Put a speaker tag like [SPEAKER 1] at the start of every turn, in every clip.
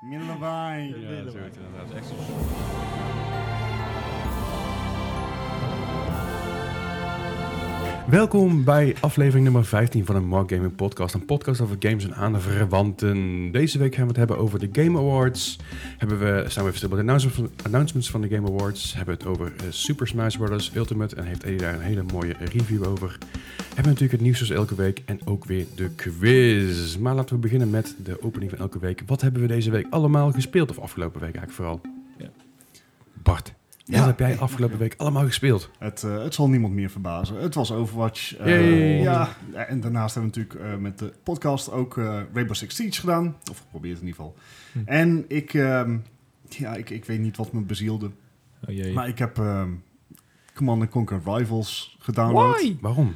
[SPEAKER 1] Willemijn.
[SPEAKER 2] Ja, zoiets inderdaad. Echt zo'n
[SPEAKER 3] Welkom bij aflevering nummer 15 van de Mark Gaming Podcast. Een podcast over games en aanverwanten. Deze week gaan we het hebben over de Game Awards. Hebben we, staan we even stil bij de announcements van- announcements van de Game Awards. Hebben we het over eh, Super Smash Bros. Ultimate. En heeft Eddie daar een hele mooie review over. Hebben we natuurlijk het nieuws zoals elke week. En ook weer de quiz. Maar laten we beginnen met de opening van elke week. Wat hebben we deze week allemaal gespeeld? Of afgelopen week eigenlijk vooral?
[SPEAKER 2] Ja.
[SPEAKER 3] Bart,
[SPEAKER 1] Ja.
[SPEAKER 3] wat heb jij afgelopen week allemaal gespeeld?
[SPEAKER 1] Het, eh, het zal niemand meer verbazen. Het was Overwatch. eh,
[SPEAKER 3] Yay.
[SPEAKER 1] ja, en daarnaast hebben we natuurlijk eh, met de podcast ook eh, Rainbow Six Siege gedaan. Of geprobeerd in ieder geval.
[SPEAKER 2] Hm.
[SPEAKER 1] En ik, ehm, ja, ik, ik weet niet wat me bezielde.
[SPEAKER 2] Oh jee.
[SPEAKER 1] Maar ik heb ehm, Command and Conquer Rivals gedownload.
[SPEAKER 3] Waarom?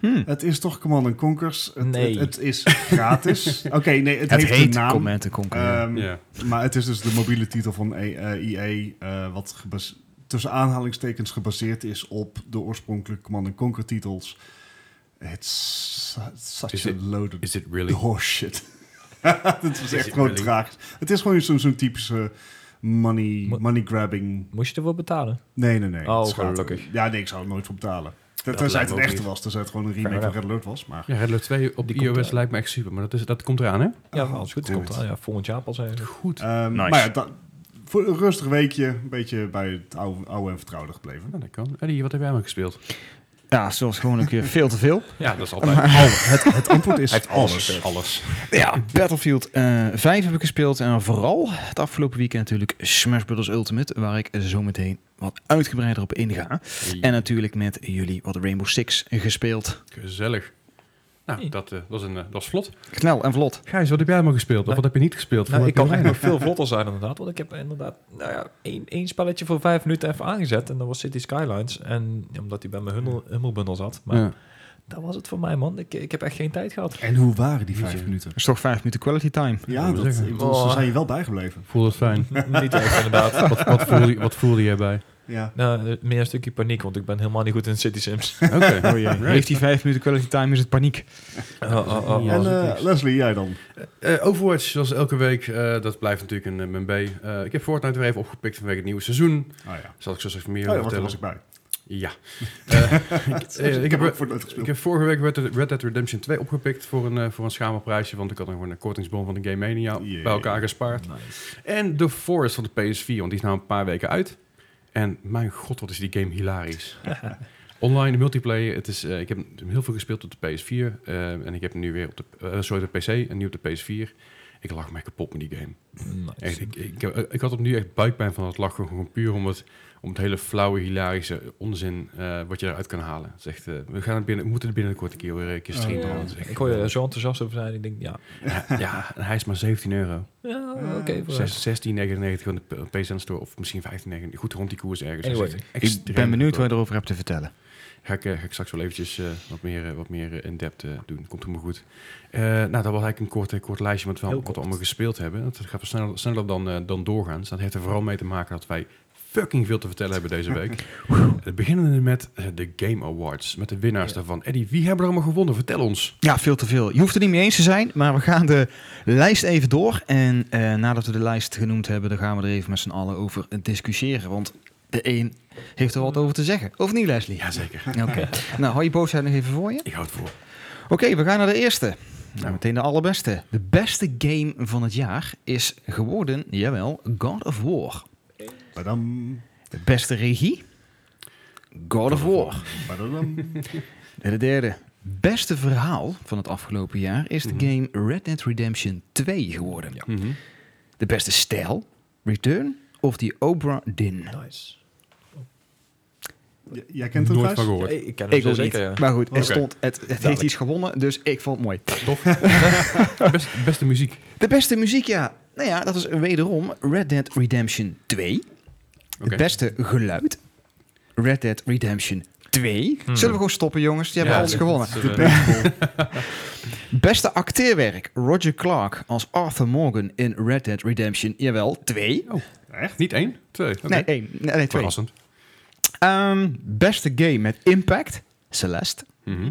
[SPEAKER 4] Hm.
[SPEAKER 1] Het is toch Command and Conquers? Het,
[SPEAKER 4] Nee.
[SPEAKER 1] het, het is gratis. Oké, nee, het,
[SPEAKER 4] Het,
[SPEAKER 1] heeft
[SPEAKER 4] heet
[SPEAKER 1] een naam.
[SPEAKER 4] Command Conquer.
[SPEAKER 1] Ehm,
[SPEAKER 3] Ja.
[SPEAKER 1] Maar het is dus de mobiele titel van EA, eh wat gebas- tussen aanhalingstekens gebaseerd is op de oorspronkelijke Command Conquer titels. It's su- such
[SPEAKER 3] Is
[SPEAKER 1] a
[SPEAKER 3] it-
[SPEAKER 1] loaded
[SPEAKER 3] Is it really?
[SPEAKER 1] horseshit. Het is echt
[SPEAKER 3] it
[SPEAKER 1] gewoon
[SPEAKER 3] really?
[SPEAKER 1] traag. Het is gewoon zo'n zo'n typische money,
[SPEAKER 4] Mo-
[SPEAKER 1] money grabbing.
[SPEAKER 4] Moest je ervoor betalen?
[SPEAKER 1] Nee, nee, nee.
[SPEAKER 4] Oh,
[SPEAKER 1] het is gratis.
[SPEAKER 4] gelukkig.
[SPEAKER 1] Ja, nee, ik zou er nooit voor betalen. Ten-
[SPEAKER 3] Dat
[SPEAKER 1] Tenzij
[SPEAKER 3] lijkt
[SPEAKER 1] het een
[SPEAKER 3] me ook
[SPEAKER 1] echte
[SPEAKER 3] niet.
[SPEAKER 1] was, tenzij het gewoon een remake van
[SPEAKER 4] Fair
[SPEAKER 1] Red Alert was. Maar
[SPEAKER 3] Ja, Red Alert 2 op de
[SPEAKER 4] Die komt
[SPEAKER 3] iOS
[SPEAKER 4] uit.
[SPEAKER 3] lijkt me echt super, maar dat, is, dat komt eraan, hè?
[SPEAKER 4] Ja,
[SPEAKER 1] Ah,
[SPEAKER 4] als het goed
[SPEAKER 1] damn
[SPEAKER 4] komt.
[SPEAKER 1] it.
[SPEAKER 4] wel. ja, volgend jaar pas eigenlijk.
[SPEAKER 3] Oh, Goed.
[SPEAKER 1] Ehm,
[SPEAKER 4] Nice.
[SPEAKER 1] maar ja, da- voor een rustig weekje, een beetje bij het oude, oude en vertrouwde gebleven.
[SPEAKER 3] Nou, dat kan. Eddie, wat heb jij maar gespeeld?
[SPEAKER 4] eh, Ja, zoals gewoon een keer veel te veel.
[SPEAKER 3] Ja, dat is
[SPEAKER 1] het, het antwoord is alles.
[SPEAKER 3] Alles.
[SPEAKER 4] Ja, Battlefield eh 5 heb ik gespeeld. En vooral het afgelopen weekend natuurlijk Smash Bros. Ultimate. Waar ik zo meteen wat uitgebreider op inga. En natuurlijk met jullie wat Rainbow Six gespeeld.
[SPEAKER 3] Gezellig. Nou,
[SPEAKER 4] Hey.
[SPEAKER 3] dat, eh, was een, eh, dat is vlot.
[SPEAKER 4] Snel en vlot.
[SPEAKER 3] Gijs, wat heb jij maar gespeeld? Of
[SPEAKER 4] Nou,
[SPEAKER 3] wat heb je niet gespeeld?
[SPEAKER 4] Nou, ik
[SPEAKER 3] Wat
[SPEAKER 4] kan
[SPEAKER 3] heb jij
[SPEAKER 4] echt nog
[SPEAKER 3] gedaan?
[SPEAKER 4] veel vlotter zijn inderdaad. Want ik heb inderdaad nou ja, één, één spelletje voor vijf minuten even aangezet. En dat was City Skylines. En ja, omdat hij bij mijn hummel- hummelbundel zat. Maar
[SPEAKER 3] Ja.
[SPEAKER 4] dat was het voor mij, man. Ik, ik heb echt geen tijd gehad.
[SPEAKER 1] En hoe waren die vijf minuten?
[SPEAKER 5] is toch vijf minuten quality time.
[SPEAKER 1] Ja,
[SPEAKER 3] moet
[SPEAKER 1] dat,
[SPEAKER 3] zeggen.
[SPEAKER 1] ik bedoel, ze
[SPEAKER 4] Oh.
[SPEAKER 1] zijn je wel bijgebleven.
[SPEAKER 3] Voelde het fijn.
[SPEAKER 4] Niet echt, inderdaad.
[SPEAKER 3] wat, wat, voelde, wat voelde jij bij?
[SPEAKER 1] Ja.
[SPEAKER 4] Nou, eh, meer een stukje paniek, want ik ben helemaal niet goed in City Sims.
[SPEAKER 3] Oké. Right.
[SPEAKER 5] Heeft die vijf minuten quality time is het paniek.
[SPEAKER 4] Oh, oh, oh,
[SPEAKER 3] Ja,
[SPEAKER 1] en
[SPEAKER 4] oh.
[SPEAKER 3] dat is
[SPEAKER 1] eh,
[SPEAKER 3] niks.
[SPEAKER 1] Leslie, jij dan?
[SPEAKER 3] Eh, Overwatch, zoals elke week, eh, dat blijft natuurlijk een eh, mijn B. Eh, ik heb Fortnite weer even opgepikt vanwege het nieuwe seizoen.
[SPEAKER 1] Oh ja,
[SPEAKER 3] Zal ik zo even meer
[SPEAKER 1] oh, ja
[SPEAKER 3] over
[SPEAKER 1] want daar
[SPEAKER 3] vertellen.
[SPEAKER 1] was ik bij.
[SPEAKER 3] Ja. Eh, ik, eh, ik heb
[SPEAKER 1] ook voor het
[SPEAKER 3] Ik
[SPEAKER 1] gespeeld.
[SPEAKER 3] heb vorige week Red Dead, Red Dead Redemption 2 opgepikt voor een, eh, voor een schamelprijsje. Want ik had nog gewoon een kortingsbon van de Game Mania
[SPEAKER 1] Jee.
[SPEAKER 3] bij elkaar
[SPEAKER 4] oh.
[SPEAKER 3] gespaard. En The Forest van de PS4, want die is nou een paar weken uit. En mijn god, wat is die game hilarisch. Online, de multiplayer. Het is, eh, ik heb heel veel gespeeld op de PS4. eh, en ik heb nu weer op de, eh, sorry, op de PC en nu op de PS4. Ik lag mij kapot met die game.
[SPEAKER 4] Nice.
[SPEAKER 3] Echt, ik, ik, ik, ik had opnieuw echt buikpijn van het lachen. Gewoon puur om het, om het hele flauwe, hilarische onzin eh, wat je eruit kan halen. Het is echt, eh, we, gaan het binnen, we moeten het binnenkort een keer weer een keer
[SPEAKER 1] Oh,
[SPEAKER 3] streamen.
[SPEAKER 1] ja.
[SPEAKER 3] want het is echt-
[SPEAKER 4] Ik hoor je er zo enthousiast over zijn. Ik denk, ja,
[SPEAKER 3] ja, ja, en hij is maar 17 euro.
[SPEAKER 4] ja
[SPEAKER 1] Eh,
[SPEAKER 4] oké. vooruit.
[SPEAKER 3] Ah, Zes- 16,99 van de P- PSN Store of misschien 15,99. Goed rond die koers ergens.
[SPEAKER 4] Anyway,
[SPEAKER 3] Dus echt
[SPEAKER 5] Ik
[SPEAKER 3] extreem
[SPEAKER 5] ben benieuwd
[SPEAKER 3] goedkoop.
[SPEAKER 5] wat je erover hebt te vertellen.
[SPEAKER 3] Ga ik, eh, ga ik straks wel eventjes eh, wat meer, eh, wat meer eh, in-depth eh, doen. Komt helemaal goed. Eh, nou, dat was eigenlijk een kort, eh, kort lijstje met wel,
[SPEAKER 4] Heel
[SPEAKER 3] wat
[SPEAKER 4] kort.
[SPEAKER 3] we allemaal gespeeld hebben. Dat gaat wel sneller, sneller dan, eh, dan doorgaans. Dat heeft er vooral mee te maken dat wij fucking veel te vertellen hebben deze week. Eh, Beginnen we met eh, de Game Awards. Met de winnaars
[SPEAKER 4] Ja.
[SPEAKER 3] daarvan. Eddie, wie hebben er allemaal gewonnen? Vertel ons.
[SPEAKER 5] Ja, veel te veel. Je hoeft er niet mee eens te zijn, maar we gaan de lijst even door. En eh, nadat we de lijst genoemd hebben, dan gaan we er even met z'n allen over discussiëren. Want de een heeft er wat over te zeggen. Of niet, Leslie?
[SPEAKER 3] Jazeker.
[SPEAKER 5] Oké. nou, hou je boosheid nog even voor je.
[SPEAKER 3] Ik hou het voor.
[SPEAKER 5] Oké, we gaan naar de eerste. Nou, meteen de allerbeste. De beste game van het jaar is geworden, jawel, God of War.
[SPEAKER 1] Badam,
[SPEAKER 5] De beste regie? God of War.
[SPEAKER 1] badadam.
[SPEAKER 5] En de derde, beste verhaal van het afgelopen jaar is de
[SPEAKER 3] Mhm.
[SPEAKER 5] game Red Dead Redemption 2 geworden. De beste stijl, Return of the Obra Dinn.
[SPEAKER 4] nice.
[SPEAKER 1] J- jij kent hem,
[SPEAKER 3] Nooit van
[SPEAKER 1] Gijs?
[SPEAKER 4] Ja,
[SPEAKER 3] gehoord.
[SPEAKER 4] ik ken hem
[SPEAKER 5] Ik ook
[SPEAKER 4] zeker,
[SPEAKER 5] niet.
[SPEAKER 4] ja.
[SPEAKER 5] Maar goed, het,
[SPEAKER 3] Oké.
[SPEAKER 5] stond, het, het heeft
[SPEAKER 4] Duidelijk.
[SPEAKER 5] iets gewonnen, dus ik vond het mooi.
[SPEAKER 3] Tof. Best, beste muziek.
[SPEAKER 5] De beste muziek, ja. Nou ja, dat is wederom Red Dead Redemption 2.
[SPEAKER 3] Oké.
[SPEAKER 5] Het beste geluid, Red Dead Redemption 2.
[SPEAKER 4] Hmm.
[SPEAKER 5] Zullen we gewoon stoppen, jongens? Die hebben
[SPEAKER 3] Mhm. Ja,
[SPEAKER 5] alles
[SPEAKER 3] dat-
[SPEAKER 5] gewonnen.
[SPEAKER 3] dat is, eh,
[SPEAKER 5] Beste acteerwerk, Roger Clark als Arthur Morgan in Red Dead Redemption, jawel, 2.
[SPEAKER 3] Oh,
[SPEAKER 1] Echt?
[SPEAKER 3] niet één, twee. Oké.
[SPEAKER 5] Nee, één. Nee, nee, twee.
[SPEAKER 3] Verrassend.
[SPEAKER 5] Ehm, beste game met impact. Celeste.
[SPEAKER 3] Mhm.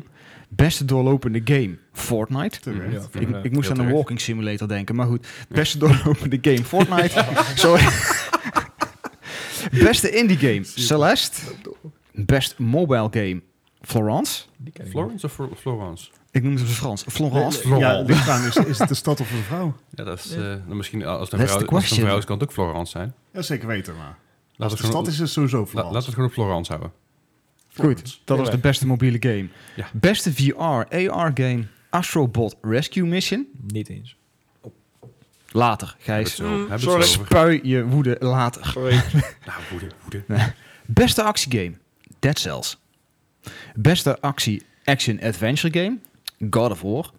[SPEAKER 5] Beste doorlopende game, Fortnite.
[SPEAKER 1] Terecht.
[SPEAKER 2] Ja.
[SPEAKER 5] Ik,
[SPEAKER 2] Inderdaad,
[SPEAKER 5] ik moest
[SPEAKER 3] heel
[SPEAKER 5] aan een
[SPEAKER 3] terecht.
[SPEAKER 5] walking simulator denken, maar goed. Beste doorlopende game, Fortnite. Sorry. Beste indie game, Celeste. Best mobile game, Florence.
[SPEAKER 2] Die ken ik niet.
[SPEAKER 3] Florence of Fro- Florence?
[SPEAKER 5] Ik noem het in het Frans. Florence.
[SPEAKER 1] Ja, ligt aan, is, is het de stad of een vrouw?
[SPEAKER 3] Ja, dat is eh, misschien als het een vrouw
[SPEAKER 5] That's
[SPEAKER 3] is,
[SPEAKER 5] the
[SPEAKER 3] als het een
[SPEAKER 5] question.
[SPEAKER 3] vrouw is, kan het ook Florence zijn.
[SPEAKER 1] Ja, zeker weten, maar. Dus
[SPEAKER 3] Laten
[SPEAKER 1] De
[SPEAKER 3] we het
[SPEAKER 1] stad
[SPEAKER 3] gewoon,
[SPEAKER 1] is het sowieso
[SPEAKER 3] la-
[SPEAKER 1] Florence.
[SPEAKER 3] laten we het gewoon op Florence houden.
[SPEAKER 5] Goed, dat was de beste mobiele game.
[SPEAKER 3] Ja.
[SPEAKER 5] Beste VR, AR game, Astrobot Rescue Mission.
[SPEAKER 2] Niet eens.
[SPEAKER 5] Later,
[SPEAKER 3] Hebben
[SPEAKER 5] Gijs.
[SPEAKER 3] we het zo- hebben we het
[SPEAKER 5] Sorry.
[SPEAKER 3] zo over.
[SPEAKER 5] Spui je woede later.
[SPEAKER 3] Nou, woede, woede.
[SPEAKER 5] Beste actiegame, Dead Cells. Beste actie action adventure game, God of War.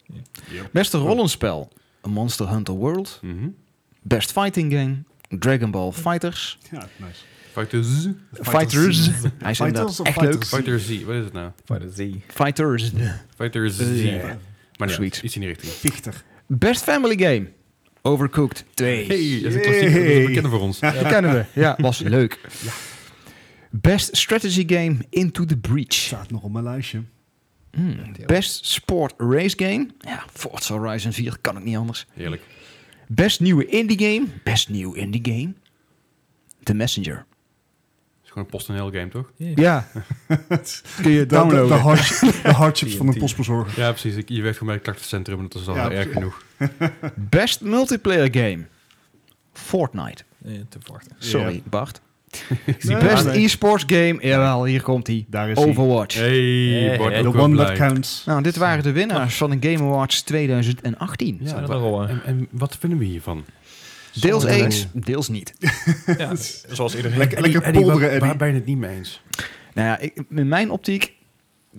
[SPEAKER 1] Yep.
[SPEAKER 5] Beste rollenspel, Monster Hunter World.
[SPEAKER 3] Mhm.
[SPEAKER 5] Best fighting game, Dragon Ball Fighters.
[SPEAKER 1] Ja, nice.
[SPEAKER 3] Fighter Z.
[SPEAKER 5] Fighters. Hij is
[SPEAKER 1] Fighters
[SPEAKER 5] inderdaad
[SPEAKER 1] of
[SPEAKER 5] echt leuk.
[SPEAKER 1] Fighters?
[SPEAKER 3] Fighter Z, wat is het nou?
[SPEAKER 2] Fighter Z.
[SPEAKER 5] Fighters.
[SPEAKER 3] Fighter Z.
[SPEAKER 5] Ja.
[SPEAKER 3] Maar ja,
[SPEAKER 5] Zoiets.
[SPEAKER 3] iets in die richting.
[SPEAKER 1] Fichter.
[SPEAKER 5] Best family game, Overcooked
[SPEAKER 3] Hey,
[SPEAKER 5] 2.
[SPEAKER 3] dat is een klassieker, dus dat is een bekende voor ons.
[SPEAKER 5] Dat kennen we. Ja, was leuk. Best strategy game, Into the Breach.
[SPEAKER 1] Staat nog op mijn lijstje.
[SPEAKER 5] Hmm. Best sport race game. Ja, Forza Horizon 4 kan ook niet anders.
[SPEAKER 3] Heerlijk.
[SPEAKER 5] Best nieuwe indie game. Best nieuw indie game. The Messenger.
[SPEAKER 3] Het is gewoon een PostNL game, toch?
[SPEAKER 5] Ja. Kun je
[SPEAKER 1] De, de,
[SPEAKER 5] downloaden.
[SPEAKER 1] hardship- de hardships van een postbezorger.
[SPEAKER 3] Ja, precies. Ik, je werkt gewoon bij het klachtencentrum en dat is al
[SPEAKER 1] Ja,
[SPEAKER 3] erg
[SPEAKER 1] precies.
[SPEAKER 3] genoeg.
[SPEAKER 5] Best multiplayer game. Fortnite.
[SPEAKER 2] Eh, te wachten.
[SPEAKER 5] Sorry, Bart.
[SPEAKER 1] Nee,
[SPEAKER 5] Best
[SPEAKER 1] nee.
[SPEAKER 5] e-sports game. Jawel, hier komt hij.
[SPEAKER 1] Daar is hij.
[SPEAKER 5] Overwatch.
[SPEAKER 3] Hey, Bart,
[SPEAKER 2] hey.
[SPEAKER 1] The
[SPEAKER 3] ook wel
[SPEAKER 1] one that
[SPEAKER 3] blij.
[SPEAKER 1] counts.
[SPEAKER 5] Nou, dit waren de winnaars van de Game Awards 2018.
[SPEAKER 3] Ja,
[SPEAKER 2] Zijn er
[SPEAKER 3] wa-
[SPEAKER 2] wel, eh,
[SPEAKER 3] en, en wat vinden we hiervan?
[SPEAKER 5] Deels
[SPEAKER 2] sommige
[SPEAKER 5] eens, deels niet.
[SPEAKER 2] Ja, zoals iedereen.
[SPEAKER 1] Lekker, lekker
[SPEAKER 3] Eddie, waar-
[SPEAKER 1] polderen,
[SPEAKER 3] waar,
[SPEAKER 1] Eddie.
[SPEAKER 3] ben je het niet mee eens?
[SPEAKER 5] Nou ja, ik- in mijn optiek,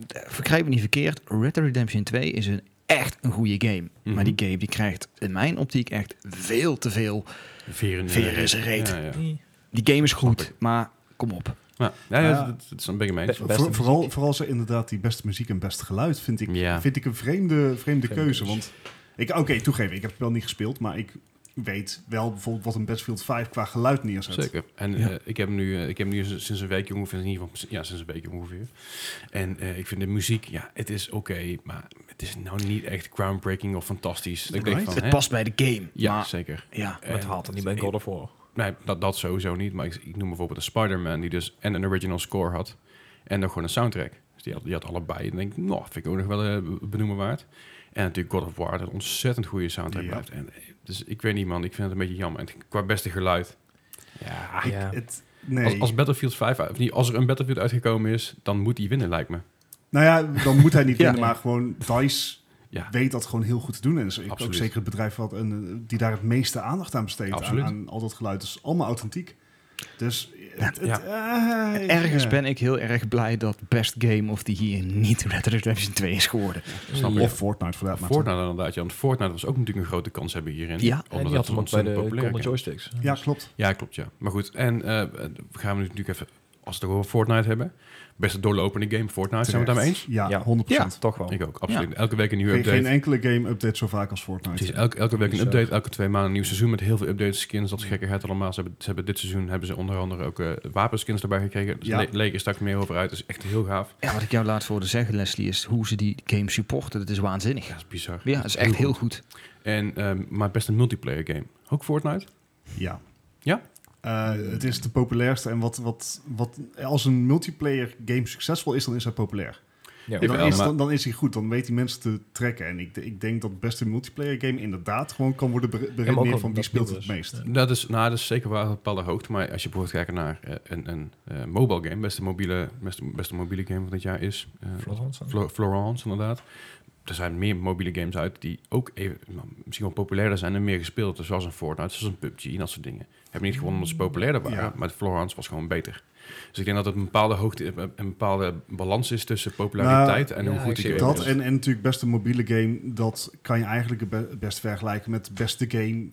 [SPEAKER 5] eh, vergrijp me niet verkeerd, Red Dead Redemption 2 is een, echt een goede game.
[SPEAKER 3] Mhm.
[SPEAKER 5] Maar die game die krijgt in mijn optiek echt veel te veel.
[SPEAKER 3] Veren, eh,
[SPEAKER 5] Veren is een reet.
[SPEAKER 3] Ja, ja.
[SPEAKER 5] Die game is goed,
[SPEAKER 3] Snap Oh,
[SPEAKER 5] maar kom op.
[SPEAKER 3] Ja, ja, ja,
[SPEAKER 1] Ja.
[SPEAKER 3] Dat, dat is een beetje mee eens.
[SPEAKER 2] Beste
[SPEAKER 1] Voor-
[SPEAKER 2] muziek.
[SPEAKER 1] vooral, vooral ze inderdaad die beste muziek en beste geluid vind ik,
[SPEAKER 3] Ja.
[SPEAKER 1] vind ik een vreemde, vreemde keuze.
[SPEAKER 2] keuze.
[SPEAKER 1] Want ik, oké, toegeven, ik heb het wel niet gespeeld, maar ik weet wel bijvoorbeeld wat een Battlefield 5 qua geluid neerzet.
[SPEAKER 3] Zeker. En
[SPEAKER 5] Ja.
[SPEAKER 3] eh, ik heb hem nu, eh, ik heb hem nu sinds een weekje ongeveer, in ieder geval, ja, sinds een weekje ongeveer. En eh, ik vind de muziek, ja, het is oké, maar het is nou niet echt groundbreaking of fantastisch. Ik denk
[SPEAKER 1] Right.
[SPEAKER 3] van,
[SPEAKER 5] Het
[SPEAKER 3] hè?
[SPEAKER 5] past bij de game.
[SPEAKER 3] Ja,
[SPEAKER 5] maar,
[SPEAKER 3] zeker.
[SPEAKER 5] ja.
[SPEAKER 2] Maar het haalt er niet bij God of War.
[SPEAKER 3] Nee, dat, dat sowieso niet. Maar ik, ik noem bijvoorbeeld een Spider-Man die dus en een original score had en dan gewoon een soundtrack. Dus die had, die had allebei. En dan denk ik, nou, vind ik ook nog wel eh, benoemen waard. En natuurlijk God of War, dat een ontzettend goede soundtrack
[SPEAKER 1] Ja.
[SPEAKER 3] blijft. En, eh, dus ik weet niet man, ik vind het een beetje jammer. En qua beste geluid, Ah, ja,
[SPEAKER 1] Ik,
[SPEAKER 2] Ja.
[SPEAKER 1] het, nee.
[SPEAKER 3] Als, als Battlefield 5, uit- of niet, als er een Battlefield uitgekomen is, dan moet die winnen, lijkt me.
[SPEAKER 1] Nou ja, dan moet hij niet
[SPEAKER 5] Ja.
[SPEAKER 1] winnen, maar gewoon DICE
[SPEAKER 3] Ja.
[SPEAKER 1] weet dat gewoon heel goed te doen. En is ook
[SPEAKER 3] Absoluut.
[SPEAKER 1] ook zeker het bedrijf wat een, eh, die daar het meeste aandacht aan besteedt. Aan,
[SPEAKER 3] Absoluut.
[SPEAKER 1] aan al dat geluid. Dus allemaal authentiek. Dus het, het, eh,
[SPEAKER 5] Ergens
[SPEAKER 1] ja.
[SPEAKER 5] ben ik heel erg blij dat Best Game of die hier niet Red Dead Redemption 2 is geworden.
[SPEAKER 3] Snap je?
[SPEAKER 1] Of Fortnite voor dat maakt.
[SPEAKER 3] Fortnite inderdaad, ja. Want Fortnite was ook natuurlijk een grote kans hebben hierin.
[SPEAKER 5] Ja.
[SPEAKER 3] Omdat
[SPEAKER 2] En die
[SPEAKER 3] het
[SPEAKER 2] had hem ook bij
[SPEAKER 3] ontzettend
[SPEAKER 2] de
[SPEAKER 3] populair
[SPEAKER 2] Golden
[SPEAKER 3] is.
[SPEAKER 2] Joysticks. Dus
[SPEAKER 1] Ja, klopt.
[SPEAKER 3] Ja, klopt, ja. Maar goed, en eh, eh, we gaan we natuurlijk even, als we het over Fortnite hebben, best een doorlopende game Fortnite, zijn we het daarmee eens?
[SPEAKER 1] Ja,
[SPEAKER 2] Ja.
[SPEAKER 1] 100%.
[SPEAKER 2] toch wel.
[SPEAKER 3] Ik ook, absoluut. Elke week een nieuwe
[SPEAKER 1] Geen,
[SPEAKER 3] update.
[SPEAKER 1] geen enkele game update zo vaak als Fortnite.
[SPEAKER 3] Precies, elke, elke week een
[SPEAKER 2] Dus, eh,
[SPEAKER 3] update, elke twee maanden een nieuw seizoen met heel veel updates, skins, dat is gekkigheid allemaal. Ze hebben, ze hebben dit seizoen hebben ze onder andere ook eh, wapenskins erbij gekregen. Dus
[SPEAKER 1] Ja.
[SPEAKER 3] le- leek er straks meer over uit. Dat is echt heel gaaf.
[SPEAKER 5] Ja, wat ik jou laat hoorde zeggen, Leslie, is hoe ze die game supporten. Dat is waanzinnig.
[SPEAKER 3] Ja, dat is bizar.
[SPEAKER 5] Ja, dat is echt heel goed.
[SPEAKER 3] En, ehm, maar best een multiplayer game. Ook Fortnite?
[SPEAKER 1] Ja.
[SPEAKER 3] Ja?
[SPEAKER 1] Eh, het is de populairste en wat, wat, wat, als een multiplayer game succesvol is, dan is hij populair.
[SPEAKER 2] Ja,
[SPEAKER 1] En dan,
[SPEAKER 3] wel,
[SPEAKER 1] is,
[SPEAKER 3] maar-
[SPEAKER 1] dan, dan is hij goed, dan weet hij mensen te trekken. En ik, ik denk dat best een multiplayer game inderdaad gewoon kan worden bere- beredeneerd
[SPEAKER 2] wel
[SPEAKER 1] van wie
[SPEAKER 2] dat
[SPEAKER 1] speelt het
[SPEAKER 2] nieuw is.
[SPEAKER 1] meest.
[SPEAKER 3] Dat is, nou, dat is zeker waar op een bepaalde hoogte. Maar als je bijvoorbeeld kijkt naar eh, een, een eh, mobile game, beste mobiele, beste, beste mobiele game van dit jaar is eh,
[SPEAKER 2] Florence.
[SPEAKER 3] Flo- Florence, inderdaad. Er zijn meer mobiele games uit die ook even, nou, misschien wel populairder zijn en meer gespeeld. Dus zoals een Fortnite, zoals een PUBG en dat soort dingen. Hebben niet gewonnen omdat ze populairder waren,
[SPEAKER 1] Ja.
[SPEAKER 3] maar Florence was gewoon beter. Dus ik denk dat het een bepaalde hoogte, een een bepaalde balans is tussen populariteit en
[SPEAKER 2] ja,
[SPEAKER 3] hoe
[SPEAKER 2] ik
[SPEAKER 3] goed die
[SPEAKER 2] zie
[SPEAKER 3] game
[SPEAKER 1] Dat
[SPEAKER 3] is.
[SPEAKER 1] en, en natuurlijk best een mobiele game, dat kan je eigenlijk het be- best vergelijken met de beste game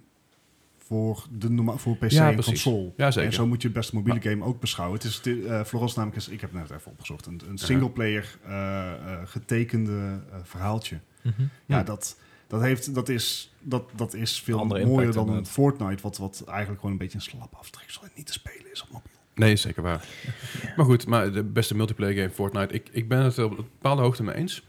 [SPEAKER 1] voor, de, norma- voor PC
[SPEAKER 3] Ja,
[SPEAKER 1] en
[SPEAKER 3] precies.
[SPEAKER 1] console.
[SPEAKER 3] Ja, zeker.
[SPEAKER 1] En zo moet je best een mobiele game ook beschouwen. Het is de, eh, Florence namelijk is, ik heb het net even opgezocht, een, een singleplayer eh, eh, getekende eh, verhaaltje. Ja,
[SPEAKER 2] Mhm.
[SPEAKER 3] Ja.
[SPEAKER 1] dat, dat, heeft, dat, is, dat, dat is veel
[SPEAKER 2] Andere
[SPEAKER 1] mooier
[SPEAKER 2] impact
[SPEAKER 1] dan een
[SPEAKER 2] inderdaad.
[SPEAKER 1] Fortnite, wat, wat eigenlijk gewoon een beetje een slap aftreksel en niet te spelen is op mobiel.
[SPEAKER 3] Nee, is zeker waar. Maar goed, maar de beste multiplayer game Fortnite. Ik, ik ben het op een bepaalde hoogte mee eens.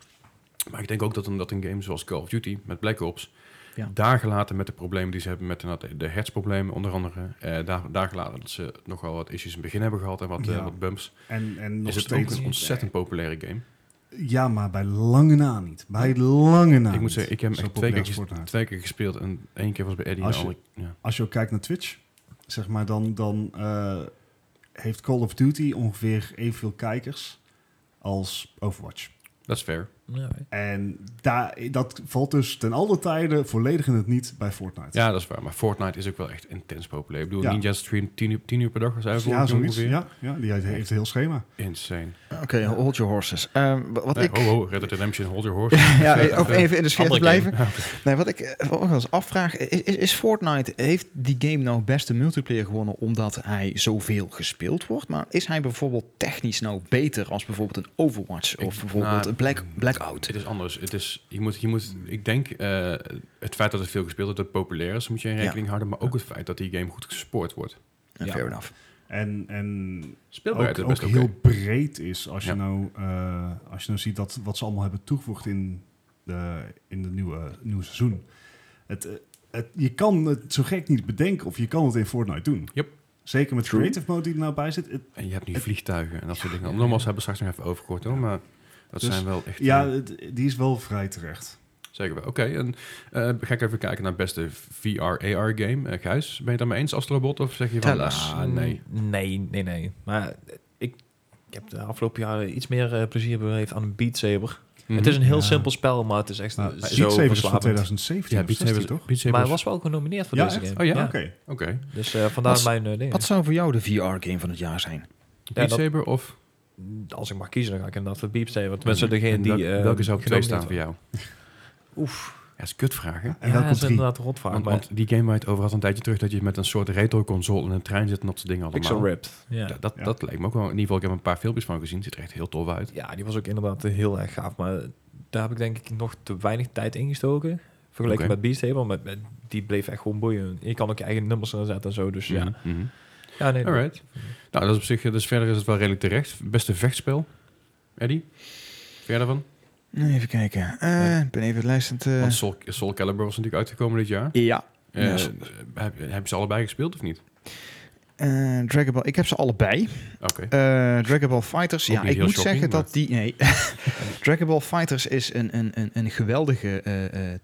[SPEAKER 3] Maar ik denk ook dat een, dat een game zoals Call of Duty met Black Ops...
[SPEAKER 5] Ja.
[SPEAKER 3] daar gelaten met de problemen die ze hebben met inderdaad de, de hertzproblemen onder andere... eh, daar, daar gelaten dat ze nogal wat issues in het begin hebben gehad en wat, eh,
[SPEAKER 1] Ja.
[SPEAKER 3] wat bumps...
[SPEAKER 1] En, en nog
[SPEAKER 3] is het ook
[SPEAKER 1] steeds.
[SPEAKER 3] een ontzettend populaire game.
[SPEAKER 1] Ja, maar bij lange na niet. Bij lange na
[SPEAKER 3] ik moet
[SPEAKER 1] niet.
[SPEAKER 3] zeggen, ik heb hem
[SPEAKER 1] Zo
[SPEAKER 3] echt
[SPEAKER 1] populair
[SPEAKER 3] twee keer,
[SPEAKER 1] als
[SPEAKER 3] ges-
[SPEAKER 1] Fortnite.
[SPEAKER 3] twee keer gespeeld. En één keer was bij Eddie.
[SPEAKER 1] Als
[SPEAKER 3] en de
[SPEAKER 1] je-
[SPEAKER 3] andere- ja.
[SPEAKER 1] Als je ook kijkt naar Twitch, zeg maar, dan, dan eh, heeft Call of Duty ongeveer evenveel kijkers als Overwatch.
[SPEAKER 3] Dat is fair.
[SPEAKER 2] Ja,
[SPEAKER 1] En daar, dat valt dus ten alle tijde volledig in het niet bij Fortnite.
[SPEAKER 3] Ja, dat is waar. Maar Fortnite is ook wel echt intens populair. Ik bedoel,
[SPEAKER 1] Ja.
[SPEAKER 3] Ninja stream 10 uur, 10 uur per dag. Was hij
[SPEAKER 1] Dus
[SPEAKER 3] vorige
[SPEAKER 1] ja,
[SPEAKER 3] keer
[SPEAKER 1] zoiets.
[SPEAKER 3] ongeveer.
[SPEAKER 1] Ja, ja, die heeft heeft een heel schema.
[SPEAKER 3] Insane.
[SPEAKER 5] Oké, hold your horses. Eh, wa- wat
[SPEAKER 3] Nee,
[SPEAKER 5] ik...
[SPEAKER 3] Ho, ho, Red Dead Redemption, hold your horse.
[SPEAKER 5] ja, eh, om even in de sfeer te
[SPEAKER 2] Andere
[SPEAKER 5] blijven. Nee, wat ik eh, ook wel eens afvraag, is, is- is Fortnite, heeft die game nou best de multiplayer gewonnen omdat hij zoveel gespeeld wordt? Maar is hij bijvoorbeeld technisch nou beter als bijvoorbeeld een Overwatch of
[SPEAKER 3] Ik-
[SPEAKER 5] bijvoorbeeld
[SPEAKER 3] nou,
[SPEAKER 5] een Black, Blackout?
[SPEAKER 3] Het is anders. Het is, je moet, je moet, ik denk, eh, het feit dat het veel gespeeld wordt, dat het populair is, moet je in
[SPEAKER 5] Ja.
[SPEAKER 3] rekening houden. Maar ook het feit dat die game goed gespoord wordt.
[SPEAKER 2] ja.
[SPEAKER 5] Fair enough.
[SPEAKER 1] En, en
[SPEAKER 3] Speelbaarheid
[SPEAKER 1] ook,
[SPEAKER 3] is
[SPEAKER 1] ook
[SPEAKER 3] best oké.
[SPEAKER 1] heel breed is. Als,
[SPEAKER 3] Ja.
[SPEAKER 1] je nou, eh, als je nou ziet dat, wat ze allemaal hebben toegevoegd in de, in de nieuwe, nieuwe seizoen. Het, eh, het, je kan het zo gek niet bedenken of je kan het in Fortnite doen.
[SPEAKER 3] Yep.
[SPEAKER 1] Zeker met
[SPEAKER 5] True.
[SPEAKER 1] creative mode die er nou bij zit. Het-
[SPEAKER 3] En je hebt nu vliegtuigen en dat soort dingen. Nogmaals, hebben we straks nog even overgehoord hoor. Maar dat
[SPEAKER 1] Dus-
[SPEAKER 3] zijn wel echt...
[SPEAKER 1] ja,
[SPEAKER 3] eh,
[SPEAKER 1] het- die is wel vrij terecht.
[SPEAKER 3] Zeker wel. Oké, en eh, ga ik even kijken naar beste VR-AR-game. Eh, Gijs, ben je het daarmee eens, Astrobot? Of zeg je van,
[SPEAKER 5] Tell us.
[SPEAKER 3] ah,
[SPEAKER 2] Mm-hmm.
[SPEAKER 3] nee.
[SPEAKER 2] Nee, nee, nee. Maar eh, ik, ik heb de afgelopen jaren iets meer eh, plezier beleefd aan Beat Saber.
[SPEAKER 3] Mhm.
[SPEAKER 2] Het is een heel
[SPEAKER 1] Ja.
[SPEAKER 2] simpel spel, maar het is echt
[SPEAKER 1] Nou,
[SPEAKER 2] zo
[SPEAKER 1] Beat Saber is van
[SPEAKER 2] verslavend.
[SPEAKER 1] 2017
[SPEAKER 3] Ja,
[SPEAKER 1] of
[SPEAKER 3] Beat Saber
[SPEAKER 1] 16, toch?
[SPEAKER 3] Beat Saber
[SPEAKER 2] Maar hij
[SPEAKER 3] is-
[SPEAKER 2] was wel genomineerd voor
[SPEAKER 1] Ja,
[SPEAKER 2] deze
[SPEAKER 1] echt?
[SPEAKER 2] game.
[SPEAKER 3] Oh ja?
[SPEAKER 1] Oké.
[SPEAKER 3] Oké.
[SPEAKER 2] Dus eh, vandaar
[SPEAKER 5] Wat-
[SPEAKER 2] mijn eh, ding.
[SPEAKER 5] Wat zou voor jou de VR-game van het jaar zijn?
[SPEAKER 3] Beat
[SPEAKER 2] dat-
[SPEAKER 3] Saber of...
[SPEAKER 2] Als ik mag kiezen, dan ga ik inderdaad voor Beat Saber. Tenminste, degene
[SPEAKER 3] en
[SPEAKER 2] die...
[SPEAKER 3] welke-
[SPEAKER 2] eh,
[SPEAKER 3] welke zou op twee staan voor
[SPEAKER 2] genomineerd
[SPEAKER 3] jou?
[SPEAKER 2] Oef.
[SPEAKER 3] Ja, dat is kutvraag, hè?
[SPEAKER 1] Ja, en
[SPEAKER 2] Ja,
[SPEAKER 1] welke
[SPEAKER 2] dat is
[SPEAKER 1] drie?
[SPEAKER 2] inderdaad een rotvraag.
[SPEAKER 3] Want,
[SPEAKER 2] maar
[SPEAKER 3] want die game waar je het over had een tijdje terug, dat je met een soort retro-console in een trein zit en dat soort dingen allemaal.
[SPEAKER 2] Pixel Ripped. Ja.
[SPEAKER 3] Ja, dat,
[SPEAKER 1] Ja.
[SPEAKER 3] dat leek me ook wel. In ieder geval, ik heb een paar filmpjes van gezien. Ziet er echt heel tof uit.
[SPEAKER 2] ja, die was ook inderdaad eh, heel erg gaaf. Maar daar heb ik denk ik nog te weinig tijd in gestoken. Vergeleken
[SPEAKER 3] Oké.
[SPEAKER 2] met Beat Saber. Maar met- die bleef echt gewoon boeien. Je kan ook je eigen nummers inzetten en zo. Dus ja.
[SPEAKER 3] Mhm, mhm.
[SPEAKER 2] ja nee,
[SPEAKER 3] Alright. Nou, dat is op zich, eh, dus verder is het wel redelijk terecht. Beste vechtspel. Eddie? Verder van?
[SPEAKER 5] Even kijken. Eh, Ik ben even het lijst aan het... eh,
[SPEAKER 3] Want Soul, Soul Calibur was natuurlijk uitgekomen dit jaar.
[SPEAKER 5] ja,
[SPEAKER 3] Eh,
[SPEAKER 5] Ja,
[SPEAKER 3] heb- Hebben heb ze allebei gespeeld of niet?
[SPEAKER 5] eh, Dragon Ball. Ik heb ze allebei.
[SPEAKER 3] Oké.
[SPEAKER 5] Eh, Dragon Ball Fighters.
[SPEAKER 3] Ook
[SPEAKER 5] Ja,
[SPEAKER 3] niet
[SPEAKER 5] ik
[SPEAKER 3] heel
[SPEAKER 5] moet
[SPEAKER 3] shocking,
[SPEAKER 5] zeggen dat die. Nee. Dragon Ball Fighters is een, een, een, een geweldige eh, eh,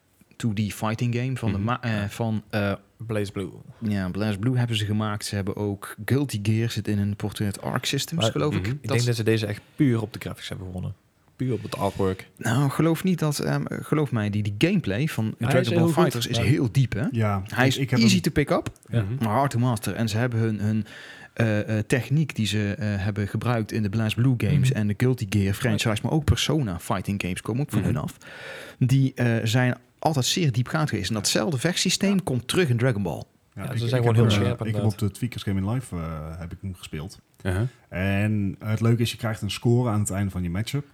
[SPEAKER 5] 2D fighting game van,
[SPEAKER 3] Mhm.
[SPEAKER 5] de ma- eh, van eh
[SPEAKER 2] Blaze Blue.
[SPEAKER 5] ja, BlazBlue hebben ze gemaakt. Ze hebben ook Guilty Gear zit in hun Portrait Arc Systems,
[SPEAKER 2] Maar-
[SPEAKER 5] geloof
[SPEAKER 3] mhm.
[SPEAKER 5] ik.
[SPEAKER 3] Ik
[SPEAKER 2] Ik
[SPEAKER 5] Dat-
[SPEAKER 2] denk dat ze deze echt puur op de graphics hebben gewonnen. Puur op het artwork.
[SPEAKER 5] Nou, geloof niet dat. ehm, geloof mij, die, die gameplay van
[SPEAKER 2] Hij is
[SPEAKER 5] Dragon Ball
[SPEAKER 2] heel goed,
[SPEAKER 5] Fighters is
[SPEAKER 2] maar-
[SPEAKER 5] heel diep, hè?
[SPEAKER 1] Ja,
[SPEAKER 5] Hij is
[SPEAKER 1] ik heb
[SPEAKER 5] easy
[SPEAKER 1] hem-
[SPEAKER 5] to pick up.
[SPEAKER 2] Ja.
[SPEAKER 3] Mhm.
[SPEAKER 5] Maar hard to master. En ze hebben hun, hun eh, eh, techniek die ze eh, hebben gebruikt in de BlazBlue games
[SPEAKER 2] Mhm.
[SPEAKER 5] en de Guilty Gear franchise, maar ook Persona fighting games komen ook van
[SPEAKER 3] Mhm.
[SPEAKER 5] hun af. Die eh, zijn altijd zeer diepgaand geweest. En datzelfde vechtsysteem komt terug in Dragon Ball.
[SPEAKER 1] ik-
[SPEAKER 2] Ja, ze zijn
[SPEAKER 1] ik
[SPEAKER 2] gewoon
[SPEAKER 1] heb
[SPEAKER 2] heel
[SPEAKER 1] hem,
[SPEAKER 2] scherp,
[SPEAKER 1] eh, Ik heb
[SPEAKER 2] inderdaad.
[SPEAKER 1] op de Tweakers Game in Live eh, heb ik hem gespeeld.
[SPEAKER 3] Uh-huh.
[SPEAKER 1] En het leuke is, je krijgt een score aan het einde van je matchup.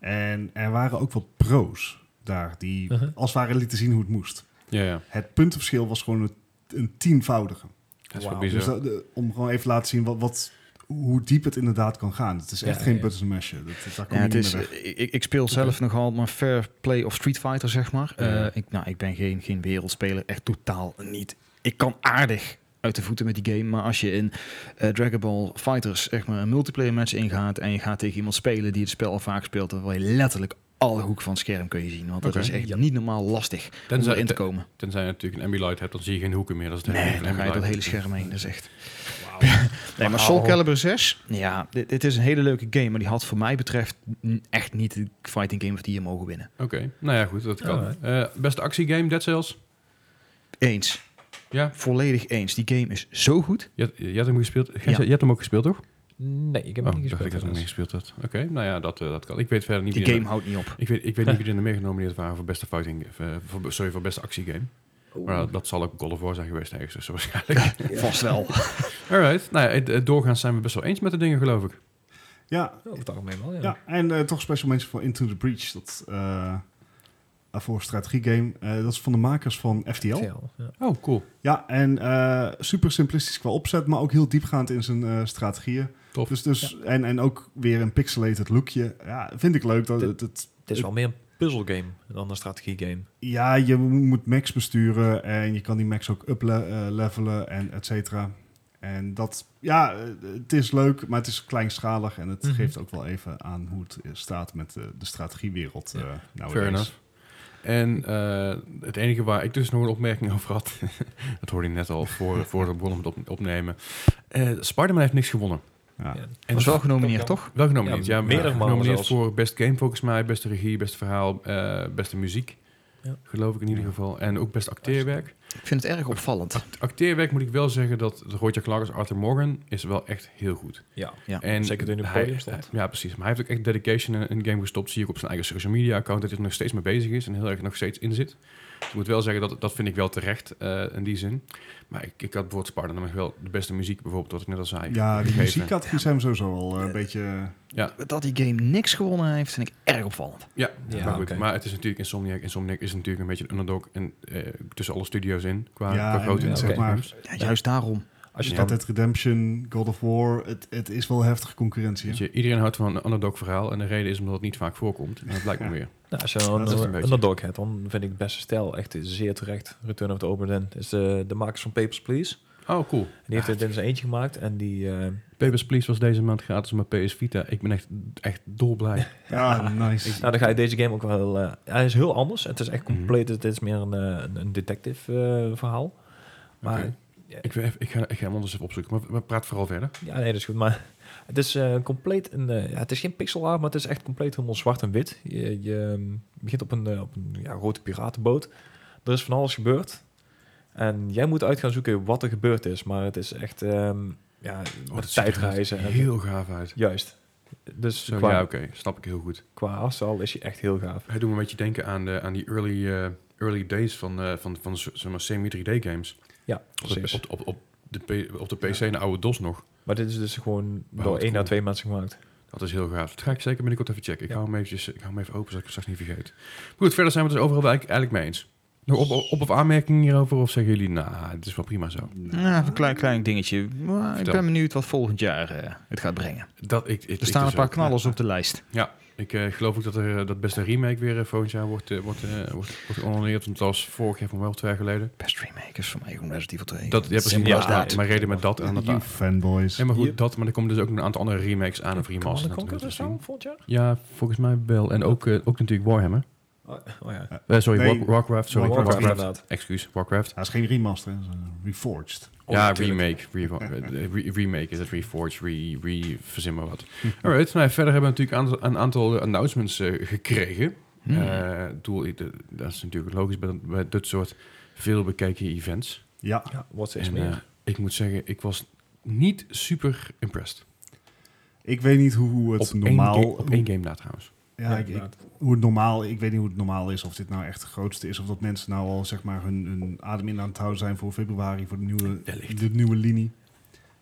[SPEAKER 1] En er waren ook wat pro's daar, die
[SPEAKER 2] Uh-huh.
[SPEAKER 1] als het ware lieten zien hoe het moest.
[SPEAKER 3] Ja, ja.
[SPEAKER 1] Het puntenverschil was gewoon een, een tienvoudige.
[SPEAKER 3] Dat is wel
[SPEAKER 2] Wauw.
[SPEAKER 3] bizar.
[SPEAKER 1] Dus dat, de- om gewoon even te laten zien wat, wat, hoe diep het inderdaad kan gaan. Het is echt
[SPEAKER 2] Ja,
[SPEAKER 1] geen
[SPEAKER 2] ja.
[SPEAKER 1] buttons en meshen. Dat, dat, daar kom
[SPEAKER 5] Ja,
[SPEAKER 1] je
[SPEAKER 5] het
[SPEAKER 1] niet
[SPEAKER 5] is, eh,
[SPEAKER 1] meer weg.
[SPEAKER 5] ik, ik speel zelf nogal maar fair play of Street Fighter, zeg maar.
[SPEAKER 3] Ja.
[SPEAKER 5] Eh, ik, nou, ik ben geen, geen wereldspeler, echt totaal niet. Ik kan aardig uit de voeten met die game, maar als je in eh, Dragon Ball Fighters zeg maar, een multiplayer match ingaat en je gaat tegen iemand spelen die het spel al vaak speelt, dan wil je letterlijk alle hoeken van het scherm kun je zien. Want dat
[SPEAKER 3] Oké.
[SPEAKER 5] is echt
[SPEAKER 2] Ja.
[SPEAKER 5] niet normaal lastig om
[SPEAKER 3] Tenzij,
[SPEAKER 5] erin te
[SPEAKER 3] ten-
[SPEAKER 5] komen.
[SPEAKER 3] tenzij je natuurlijk een ambilight hebt, dan zie je geen hoeken meer. Dat is het hele
[SPEAKER 5] Nee,
[SPEAKER 3] van
[SPEAKER 5] dan ga je door het
[SPEAKER 3] Ambilight.
[SPEAKER 5] hele scherm heen. Dat is echt.
[SPEAKER 2] Wauw.
[SPEAKER 5] Nee, maar
[SPEAKER 2] Wauw.
[SPEAKER 5] Soul Calibur 6, ja, dit, dit is een hele leuke game, maar die had voor mij betreft n- echt niet de fighting game of die je mogen winnen.
[SPEAKER 3] Oké, nou ja, goed, dat kan.
[SPEAKER 2] Alright.
[SPEAKER 3] Eh, beste actiegame, Dead Cells.
[SPEAKER 5] Eens.
[SPEAKER 3] Ja,
[SPEAKER 5] volledig eens. Die game is zo goed.
[SPEAKER 3] je, had- je had hem gespeeld. Gijs,
[SPEAKER 5] Ja.
[SPEAKER 3] Je hebt hem ook gespeeld, toch?
[SPEAKER 2] Nee, ik heb
[SPEAKER 3] oh,
[SPEAKER 2] hem niet
[SPEAKER 3] dacht ik dat hem
[SPEAKER 2] gespeeld.
[SPEAKER 3] niet
[SPEAKER 2] helaas.
[SPEAKER 3] gespeeld had. Oké, nou ja, dat, eh, dat kan. Ik weet verder niet
[SPEAKER 5] Die
[SPEAKER 3] wie er-
[SPEAKER 5] game houdt niet op.
[SPEAKER 3] Ik weet, ik weet niet wie er meer genomineerd waren voor beste fighting, eh, voor, sorry, voor beste actiegame. Maar dat, dat zal ook God of War zijn geweest ergens, dus waarschijnlijk.
[SPEAKER 2] Oh,
[SPEAKER 5] Vast wel.
[SPEAKER 3] Alright, nou ja, eh, doorgaans zijn we best wel eens met de dingen, geloof ik.
[SPEAKER 1] Ja,
[SPEAKER 2] Over het algemeen wel, ja.
[SPEAKER 1] ja. en eh, toch special mention voor Into the Breach. Dat eh voor strategiegame. Eh, dat is van de makers van FTL.
[SPEAKER 2] Vertel, ja.
[SPEAKER 3] Oh, cool.
[SPEAKER 1] Ja, en eh, super simplistisch qua opzet, maar ook heel diepgaand in zijn eh, strategieën.
[SPEAKER 3] Tof.
[SPEAKER 1] Dus, dus, en, en ook weer een pixelated lookje. Ja, vind ik leuk. Dat,
[SPEAKER 2] Dit-
[SPEAKER 1] het, het-
[SPEAKER 2] Het is wel meer een puzzelgame dan een strategiegame.
[SPEAKER 1] Ja, je moet max besturen en je kan die max ook uplevelen en et cetera. En dat, ja, eh, het is leuk, maar het is kleinschalig en het
[SPEAKER 2] Mhm.
[SPEAKER 1] geeft ook wel even aan hoe het eh, staat met de, de strategiewereld
[SPEAKER 2] Ja.
[SPEAKER 1] eh nowadays.
[SPEAKER 3] Fair enough. En eh, het enige waar ik dus nog een opmerking over had, dat hoorde je net al voor, voor de begonnen met op, opnemen. Eh Spider-Man heeft niks gewonnen.
[SPEAKER 1] Ja.
[SPEAKER 2] Ja.
[SPEAKER 3] En
[SPEAKER 4] was wel genomineerd,
[SPEAKER 2] dat
[SPEAKER 4] toch?
[SPEAKER 3] Wel genomineerd,
[SPEAKER 2] Ja,
[SPEAKER 3] ja.
[SPEAKER 2] meerdere malen
[SPEAKER 3] genomineerd
[SPEAKER 2] zelfs.
[SPEAKER 3] voor best game volgens mij, beste regie, beste verhaal, eh, beste muziek.
[SPEAKER 2] Ja.
[SPEAKER 3] Geloof ik in ieder geval. En ook best acteerwerk.
[SPEAKER 4] Ik vind het erg opvallend.
[SPEAKER 3] Acteerwerk moet ik wel zeggen dat Roger Clark als Arthur Morgan is wel echt heel goed.
[SPEAKER 2] Ja.
[SPEAKER 4] Ja,
[SPEAKER 3] en
[SPEAKER 2] zeker toen hij op het
[SPEAKER 3] hij-
[SPEAKER 2] podium stond.
[SPEAKER 3] hij- Ja, precies. Maar hij heeft ook echt dedication in, in de game gestopt. Zie ik op zijn eigen social media account dat hij er nog steeds mee bezig is en heel erg nog steeds in zit. Dus ik moet wel zeggen, dat, dat vind ik wel terecht eh, in die zin. Maar ik, ik had bijvoorbeeld Spartan nog wel de beste muziek, bijvoorbeeld, wat ik net al zei.
[SPEAKER 1] Ja, die
[SPEAKER 3] gegeven.
[SPEAKER 1] muziekcategorie zijn we sowieso al eh, een beetje...
[SPEAKER 4] Dat die game niks gewonnen heeft, vind ik erg opvallend.
[SPEAKER 3] Ja,
[SPEAKER 2] Ja,
[SPEAKER 3] maar, goed.
[SPEAKER 2] oké.
[SPEAKER 3] maar het is natuurlijk Insomniac. Insomniac is natuurlijk een beetje een underdog en, eh, tussen alle studio's in, qua,
[SPEAKER 1] Ja,
[SPEAKER 3] qua
[SPEAKER 1] en-
[SPEAKER 3] grootte.
[SPEAKER 1] en
[SPEAKER 3] en
[SPEAKER 2] zeg
[SPEAKER 3] grote
[SPEAKER 1] maar-
[SPEAKER 3] games.
[SPEAKER 4] Ja, juist daarom.
[SPEAKER 2] Als je
[SPEAKER 3] Ja.
[SPEAKER 2] dan
[SPEAKER 1] Red Dead Redemption, God of War, het, het is wel heftige concurrentie.
[SPEAKER 3] Weet
[SPEAKER 1] hè?
[SPEAKER 3] je, iedereen houdt van een underdog verhaal en de reden is omdat het niet vaak voorkomt. En dat blijkt me weer.
[SPEAKER 2] Nou, als je
[SPEAKER 1] dat
[SPEAKER 3] is
[SPEAKER 2] dan
[SPEAKER 3] een
[SPEAKER 2] een
[SPEAKER 3] beetje.
[SPEAKER 2] underdog hebt, dan vind ik het beste stijl echt zeer terecht. Return of the Open End is de, de makers van Papers, Please.
[SPEAKER 3] Oh, cool.
[SPEAKER 2] En die heeft het in zijn eentje gemaakt en die... eh,
[SPEAKER 3] Papers, Please was deze maand gratis op mijn PS Vita. Ik ben echt, echt dolblij.
[SPEAKER 1] Ja, nice.
[SPEAKER 2] nou, dan ga je deze game ook wel... eh, hij is heel anders. Het is echt
[SPEAKER 3] Mhm.
[SPEAKER 2] compleet. Het is meer een, eh, een- een detective eh, verhaal. Maar
[SPEAKER 3] Oké. ik, wil even- ik, ga, ik ga hem anders even opzoeken, maar, maar praat vooral verder.
[SPEAKER 2] Ja, nee, dat is goed. Maar het is eh, compleet een. eh, ja, het is geen pixel art, maar het is echt compleet helemaal zwart en wit. Je, je ehm, begint op een, eh, op een ja, grote piratenboot. Er is van alles gebeurd. En jij moet uit gaan zoeken wat er gebeurd is. Maar het is echt. ehm, ja,
[SPEAKER 3] Oh,
[SPEAKER 2] met
[SPEAKER 3] dat ziet er
[SPEAKER 2] tijdreizen. en-
[SPEAKER 3] Heel gaaf uit.
[SPEAKER 2] Juist. Dus
[SPEAKER 3] Zo,
[SPEAKER 2] qua,
[SPEAKER 3] ja, oké. Snap ik heel goed.
[SPEAKER 2] qua afstel is hij echt heel gaaf.
[SPEAKER 3] Hij doet me een beetje denken aan, de, aan die early, eh, early days van, eh, van, van, z- zeg maar, semi-3D games.
[SPEAKER 2] Ja,
[SPEAKER 3] Op de,
[SPEAKER 2] precies.
[SPEAKER 3] op, op, op de, P- op de PC, en de oude DOS nog.
[SPEAKER 2] Maar dit is dus gewoon
[SPEAKER 3] wat
[SPEAKER 2] door één
[SPEAKER 3] cool.
[SPEAKER 2] à twee mensen gemaakt.
[SPEAKER 3] Dat is heel gaaf. Dat ga ik zeker binnenkort even checken. Ik,
[SPEAKER 2] Ja.
[SPEAKER 3] hou hem eventjes, ik hou hem even open, zodat ik het straks niet vergeet. Maar Goed, verder zijn we het dus overal wel eigenlijk eigenlijk mee eens. Nog op, op, op of aanmerkingen hierover? Of zeggen jullie, nou, het is wel prima zo.
[SPEAKER 4] Ja, een klein, klein dingetje. Maar ik
[SPEAKER 3] Vertel.
[SPEAKER 4] ben benieuwd wat volgend jaar eh, het gaat brengen.
[SPEAKER 3] Dat, ik, ik,
[SPEAKER 4] Er staan
[SPEAKER 3] ik
[SPEAKER 4] een
[SPEAKER 3] dus
[SPEAKER 4] paar
[SPEAKER 3] ook.
[SPEAKER 4] knallers op de lijst.
[SPEAKER 3] Ik eh, geloof ook dat er eh, dat beste remake weer eh, volgend jaar wordt, eh, wordt, eh, wordt, wordt gehonoreerd. Want dat was vorig jaar van wel twee jaar geleden.
[SPEAKER 4] Best remakers voor mij gewoon Resident Evil 2.
[SPEAKER 3] Dat, ja, precies.
[SPEAKER 2] Simpel
[SPEAKER 3] Ja,
[SPEAKER 2] als dat.
[SPEAKER 3] maar reden met dat en dat.
[SPEAKER 1] You fanboys.
[SPEAKER 3] Ja, maar goed,
[SPEAKER 2] Yep.
[SPEAKER 3] dat. Maar er komen dus ook nog een aantal andere remakes aan of
[SPEAKER 2] Command
[SPEAKER 3] remasters.
[SPEAKER 2] Conquer
[SPEAKER 3] natuurlijk dus
[SPEAKER 2] of
[SPEAKER 3] te zien.
[SPEAKER 2] zo volgend jaar?
[SPEAKER 3] Ja, volgens mij wel. En ook, eh, ook natuurlijk Warhammer.
[SPEAKER 2] Oh, oh ja.
[SPEAKER 3] Eh, sorry,
[SPEAKER 1] Nee.
[SPEAKER 3] War- Warcraft. Sorry,
[SPEAKER 1] Warcraft,
[SPEAKER 3] Warcraft.
[SPEAKER 2] inderdaad.
[SPEAKER 3] Excuus, Warcraft.
[SPEAKER 1] Ja, het is geen remaster, hè, het is een reforged.
[SPEAKER 2] Oh,
[SPEAKER 3] ja,
[SPEAKER 2] natuurlijk.
[SPEAKER 3] remake. revo- eh, re- remake is het, reforge, re, re, verzin maar wat.
[SPEAKER 1] Hm.
[SPEAKER 3] Alright, nou, verder hebben we natuurlijk aantal- een aantal announcements eh, gekregen.
[SPEAKER 1] Hm.
[SPEAKER 4] Hmm.
[SPEAKER 3] Eh, doel, eh, dat is natuurlijk logisch bij, bij dit soort veel bekeken events.
[SPEAKER 1] Ja,
[SPEAKER 2] Ja, wordt steeds
[SPEAKER 3] En,
[SPEAKER 2] meer.
[SPEAKER 3] eh, ik moet zeggen, ik was niet super impressed.
[SPEAKER 1] ik weet niet hoe- hoe het
[SPEAKER 3] Op
[SPEAKER 1] normaal...
[SPEAKER 3] één, ga- op één game na trouwens.
[SPEAKER 1] ja, ik, ik- hoe het normaal, ik weet niet hoe het normaal is, of dit nou echt de grootste is, of dat mensen nou al zeg maar hun, hun adem in aan het houden zijn voor februari, voor de nieuwe,
[SPEAKER 3] Wellicht.
[SPEAKER 1] de nieuwe linie.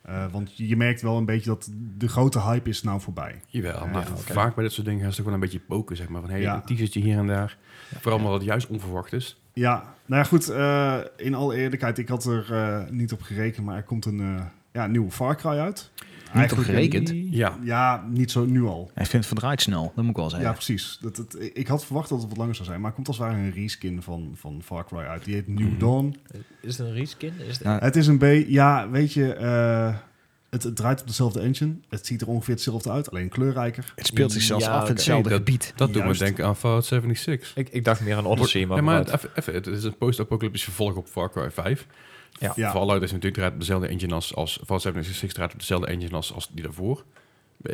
[SPEAKER 1] Eh, want je je merkt wel een beetje dat de grote hype is nou voorbij.
[SPEAKER 3] Jawel,
[SPEAKER 1] Ja,
[SPEAKER 3] maar
[SPEAKER 2] oké.
[SPEAKER 3] vaak bij dit soort dingen gaan ze toch wel een beetje poken, zeg maar. Van, hey,
[SPEAKER 1] Ja.
[SPEAKER 3] een teasertje hier en daar. Vooral omdat het juist onverwacht is.
[SPEAKER 1] Ja, nou ja, goed, eh, in alle eerlijkheid, ik had er eh, niet op gerekend, maar er komt een eh, ja, nieuwe Far Cry uit. eh,
[SPEAKER 4] Niet op gerekend.
[SPEAKER 3] Ja,
[SPEAKER 1] Ja, niet zo nu al.
[SPEAKER 4] Hij vindt het verdraaid snel, dat moet ik wel
[SPEAKER 5] Nou
[SPEAKER 1] Ja,
[SPEAKER 4] zeggen.
[SPEAKER 1] precies. Dat, dat, ik had verwacht dat het wat langer zou zijn, maar er komt als het ware een reskin van, van Far Cry uit. Die heet New
[SPEAKER 3] Mhm.
[SPEAKER 1] Dawn.
[SPEAKER 2] Is het een reskin? Is het...
[SPEAKER 4] Ja.
[SPEAKER 1] Het is een beetje, ja, weet je, eh, het, het draait op dezelfde engine. Het ziet er ongeveer hetzelfde uit, alleen kleurrijker.
[SPEAKER 4] Het speelt zich zelfs
[SPEAKER 2] Ja,
[SPEAKER 4] af in
[SPEAKER 2] oké.
[SPEAKER 4] hetzelfde
[SPEAKER 3] Dat-
[SPEAKER 4] gebied.
[SPEAKER 3] dat doet me
[SPEAKER 1] Juist.
[SPEAKER 3] denken aan Fallout 76.
[SPEAKER 2] Ik, ik dacht meer aan Odyssey, maar,
[SPEAKER 3] Ja, maar
[SPEAKER 2] vooruit.
[SPEAKER 3] even, even, het is een post-apocalyptisch vervolg op Far Cry 5.
[SPEAKER 2] Ja.
[SPEAKER 1] Ja.
[SPEAKER 3] Fallout is natuurlijk draait op dezelfde engine als, als Fallout 76 draait op dezelfde engine als, als die daarvoor.
[SPEAKER 1] Eh.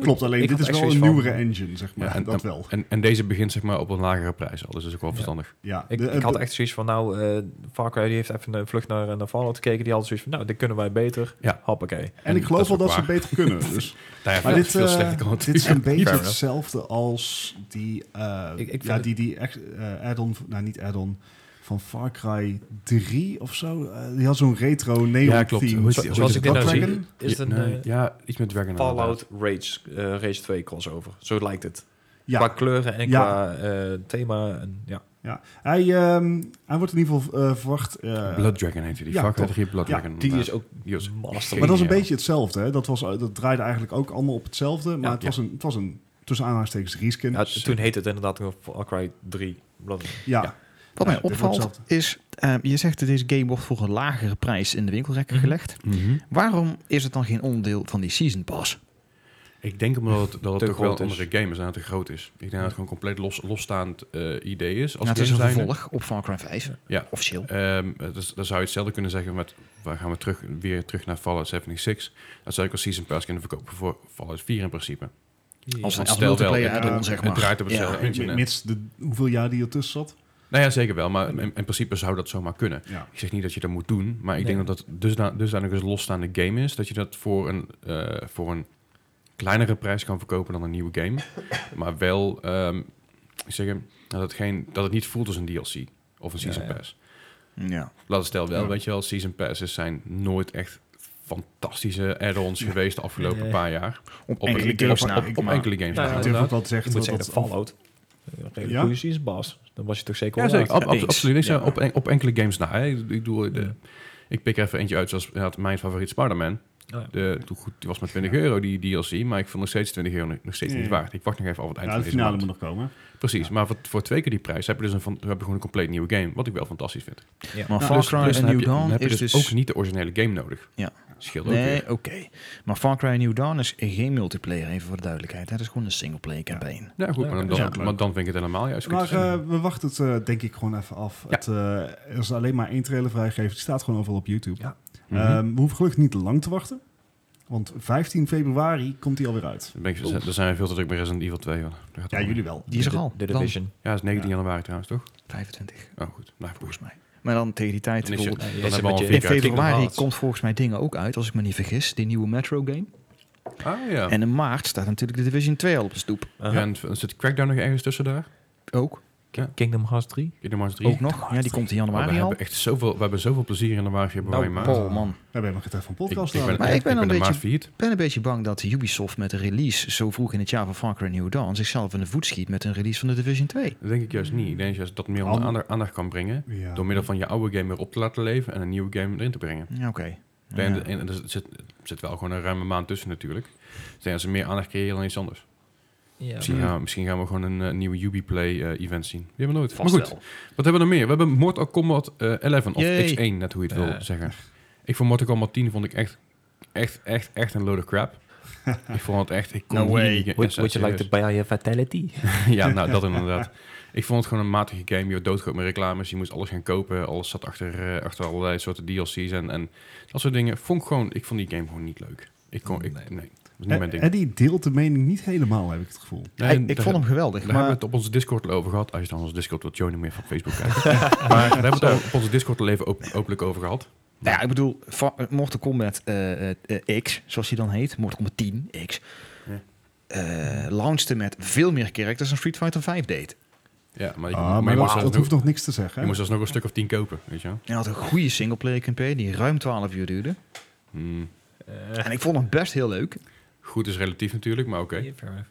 [SPEAKER 1] Klopt, alleen
[SPEAKER 2] ik
[SPEAKER 1] dit
[SPEAKER 2] had
[SPEAKER 1] is wel
[SPEAKER 2] echt
[SPEAKER 1] een
[SPEAKER 2] zoiets van-
[SPEAKER 1] nieuwere engine, zeg maar.
[SPEAKER 3] Ja, en-
[SPEAKER 1] dat wel.
[SPEAKER 3] En, en deze begint zeg maar op een lagere prijs al, dus dat is ook wel verstandig.
[SPEAKER 1] Ja,
[SPEAKER 2] Ik,
[SPEAKER 1] eh, de-
[SPEAKER 2] ik had
[SPEAKER 1] de-
[SPEAKER 2] echt zoiets van, nou, eh Far Cry die heeft even een vlucht naar, naar Fallout gekeken. Die had zoiets van, nou, dit kunnen wij beter.
[SPEAKER 3] Ja.
[SPEAKER 2] Hoppakee.
[SPEAKER 1] en ik geloof
[SPEAKER 3] dat
[SPEAKER 1] wel
[SPEAKER 3] is
[SPEAKER 1] dat
[SPEAKER 3] ook
[SPEAKER 1] ze het beter kunnen. Dus.
[SPEAKER 3] Nou ja,
[SPEAKER 1] Maar
[SPEAKER 3] veel-
[SPEAKER 1] dit,
[SPEAKER 3] veel
[SPEAKER 1] eh,
[SPEAKER 3] slechter kan het
[SPEAKER 1] dit is een beetje
[SPEAKER 2] Fair enough.
[SPEAKER 1] hetzelfde als die, eh,
[SPEAKER 2] Ik- ik vind
[SPEAKER 1] ja,
[SPEAKER 2] het-
[SPEAKER 1] die, die ex- eh, add-on, nou niet add-on, van Far Cry 3 of zo. Eh, die had zo'n retro neon
[SPEAKER 3] Ja, klopt.
[SPEAKER 1] theme.
[SPEAKER 3] Hoe is
[SPEAKER 1] Zo-
[SPEAKER 3] die- hoe
[SPEAKER 2] Zoals
[SPEAKER 3] is
[SPEAKER 2] ik
[SPEAKER 3] het
[SPEAKER 2] dit nou
[SPEAKER 1] Blood
[SPEAKER 2] zie,
[SPEAKER 1] Dragon?
[SPEAKER 2] is het een
[SPEAKER 3] Ja, nee,
[SPEAKER 2] eh,
[SPEAKER 3] ja, iets met Dragon inderdaad.
[SPEAKER 2] Fallout Rage, eh, Rage 2 crossover. Zo lijkt het. Qua
[SPEAKER 1] Ja,
[SPEAKER 2] kleuren en
[SPEAKER 1] Ja.
[SPEAKER 2] qua eh, thema. En, ja.
[SPEAKER 1] hij, ehm, hij wordt in ieder geval eh, verwacht. eh,
[SPEAKER 3] Blood Dragon heette die.
[SPEAKER 1] ja,
[SPEAKER 3] Far Cry
[SPEAKER 1] klopt.
[SPEAKER 3] 3 Blood
[SPEAKER 1] Ja,
[SPEAKER 3] Dragon.
[SPEAKER 2] Die is
[SPEAKER 3] inderdaad.
[SPEAKER 2] ook
[SPEAKER 3] Die was-
[SPEAKER 1] maar
[SPEAKER 2] master.
[SPEAKER 1] dat eh, is een
[SPEAKER 3] geniaal.
[SPEAKER 1] beetje hetzelfde. Hè? Dat, was, dat draaide eigenlijk ook allemaal op hetzelfde. Maar
[SPEAKER 2] Ja,
[SPEAKER 1] het, was een, het was een tussen aanhalingstekens reskin.
[SPEAKER 2] Ja, toen heette het inderdaad nog Far Cry 3. Blad-
[SPEAKER 1] ja.
[SPEAKER 2] ja.
[SPEAKER 5] Wat
[SPEAKER 1] Ja,
[SPEAKER 5] mij
[SPEAKER 1] dit wordt
[SPEAKER 5] opvalt is, eh, je zegt dat deze game wordt voor een lagere prijs in de winkelrekken
[SPEAKER 2] Mhm.
[SPEAKER 5] gelegd. Waarom is het dan geen onderdeel van die Season Pass?
[SPEAKER 3] Ik denk omdat het, dat het
[SPEAKER 2] Te
[SPEAKER 3] ook wel een
[SPEAKER 2] groot is.
[SPEAKER 3] andere game is en dat het te groot is. Ik denk dat het gewoon compleet los, losstaand eh, idee is. Als
[SPEAKER 5] Nou, het is een
[SPEAKER 3] game zijnde.
[SPEAKER 5] vervolg op Far Cry 5.
[SPEAKER 3] Ja.
[SPEAKER 5] Officieel.
[SPEAKER 3] Ehm, dus, dan zou je hetzelfde kunnen zeggen met... Waar gaan we terug, weer terug naar Fallout 76? Dan zou ik als Season Pass kunnen verkopen voor Fallout 4 in principe.
[SPEAKER 5] Als
[SPEAKER 3] Want
[SPEAKER 5] een als
[SPEAKER 3] stel wel,
[SPEAKER 5] multiplayer
[SPEAKER 1] het-
[SPEAKER 5] add-on,
[SPEAKER 1] het
[SPEAKER 5] zeg
[SPEAKER 3] Het
[SPEAKER 5] maar.
[SPEAKER 3] draait op
[SPEAKER 5] Ja.
[SPEAKER 3] hetzelfde engine. hè.
[SPEAKER 1] Mits de, hoeveel jaar die ertussen zat.
[SPEAKER 3] Nou ja, zeker wel. Maar in, in principe zou dat zomaar kunnen.
[SPEAKER 1] Ja.
[SPEAKER 3] Ik zeg niet dat je dat moet doen. Maar ik
[SPEAKER 2] Nee.
[SPEAKER 3] denk dat dat dusda- dusdanig een losstaande game is... dat je dat voor een, eh, voor een kleinere prijs kan verkopen dan een nieuwe game. maar wel... ehm, ik zeg hem, dat het, geen, dat het niet voelt als een DLC of een Season
[SPEAKER 2] Ja, ja.
[SPEAKER 3] Pass.
[SPEAKER 5] Ja.
[SPEAKER 3] Laat stel wel,
[SPEAKER 1] Ja.
[SPEAKER 3] weet je wel, season passes zijn nooit echt fantastische add-ons geweest de afgelopen
[SPEAKER 2] Nee.
[SPEAKER 3] paar jaar.
[SPEAKER 5] Op
[SPEAKER 3] Op
[SPEAKER 5] enkele
[SPEAKER 3] een-
[SPEAKER 5] games
[SPEAKER 1] op-
[SPEAKER 5] na.
[SPEAKER 1] op-
[SPEAKER 3] Op
[SPEAKER 1] Maar-
[SPEAKER 3] enkele games.
[SPEAKER 2] Nou ja,
[SPEAKER 3] Ja,
[SPEAKER 1] ik durf
[SPEAKER 2] inderdaad.
[SPEAKER 1] ook wel te
[SPEAKER 2] Ik
[SPEAKER 1] zeggen
[SPEAKER 2] moet
[SPEAKER 1] dat,
[SPEAKER 2] zeggen,
[SPEAKER 1] dat,
[SPEAKER 2] dat Fallout. Eh, Een redelijk
[SPEAKER 1] Ja?
[SPEAKER 2] goede season Pass. Dan was je toch zeker
[SPEAKER 3] ja
[SPEAKER 2] wel
[SPEAKER 3] zeker.
[SPEAKER 2] uit.
[SPEAKER 3] Ab- ab-
[SPEAKER 5] Eens.
[SPEAKER 3] absoluut. Ik, zou
[SPEAKER 2] Ja.
[SPEAKER 3] op, en- op enkele games na. Hè. Ik, ik, doe de,
[SPEAKER 2] Ja.
[SPEAKER 3] ik pik er even eentje uit zoals inderdaad, mijn favoriet Spider-Man.
[SPEAKER 2] Ja.
[SPEAKER 3] De, toen goed, die was maar 20 euro, die DLC. Maar ik vond nog steeds 20 euro nog steeds
[SPEAKER 1] Ja.
[SPEAKER 3] niet waard. Ik wacht nog even af het eind
[SPEAKER 1] ja,
[SPEAKER 3] van
[SPEAKER 1] de
[SPEAKER 3] deze
[SPEAKER 1] finale moet
[SPEAKER 3] maand.
[SPEAKER 1] nog komen.
[SPEAKER 3] Precies, maar voor, voor twee keer die prijs heb je dus een, van, heb je gewoon een compleet nieuwe game. Wat ik wel fantastisch vind.
[SPEAKER 5] Maar
[SPEAKER 1] Ja,
[SPEAKER 5] Far
[SPEAKER 3] Dus-
[SPEAKER 5] Cry
[SPEAKER 3] dus
[SPEAKER 5] en
[SPEAKER 3] dan heb
[SPEAKER 5] New
[SPEAKER 3] je- dan
[SPEAKER 5] Dawn
[SPEAKER 3] heb je
[SPEAKER 5] is
[SPEAKER 3] dus
[SPEAKER 5] dus...
[SPEAKER 3] ook niet de originele game nodig.
[SPEAKER 5] Ja.
[SPEAKER 3] Scheelt ook weer.
[SPEAKER 5] Nee, oké. Maar Far Cry New Dawn is geen multiplayer, even voor de duidelijkheid. hè. Dat is gewoon een singleplayer campaign.
[SPEAKER 3] Nou goed, maar dan,
[SPEAKER 1] dat is ook
[SPEAKER 3] dan-
[SPEAKER 1] leuk.
[SPEAKER 3] maar dan vind ik het helemaal juist goed.
[SPEAKER 1] Maar
[SPEAKER 3] te zien.
[SPEAKER 1] eh, we wachten het eh, denk ik gewoon even af.
[SPEAKER 3] Ja.
[SPEAKER 1] Het, eh, er is alleen maar één trailer vrijgegeven. Die staat gewoon overal op YouTube.
[SPEAKER 2] Ja.
[SPEAKER 3] Mhm.
[SPEAKER 1] Ehm, we hoeven gelukkig niet te lang te wachten. Want 15 februari komt die alweer uit.
[SPEAKER 3] Dan ben ik, daar zijn we veel te druk bij Resident Evil 2. hoor. Daar gaat het
[SPEAKER 1] Ja,
[SPEAKER 3] om.
[SPEAKER 1] jullie wel.
[SPEAKER 5] Die is er
[SPEAKER 2] De-
[SPEAKER 5] al.
[SPEAKER 2] De
[SPEAKER 5] Dan
[SPEAKER 2] Division.
[SPEAKER 3] Ja, dat is 19 januari trouwens, toch?
[SPEAKER 5] 25,
[SPEAKER 3] Oh, goed. Nou, volgens
[SPEAKER 5] volgens mij. Maar dan tegen die tijd...
[SPEAKER 3] Dan is het-
[SPEAKER 5] bijvoorbeeld-
[SPEAKER 2] Ja, je
[SPEAKER 3] dan
[SPEAKER 2] zit
[SPEAKER 3] hebben we al
[SPEAKER 2] met je-
[SPEAKER 3] een
[SPEAKER 5] In
[SPEAKER 3] vier keer artikel
[SPEAKER 5] februari
[SPEAKER 3] gehad.
[SPEAKER 5] komt volgens mij dingen ook uit, als ik me niet vergis. Die nieuwe Metro game.
[SPEAKER 3] Ah, ja. En,
[SPEAKER 5] En in maart staat natuurlijk de Division 2 al op de stoep.
[SPEAKER 2] Aha.
[SPEAKER 3] en v- zit Crackdown nog ergens tussen daar?
[SPEAKER 5] Ook.
[SPEAKER 2] Kingdom Hearts 3.
[SPEAKER 3] Kingdom Hearts 3?
[SPEAKER 5] Ook nog. Ja, die komt in
[SPEAKER 3] Maar Oh, we
[SPEAKER 5] januari al.
[SPEAKER 3] hebben echt zoveel, we hebben zoveel plezier in de waar februari
[SPEAKER 2] Nou,
[SPEAKER 3] maand.
[SPEAKER 5] Oh man.
[SPEAKER 1] We hebben nog geen tijd van
[SPEAKER 3] Ik, ik ben,
[SPEAKER 1] podcast aan.
[SPEAKER 5] Maar
[SPEAKER 3] echt-
[SPEAKER 5] ik ben een
[SPEAKER 3] de maand
[SPEAKER 5] beetje-
[SPEAKER 3] failliet.
[SPEAKER 5] Ik ben een beetje bang dat Ubisoft met de release zo vroeg in het jaar van Far Cry New Dawn zichzelf in de voet schiet met een release van de Division 2.
[SPEAKER 3] Dat denk ik juist niet. Ik denk juist dat meer
[SPEAKER 1] Ander-
[SPEAKER 3] aandacht, aandacht kan brengen.
[SPEAKER 1] Ja.
[SPEAKER 3] Door middel van je oude game weer op te laten leven en een nieuwe game erin te brengen.
[SPEAKER 5] Ja, oké.
[SPEAKER 3] En,
[SPEAKER 5] Ja.
[SPEAKER 3] en, er zit, er zit wel gewoon een ruime maand tussen natuurlijk. Dus ik denk dat ze meer aandacht creëren dan iets anders.
[SPEAKER 2] Ja,
[SPEAKER 3] Misschien, gaan, we- misschien gaan we gewoon een eh, nieuwe Ubiplay eh, event zien. Die hebben we nooit.
[SPEAKER 5] Vast
[SPEAKER 3] maar goed,
[SPEAKER 5] wel.
[SPEAKER 3] Wat hebben we nog meer? We hebben Mortal Kombat eh, 11, of
[SPEAKER 5] Yay.
[SPEAKER 3] X1, net hoe je het wil
[SPEAKER 2] Eh.
[SPEAKER 3] zeggen. Ik vond Mortal Kombat 10 vond ik echt, echt, echt, echt een load of crap. ik vond het echt... Ik kon
[SPEAKER 5] No
[SPEAKER 3] niet-
[SPEAKER 5] way.
[SPEAKER 3] Ja,
[SPEAKER 2] Would, would you like
[SPEAKER 3] serieus.
[SPEAKER 2] to buy a fatality?
[SPEAKER 3] ja, nou, dat inderdaad. Ik vond het gewoon een matige game. Je werd doodgoot met reclames. Je moest alles gaan kopen. Alles zat achter, eh, achter allerlei soorten DLC's en, en dat soort dingen. Vond ik gewoon... Ik vond die game gewoon niet leuk. Ik kon... Ik,
[SPEAKER 2] Nee.
[SPEAKER 3] nee. dat was niet mijn
[SPEAKER 1] Eh,
[SPEAKER 3] ding.
[SPEAKER 1] Eddie deelt de mening niet helemaal, heb ik het gevoel.
[SPEAKER 3] Nee,
[SPEAKER 5] Ik-
[SPEAKER 3] en
[SPEAKER 5] ik
[SPEAKER 3] daar-
[SPEAKER 5] vond hem geweldig,
[SPEAKER 3] Daar hebben
[SPEAKER 5] maar
[SPEAKER 3] we het op onze Discord al over gehad. Als je dan onze Discord wilt joinen, moet je van Facebook kijken. maar daar hebben we het al op onze Discord al even op- openlijk over gehad.
[SPEAKER 5] nou ja, ik bedoel, Fa- eh, Mortal Kombat eh, eh, eh, X, zoals die dan heet, Mortal Kombat 10 X,
[SPEAKER 3] Ja.
[SPEAKER 5] eh, launchte met veel meer characters dan Street Fighter 5 deed.
[SPEAKER 3] Ja, maar je,
[SPEAKER 1] Ah,
[SPEAKER 3] maar
[SPEAKER 1] maar
[SPEAKER 3] je moest,
[SPEAKER 1] dat, dat
[SPEAKER 3] alsnog,
[SPEAKER 1] hoeft nog niks te zeggen.
[SPEAKER 3] je
[SPEAKER 1] hè?
[SPEAKER 3] moest alsnog een stuk of tien kopen, weet je wel.
[SPEAKER 5] En had een goede singleplayer campaign die ruim 12 uur duurde.
[SPEAKER 3] Hmm.
[SPEAKER 2] Eh,
[SPEAKER 5] En ik vond hem best heel leuk.
[SPEAKER 3] Goed is relatief natuurlijk, maar oké.
[SPEAKER 2] fair enough.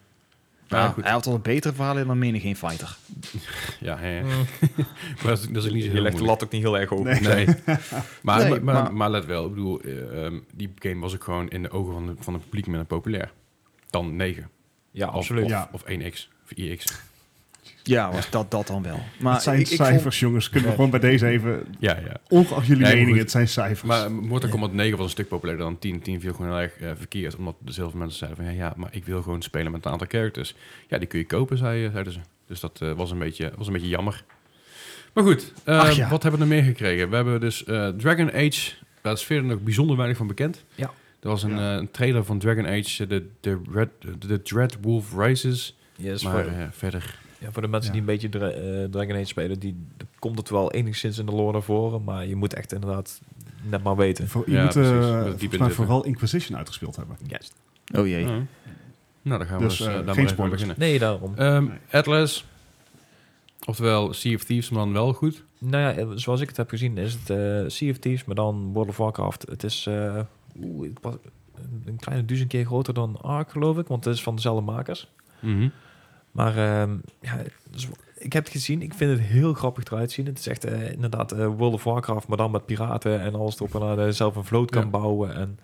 [SPEAKER 3] Maar
[SPEAKER 5] Nou,
[SPEAKER 3] goed,
[SPEAKER 5] hij had al een betere verhaal in dan menig geen fighter.
[SPEAKER 3] ja, hè, hè. maar dat is, dat is niet zo
[SPEAKER 2] Mm.
[SPEAKER 3] heel
[SPEAKER 2] Je legt de
[SPEAKER 3] moeilijk.
[SPEAKER 2] lat ook niet heel erg hoog.
[SPEAKER 3] Nee. Maar,
[SPEAKER 5] Nee,
[SPEAKER 3] maar, maar,
[SPEAKER 5] maar-
[SPEAKER 3] maar let wel, ik bedoel, eh, ehm, die game was ook gewoon in de ogen van, de, van het publiek minder populair. Dan 9.
[SPEAKER 2] Ja,
[SPEAKER 3] Of-
[SPEAKER 2] absoluut.
[SPEAKER 3] Of,
[SPEAKER 1] Ja.
[SPEAKER 3] of 1x, of IX.
[SPEAKER 5] Ja, was Dus dat, dat dan wel. Maar
[SPEAKER 1] het zijn
[SPEAKER 5] ik, ik vond-
[SPEAKER 1] cijfers, jongens. Kunnen we gewoon bij deze even...
[SPEAKER 3] Ja, ja.
[SPEAKER 1] Ongeacht jullie
[SPEAKER 3] Nee,
[SPEAKER 1] mening,
[SPEAKER 3] goed.
[SPEAKER 1] het zijn cijfers.
[SPEAKER 3] Maar Mortal Kombat 9 was een stuk populairder dan 10. 10 viel gewoon heel erg eh, verkeerd, omdat er heel veel mensen zeiden van... Ja, ja, maar ik wil gewoon spelen met een aantal characters. Ja, die kun je kopen, zei, zeiden ze. Dus dat eh, was, een beetje, was een beetje jammer. Maar goed, eh,
[SPEAKER 5] Ach ja.
[SPEAKER 3] wat hebben we er meer gekregen? We hebben dus eh, Dragon Age, daar is verder nog bijzonder weinig van bekend.
[SPEAKER 2] Ja.
[SPEAKER 3] Er was een,
[SPEAKER 1] Ja.
[SPEAKER 3] eh, een trailer van Dragon Age, eh, de, de, Red, de, de Dread Wolf Rises.
[SPEAKER 2] Yes,
[SPEAKER 3] maar
[SPEAKER 2] voor,
[SPEAKER 3] eh, verder...
[SPEAKER 2] ja, voor de mensen
[SPEAKER 1] Ja.
[SPEAKER 2] die een beetje dra- eh, Dragon Age spelen, die, dan komt het wel enigszins in de lore naar voren, maar je moet echt inderdaad net maar weten.
[SPEAKER 1] Voor, je
[SPEAKER 3] Ja,
[SPEAKER 1] moet eh,
[SPEAKER 3] precies. Diep in
[SPEAKER 1] volgens mij
[SPEAKER 3] zitten.
[SPEAKER 1] vooral Inquisition uitgespeeld hebben.
[SPEAKER 2] Juist.
[SPEAKER 5] Oh jee.
[SPEAKER 3] eh, nou, dan gaan we
[SPEAKER 1] Dus,
[SPEAKER 3] dus, eh,
[SPEAKER 1] eh,
[SPEAKER 3] daar
[SPEAKER 1] geen
[SPEAKER 3] maar even mee
[SPEAKER 1] spoilers.
[SPEAKER 3] beginnen.
[SPEAKER 2] Nee, daarom.
[SPEAKER 3] Ehm,
[SPEAKER 1] Nee.
[SPEAKER 3] Atlas, oftewel Sea of Thieves, maar dan wel goed.
[SPEAKER 2] Nou ja, eh, zoals ik het heb gezien is het eh Sea of Thieves, maar dan World of Warcraft. Het is eh, oeh, het was een- een kleine duizend keer groter dan Ark, geloof ik, want het is van dezelfde makers. Maar ehm, ja, dus ik heb het gezien. Ik vind het heel grappig eruit zien. Het is echt eh, inderdaad eh, World of Warcraft, maar dan met piraten en alles erop en aan. Dat je zelf een vloot kan
[SPEAKER 3] Ja.
[SPEAKER 2] bouwen. En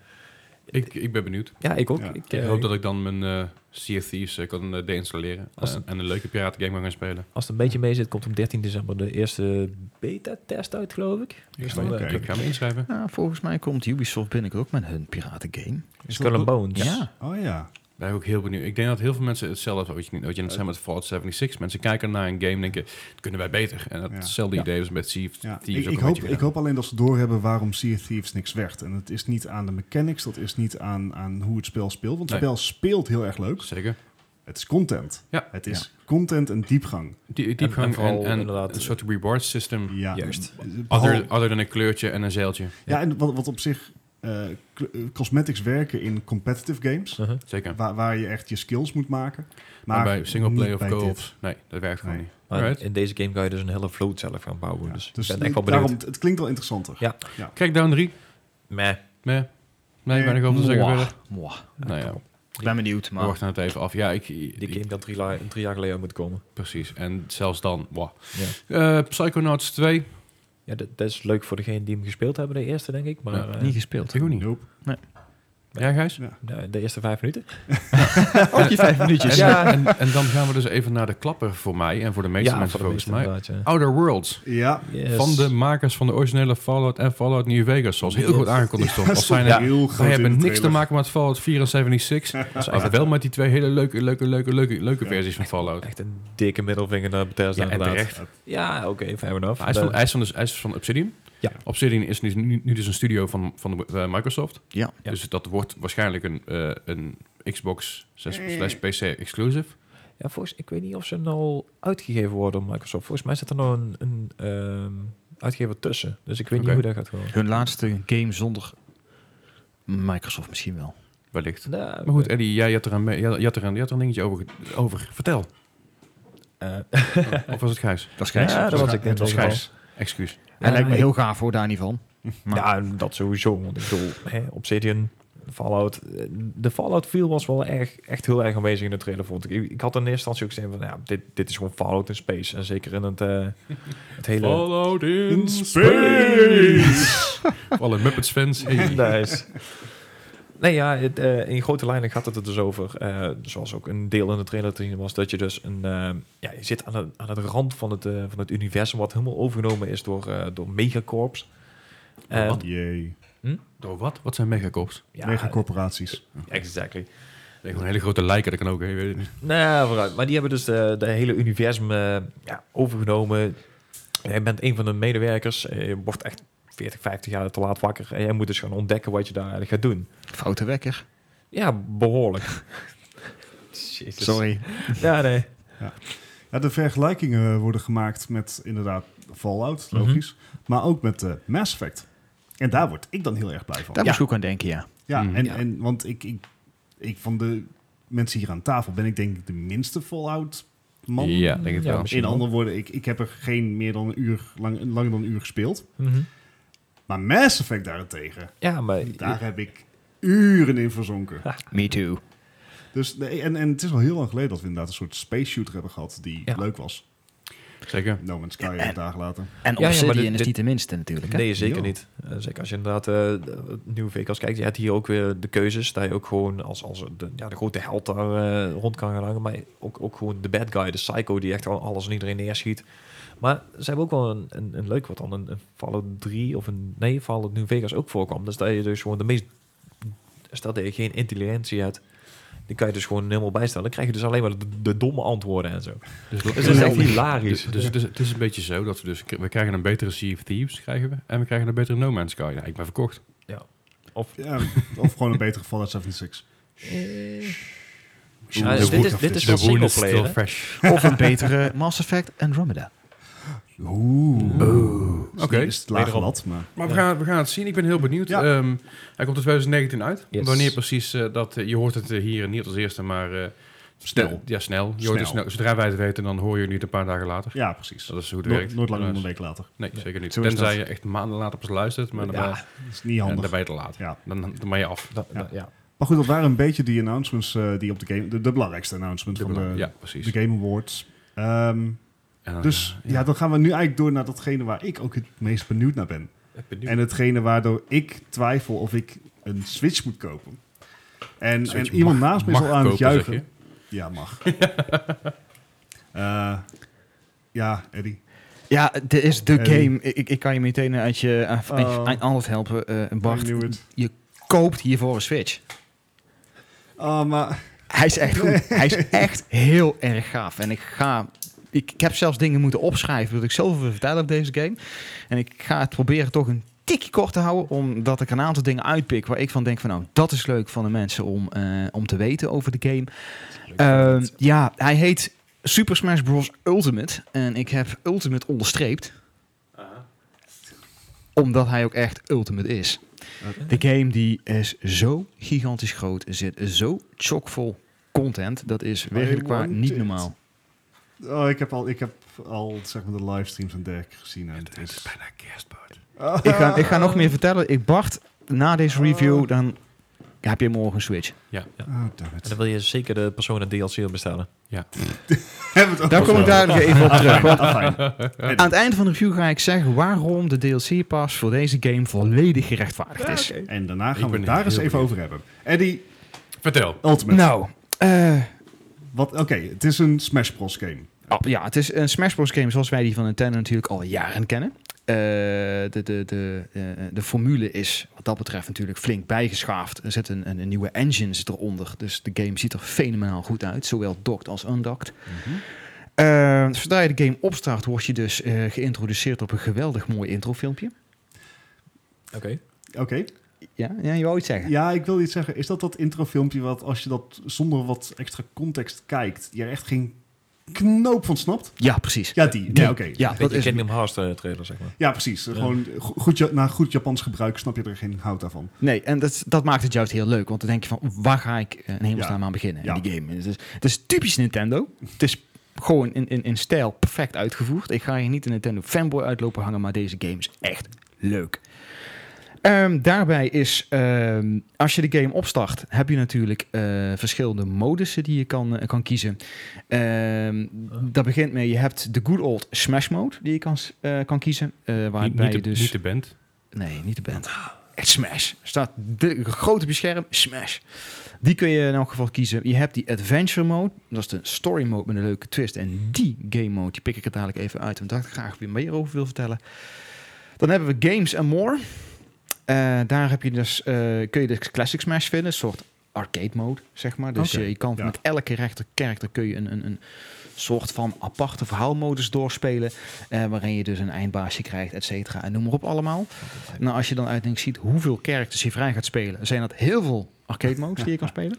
[SPEAKER 3] Ik, ik ben benieuwd.
[SPEAKER 2] Ja, ik ook.
[SPEAKER 1] Ja.
[SPEAKER 2] Ik,
[SPEAKER 3] Ik
[SPEAKER 2] eh,
[SPEAKER 3] hoop dat ik dan mijn eh Sea of Thieves eh, kan eh, deinstalleren.
[SPEAKER 2] Als-
[SPEAKER 3] Eh, en een leuke piratengame kan gaan spelen.
[SPEAKER 2] Als het een beetje mee zit, komt op 13 december de eerste beta-test uit, geloof ik.
[SPEAKER 3] Ik ga,
[SPEAKER 2] dan,
[SPEAKER 3] me-
[SPEAKER 2] eh,
[SPEAKER 3] ik ga me inschrijven.
[SPEAKER 5] Ja, Nou, volgens mij komt Ubisoft binnenkort ook met hun piratengame.
[SPEAKER 2] Skull and Bones.
[SPEAKER 5] Ja.
[SPEAKER 1] Oh ja.
[SPEAKER 3] Ben ik ook heel benieuwd. Ik denk dat heel veel mensen hetzelfde, wat je, wat je net zei met Fallout 76, mensen kijken naar een game en denken, dat kunnen wij beter. En dat
[SPEAKER 1] Ja.
[SPEAKER 3] hetzelfde
[SPEAKER 2] Ja.
[SPEAKER 3] idee is met Sea of
[SPEAKER 1] ja.
[SPEAKER 3] Thieves
[SPEAKER 1] Ik,
[SPEAKER 3] ook
[SPEAKER 1] ik
[SPEAKER 3] een
[SPEAKER 1] hoop,
[SPEAKER 3] beetje
[SPEAKER 1] ik hoop alleen dat ze doorhebben waarom Sea of Thieves niks werd. En het is niet aan de mechanics, dat is niet aan, aan hoe het spel speelt. Want het
[SPEAKER 3] Nee.
[SPEAKER 1] spel speelt heel erg leuk.
[SPEAKER 3] Zeker.
[SPEAKER 1] Het is content.
[SPEAKER 3] Ja.
[SPEAKER 1] Het is content en diepgang.
[SPEAKER 3] Die, diepgang en,
[SPEAKER 2] vooral
[SPEAKER 3] en,
[SPEAKER 2] inderdaad-
[SPEAKER 3] een soort reward system.
[SPEAKER 1] Ja.
[SPEAKER 2] Juist.
[SPEAKER 1] Behal-
[SPEAKER 3] Other, other dan een kleurtje en een zeiltje.
[SPEAKER 1] ja, en wat, wat op zich... eh, cl- eh, cosmetics werken in competitive games.
[SPEAKER 2] Uh-huh.
[SPEAKER 3] Zeker. Maar,
[SPEAKER 1] Waar, waar je echt je skills moet maken. Maar,
[SPEAKER 3] bij singleplay
[SPEAKER 1] niet
[SPEAKER 3] of
[SPEAKER 1] bij dit.
[SPEAKER 3] co-ops, nee, dat werkt gewoon
[SPEAKER 1] Nee.
[SPEAKER 3] niet.
[SPEAKER 2] Maar
[SPEAKER 3] Alright.
[SPEAKER 2] in deze game ga je dus een hele vloot zelf gaan bouwen.
[SPEAKER 1] Ja,
[SPEAKER 2] Dus,
[SPEAKER 1] Dus
[SPEAKER 2] ik ben echt wel benieuwd.
[SPEAKER 1] daarom, het klinkt wel interessanter.
[SPEAKER 2] Ja.
[SPEAKER 3] Crackdown 3.
[SPEAKER 2] Meh.
[SPEAKER 3] Nee, nee, ben ik over te zeggen
[SPEAKER 5] Mwah.
[SPEAKER 3] verder.
[SPEAKER 5] Mwah.
[SPEAKER 3] Nou ja,
[SPEAKER 5] Ik ben benieuwd,
[SPEAKER 3] we
[SPEAKER 5] maar
[SPEAKER 3] wachten het even af. Ja, ik, ik-
[SPEAKER 2] Die game dan drie, la- drie jaar geleden uit moet komen.
[SPEAKER 3] precies. En zelfs dan, wow.
[SPEAKER 2] Ja.
[SPEAKER 3] Eh, Psychonauts 2.
[SPEAKER 2] Ja, dat, dat is leuk voor degene die hem gespeeld hebben, de eerste, denk ik. Maar
[SPEAKER 3] Ja.
[SPEAKER 2] eh,
[SPEAKER 5] niet gespeeld.
[SPEAKER 3] Ik ook niet.
[SPEAKER 1] Nope.
[SPEAKER 3] Ja, Gijs?
[SPEAKER 2] nou, de eerste vijf minuten.
[SPEAKER 5] Ook je vijf minuutjes.
[SPEAKER 3] En,
[SPEAKER 2] Ja.
[SPEAKER 3] en, en dan gaan we dus even naar de klapper voor mij en voor de meeste mensen
[SPEAKER 2] voor de
[SPEAKER 3] volgens
[SPEAKER 2] meeste
[SPEAKER 3] mij.
[SPEAKER 2] inderdaad, ja.
[SPEAKER 3] Outer Worlds.
[SPEAKER 1] Ja.
[SPEAKER 2] Yes.
[SPEAKER 3] Van de makers van de originele Fallout en Fallout New Vegas, zoals heel
[SPEAKER 2] Yes.
[SPEAKER 3] goed aangekondigd stond. Als zijn
[SPEAKER 1] ja.
[SPEAKER 3] er,
[SPEAKER 1] heel groot
[SPEAKER 3] wij hebben
[SPEAKER 1] in de
[SPEAKER 3] niks te
[SPEAKER 1] trailer.
[SPEAKER 3] maken met Fallout 74,
[SPEAKER 2] Dat is
[SPEAKER 3] maar
[SPEAKER 2] echt,
[SPEAKER 3] wel met die twee hele leuke, leuke, leuke, leuke, leuke
[SPEAKER 1] Ja.
[SPEAKER 3] versies van Fallout.
[SPEAKER 2] echt een dikke middelvinger naar Bethesda.
[SPEAKER 3] Ja, en
[SPEAKER 2] inderdaad.
[SPEAKER 3] terecht.
[SPEAKER 2] Ja, oké, fair enough.
[SPEAKER 3] Maar
[SPEAKER 2] Eh,
[SPEAKER 3] Hij is, van, hij, is van, dus, hij is van Obsidian.
[SPEAKER 2] Ja.
[SPEAKER 3] Obsidian is nu, nu, nu dus een studio van, van de, eh, Microsoft.
[SPEAKER 5] Ja.
[SPEAKER 2] Ja.
[SPEAKER 3] Dus dat wordt waarschijnlijk een, eh, een Xbox slash slash PC exclusive.
[SPEAKER 2] Ja, volgens, ik weet niet of ze nou uitgegeven worden door Microsoft. Volgens mij zit er nog een, een ehm, uitgever tussen. Dus ik weet
[SPEAKER 3] Oké.
[SPEAKER 2] niet hoe dat gaat gewoon.
[SPEAKER 5] Hun laatste game zonder Microsoft misschien wel.
[SPEAKER 3] Wellicht.
[SPEAKER 2] Nou,
[SPEAKER 3] Maar goed, Eddie, jij had er een, me- jij had er een, jij had er een dingetje over, ge- over. Vertel.
[SPEAKER 2] eh,
[SPEAKER 3] of was het Gijs?
[SPEAKER 5] Dat is grijs.
[SPEAKER 2] Ja, dat was ik
[SPEAKER 1] Het
[SPEAKER 2] net
[SPEAKER 1] was
[SPEAKER 2] ook al.
[SPEAKER 1] grijs.
[SPEAKER 3] Excuus.
[SPEAKER 5] Hij
[SPEAKER 2] Ja,
[SPEAKER 5] lijkt me
[SPEAKER 2] ik-
[SPEAKER 5] heel gaaf hoor, daar niet van. Maar-
[SPEAKER 2] Ja, dat sowieso. Want ik bedoel, hè, Obsidian, Fallout. eh, De Fallout viel was wel erg, echt heel erg aanwezig in de trailer, vond ik. Ik ik had in eerste instantie ook gezien van, ja, dit, dit is gewoon Fallout in space. En zeker in het, eh, het hele...
[SPEAKER 3] Fallout in
[SPEAKER 1] In
[SPEAKER 3] space! Alle Muppets fans. Hey.
[SPEAKER 2] Nice. Nee, ja, het, eh, in grote lijnen gaat het er dus over. eh, zoals ook een deel in de trailer te zien was, dat je dus een. eh, ja, je zit aan, de, aan het rand van het, eh, van het universum, wat helemaal overgenomen is door, eh, door megacorps. En-
[SPEAKER 3] Wat?
[SPEAKER 1] Oh, Jee.
[SPEAKER 3] Door wat? Wat zijn megacops?
[SPEAKER 2] ja,
[SPEAKER 1] Megacorporaties.
[SPEAKER 2] exactly.
[SPEAKER 3] Nee, gewoon hele grote lijken, dat kan ook. hè, weet je.
[SPEAKER 2] Nou, vooruit. Maar die hebben dus de, de hele universum eh, ja, overgenomen. Jij bent een van de medewerkers. Eh, Je wordt echt 40, 50 jaar te laat wakker. En jij moet dus gaan ontdekken wat je daar eigenlijk gaat doen.
[SPEAKER 5] Foute wekker.
[SPEAKER 2] Ja, behoorlijk. Jezus.
[SPEAKER 5] Sorry.
[SPEAKER 2] Ja, nee.
[SPEAKER 1] Ja, de vergelijkingen worden gemaakt met inderdaad Fallout,
[SPEAKER 2] Mhm.
[SPEAKER 1] logisch. Maar ook met eh, Mass Effect. En daar word ik dan heel erg blij van.
[SPEAKER 5] Daar moest ik ook aan denken, ja.
[SPEAKER 1] Ja,
[SPEAKER 3] Mhm.
[SPEAKER 1] en,
[SPEAKER 5] Ja.
[SPEAKER 1] en want ik, ik, ik van de mensen hier aan tafel ben ik denk ik de minste Fallout man.
[SPEAKER 3] Ja, denk het
[SPEAKER 2] Ja,
[SPEAKER 3] wel.
[SPEAKER 2] misschien
[SPEAKER 1] In andere woorden, ik, ik heb er geen meer dan een uur, lang, langer dan een uur gespeeld.
[SPEAKER 2] Mhm.
[SPEAKER 1] Maar Mass Effect daarentegen,
[SPEAKER 2] Ja, maar...
[SPEAKER 1] daar heb ik uren in verzonken.
[SPEAKER 5] Me too.
[SPEAKER 1] Dus nee, en, en het is al heel lang geleden dat we inderdaad een soort space shooter hebben gehad die
[SPEAKER 2] Ja.
[SPEAKER 1] leuk was.
[SPEAKER 3] Zeker.
[SPEAKER 1] No Man's Sky een
[SPEAKER 5] en-
[SPEAKER 1] dagen later.
[SPEAKER 5] En
[SPEAKER 2] Ja, ja,
[SPEAKER 5] Obsidian
[SPEAKER 2] maar dit-
[SPEAKER 5] is
[SPEAKER 2] dit-
[SPEAKER 5] niet de minste natuurlijk. Hè?
[SPEAKER 2] Nee, zeker
[SPEAKER 1] Ja.
[SPEAKER 2] niet. Eh, zeker als je inderdaad eh, het nieuwe Vegas kijkt. Je hebt hier ook weer de keuzes. Dat je ook gewoon als, als de, ja, de grote held daar eh, rond kan gaan hangen. Maar ook, ook gewoon de bad guy, de psycho, die echt al alles en iedereen neerschiet. Maar ze hebben ook wel een, een, een leuk wat dan. Een, een Fallout 3 of een... Nee, Fallout New Vegas ook voorkwam. Dus dat je dus gewoon de meest... Stel dat je geen intelligentie hebt... Die kan je dus gewoon helemaal bijstellen. Dan krijg je dus alleen maar de, de domme antwoorden en zo.
[SPEAKER 3] Dus,
[SPEAKER 2] Dus dat is echt hilarisch.
[SPEAKER 3] Dus, dus het is- het is een beetje zo dat we dus... We krijgen een betere Sea of Thieves, krijgen we. En we krijgen een betere No Man's Sky. Nou, ik ben verkocht.
[SPEAKER 1] Ja, of gewoon een betere Fallout 76.
[SPEAKER 2] Ja, dus dit is, dit is
[SPEAKER 1] The
[SPEAKER 2] wel
[SPEAKER 3] De wound is
[SPEAKER 2] singleplayer,
[SPEAKER 3] still
[SPEAKER 2] hè?
[SPEAKER 3] fresh.
[SPEAKER 5] Of een betere Mass Effect Andromeda.
[SPEAKER 1] Oeh.
[SPEAKER 3] Oké.
[SPEAKER 1] Oké. Is het laag
[SPEAKER 2] Wederom.
[SPEAKER 1] lat, maar...
[SPEAKER 3] Maar we gaan, we gaan het zien. Ik ben heel benieuwd.
[SPEAKER 1] Ja.
[SPEAKER 3] Ehm, hij komt in 2019 uit.
[SPEAKER 2] Yes.
[SPEAKER 3] Wanneer precies eh, dat... eh, je hoort het eh, hier niet als eerste, maar... eh,
[SPEAKER 1] Snel.
[SPEAKER 3] Ja, snel. Je hoort het
[SPEAKER 1] Snel.
[SPEAKER 3] snel. Zodra wij het weten, dan hoor je het niet een paar dagen later.
[SPEAKER 1] Ja, precies.
[SPEAKER 3] Dat is hoe het
[SPEAKER 1] Nooit
[SPEAKER 3] werkt.
[SPEAKER 1] nooit langer dan
[SPEAKER 3] Dus-
[SPEAKER 1] een week later.
[SPEAKER 3] Nee, zeker niet.
[SPEAKER 1] Zo is
[SPEAKER 3] Tenzij
[SPEAKER 1] dat.
[SPEAKER 3] je echt maanden later pas luistert, maar dan,
[SPEAKER 2] Ja,
[SPEAKER 3] ben,
[SPEAKER 1] Dat is niet
[SPEAKER 3] je, dan
[SPEAKER 1] handig.
[SPEAKER 3] ben je te laat.
[SPEAKER 1] Ja.
[SPEAKER 3] Dan, dan ben je af.
[SPEAKER 2] Dat-
[SPEAKER 1] Ja.
[SPEAKER 2] dat- ja.
[SPEAKER 1] Maar goed, dat waren een beetje die announcements eh, die op de game... De, de belangrijkste announcement van de,
[SPEAKER 3] ja, precies.
[SPEAKER 1] de Game Awards. Ehm,
[SPEAKER 3] En eh, dan-
[SPEAKER 1] dus ja. dan gaan we nu eigenlijk door naar datgene waar ik ook het meest benieuwd naar ben. En hetgene waardoor ik twijfel of ik eh, een Switch moet kopen. En,
[SPEAKER 3] Switch
[SPEAKER 1] en iemand
[SPEAKER 3] mag-
[SPEAKER 1] naast me is
[SPEAKER 3] mag
[SPEAKER 1] al aan het
[SPEAKER 3] kopen, zeg
[SPEAKER 1] juichen. Ja, mag. Eh, ja, Eddie.
[SPEAKER 5] Ja, dit is de
[SPEAKER 1] Hey.
[SPEAKER 5] game. Ik, ik- ik kan je meteen uit je uit- uit-
[SPEAKER 1] Oh.
[SPEAKER 5] uit alles helpen, eh
[SPEAKER 1] I
[SPEAKER 5] Bart.
[SPEAKER 1] knew it.
[SPEAKER 5] Koopt hiervoor een Switch.
[SPEAKER 1] Oh, maar
[SPEAKER 5] Hij is echt goed. Hij is echt heel erg gaaf. En ik ga... Ik, ik heb zelfs dingen moeten opschrijven, omdat ik zoveel wil vertellen op deze game. En ik ga het proberen toch een tikje kort te houden, omdat ik een aantal dingen uitpik waar ik van denk van nou, dat is leuk van de mensen om, eh, om te weten over de game. Ehm, ja, hij heet Super Smash Bros. Ultimate. En ik heb Ultimate onderstreept. Omdat hij ook echt Ultimate is. De game die is zo gigantisch groot. Er zit zo chockvol content. Dat is werkelijk waar
[SPEAKER 1] want
[SPEAKER 5] niet
[SPEAKER 1] it.
[SPEAKER 5] normaal.
[SPEAKER 1] oh, ik heb al, ik heb al zeg maar, de livestreams en dergelijke gezien. En het is... Oh.
[SPEAKER 3] Bijna kerstboot.
[SPEAKER 5] Ik ga, ik ga nog meer vertellen. Ik Bart, na deze review, dan heb je morgen een Switch.
[SPEAKER 1] Oh, damn
[SPEAKER 2] En
[SPEAKER 1] it.
[SPEAKER 2] dan wil je zeker de persoon een DLC wil bestellen.
[SPEAKER 1] Hebben we het
[SPEAKER 5] Daar
[SPEAKER 1] over?
[SPEAKER 5] kom ik daar nog even op terug.
[SPEAKER 1] Ah, fijn.
[SPEAKER 5] Aan het eind van de review ga ik zeggen waarom de DLC-pas voor deze game volledig gerechtvaardigd is.
[SPEAKER 1] En daarna
[SPEAKER 3] Ik
[SPEAKER 1] gaan we
[SPEAKER 3] ben
[SPEAKER 1] het daar
[SPEAKER 3] heel
[SPEAKER 1] eens even
[SPEAKER 3] benieuwd.
[SPEAKER 1] over hebben. Eddie,
[SPEAKER 3] Vertel.
[SPEAKER 1] Ultimate.
[SPEAKER 5] Nou, eh,
[SPEAKER 1] Wat? Oké, het is een Smash Bros. game.
[SPEAKER 5] Oh, ja, het is een Smash Bros. game zoals wij die van Nintendo natuurlijk al jaren kennen. Eh, de, de, de, eh, de formule is wat dat betreft natuurlijk flink bijgeschaafd. Er zit een, een, een nieuwe engine zit eronder. Dus de game ziet er fenomenaal goed uit. Zowel docked als undocked. Eh, zodra je de game opstart, word je dus eh, geïntroduceerd op een geweldig mooi introfilmpje.
[SPEAKER 2] Oké.
[SPEAKER 1] Oké.
[SPEAKER 5] Ja, ja, je wou iets zeggen.
[SPEAKER 1] Ja, ik wil iets zeggen. Is dat dat introfilmpje wat als je dat zonder wat extra context kijkt, je er echt geen knoop van snapt?
[SPEAKER 5] Ja, precies.
[SPEAKER 1] Ja, die. Ja, oké.
[SPEAKER 5] Ja,
[SPEAKER 2] Dat
[SPEAKER 5] dat
[SPEAKER 2] je
[SPEAKER 5] is
[SPEAKER 2] Kingdom Hearts eh, trailer, zeg maar.
[SPEAKER 1] Ja, precies. Gewoon go- goed, Ja- na goed Japans gebruik snap je er geen hout aan van.
[SPEAKER 5] Nee, en dat, dat maakt het juist heel leuk. Want dan denk je van, waar ga ik eh, in hemelsnaam
[SPEAKER 1] Ja.
[SPEAKER 5] aan beginnen
[SPEAKER 1] Ja.
[SPEAKER 5] in die game? Dus Het is, het is typisch Nintendo. Het is gewoon in, in, in stijl perfect uitgevoerd. Ik ga hier niet een Nintendo fanboy uitlopen hangen, maar deze game is echt leuk. Ehm, daarbij is, ehm, als je de game opstart, heb je natuurlijk eh, verschillende modussen die je kan, eh, kan kiezen. Ehm Dat begint mee, je hebt de good old Smash Mode die je kan, s- eh, kan kiezen. eh,
[SPEAKER 3] Niet,
[SPEAKER 5] waarbij
[SPEAKER 3] niet,
[SPEAKER 5] je
[SPEAKER 3] de,
[SPEAKER 5] dus...
[SPEAKER 3] niet de band.
[SPEAKER 5] Nee, niet de band. Echt Smash. Staat de grote bescherm, Smash. Die kun je in elk geval kiezen. Je hebt die Adventure Mode. Dat is de Story Mode met een leuke twist. En die Game Mode, die pik ik er dadelijk even uit. Omdat ik daar graag weer meer over wil vertellen. Dan hebben we Games and More. Eh, daar heb je dus, eh, kun je dus Classic Smash vinden. Een soort arcade mode, zeg maar. Dus
[SPEAKER 1] Oké,
[SPEAKER 5] eh, je kan
[SPEAKER 1] ja.
[SPEAKER 5] met elke rechter character kun je een, een, een soort van aparte verhaalmodus doorspelen. eh, waarin je dus een eindbaasje krijgt, et cetera. En noem maar op allemaal. Nou, als je dan uiteindelijk ziet hoeveel characters je vrij gaat spelen, zijn dat heel veel arcade modes die je kan spelen.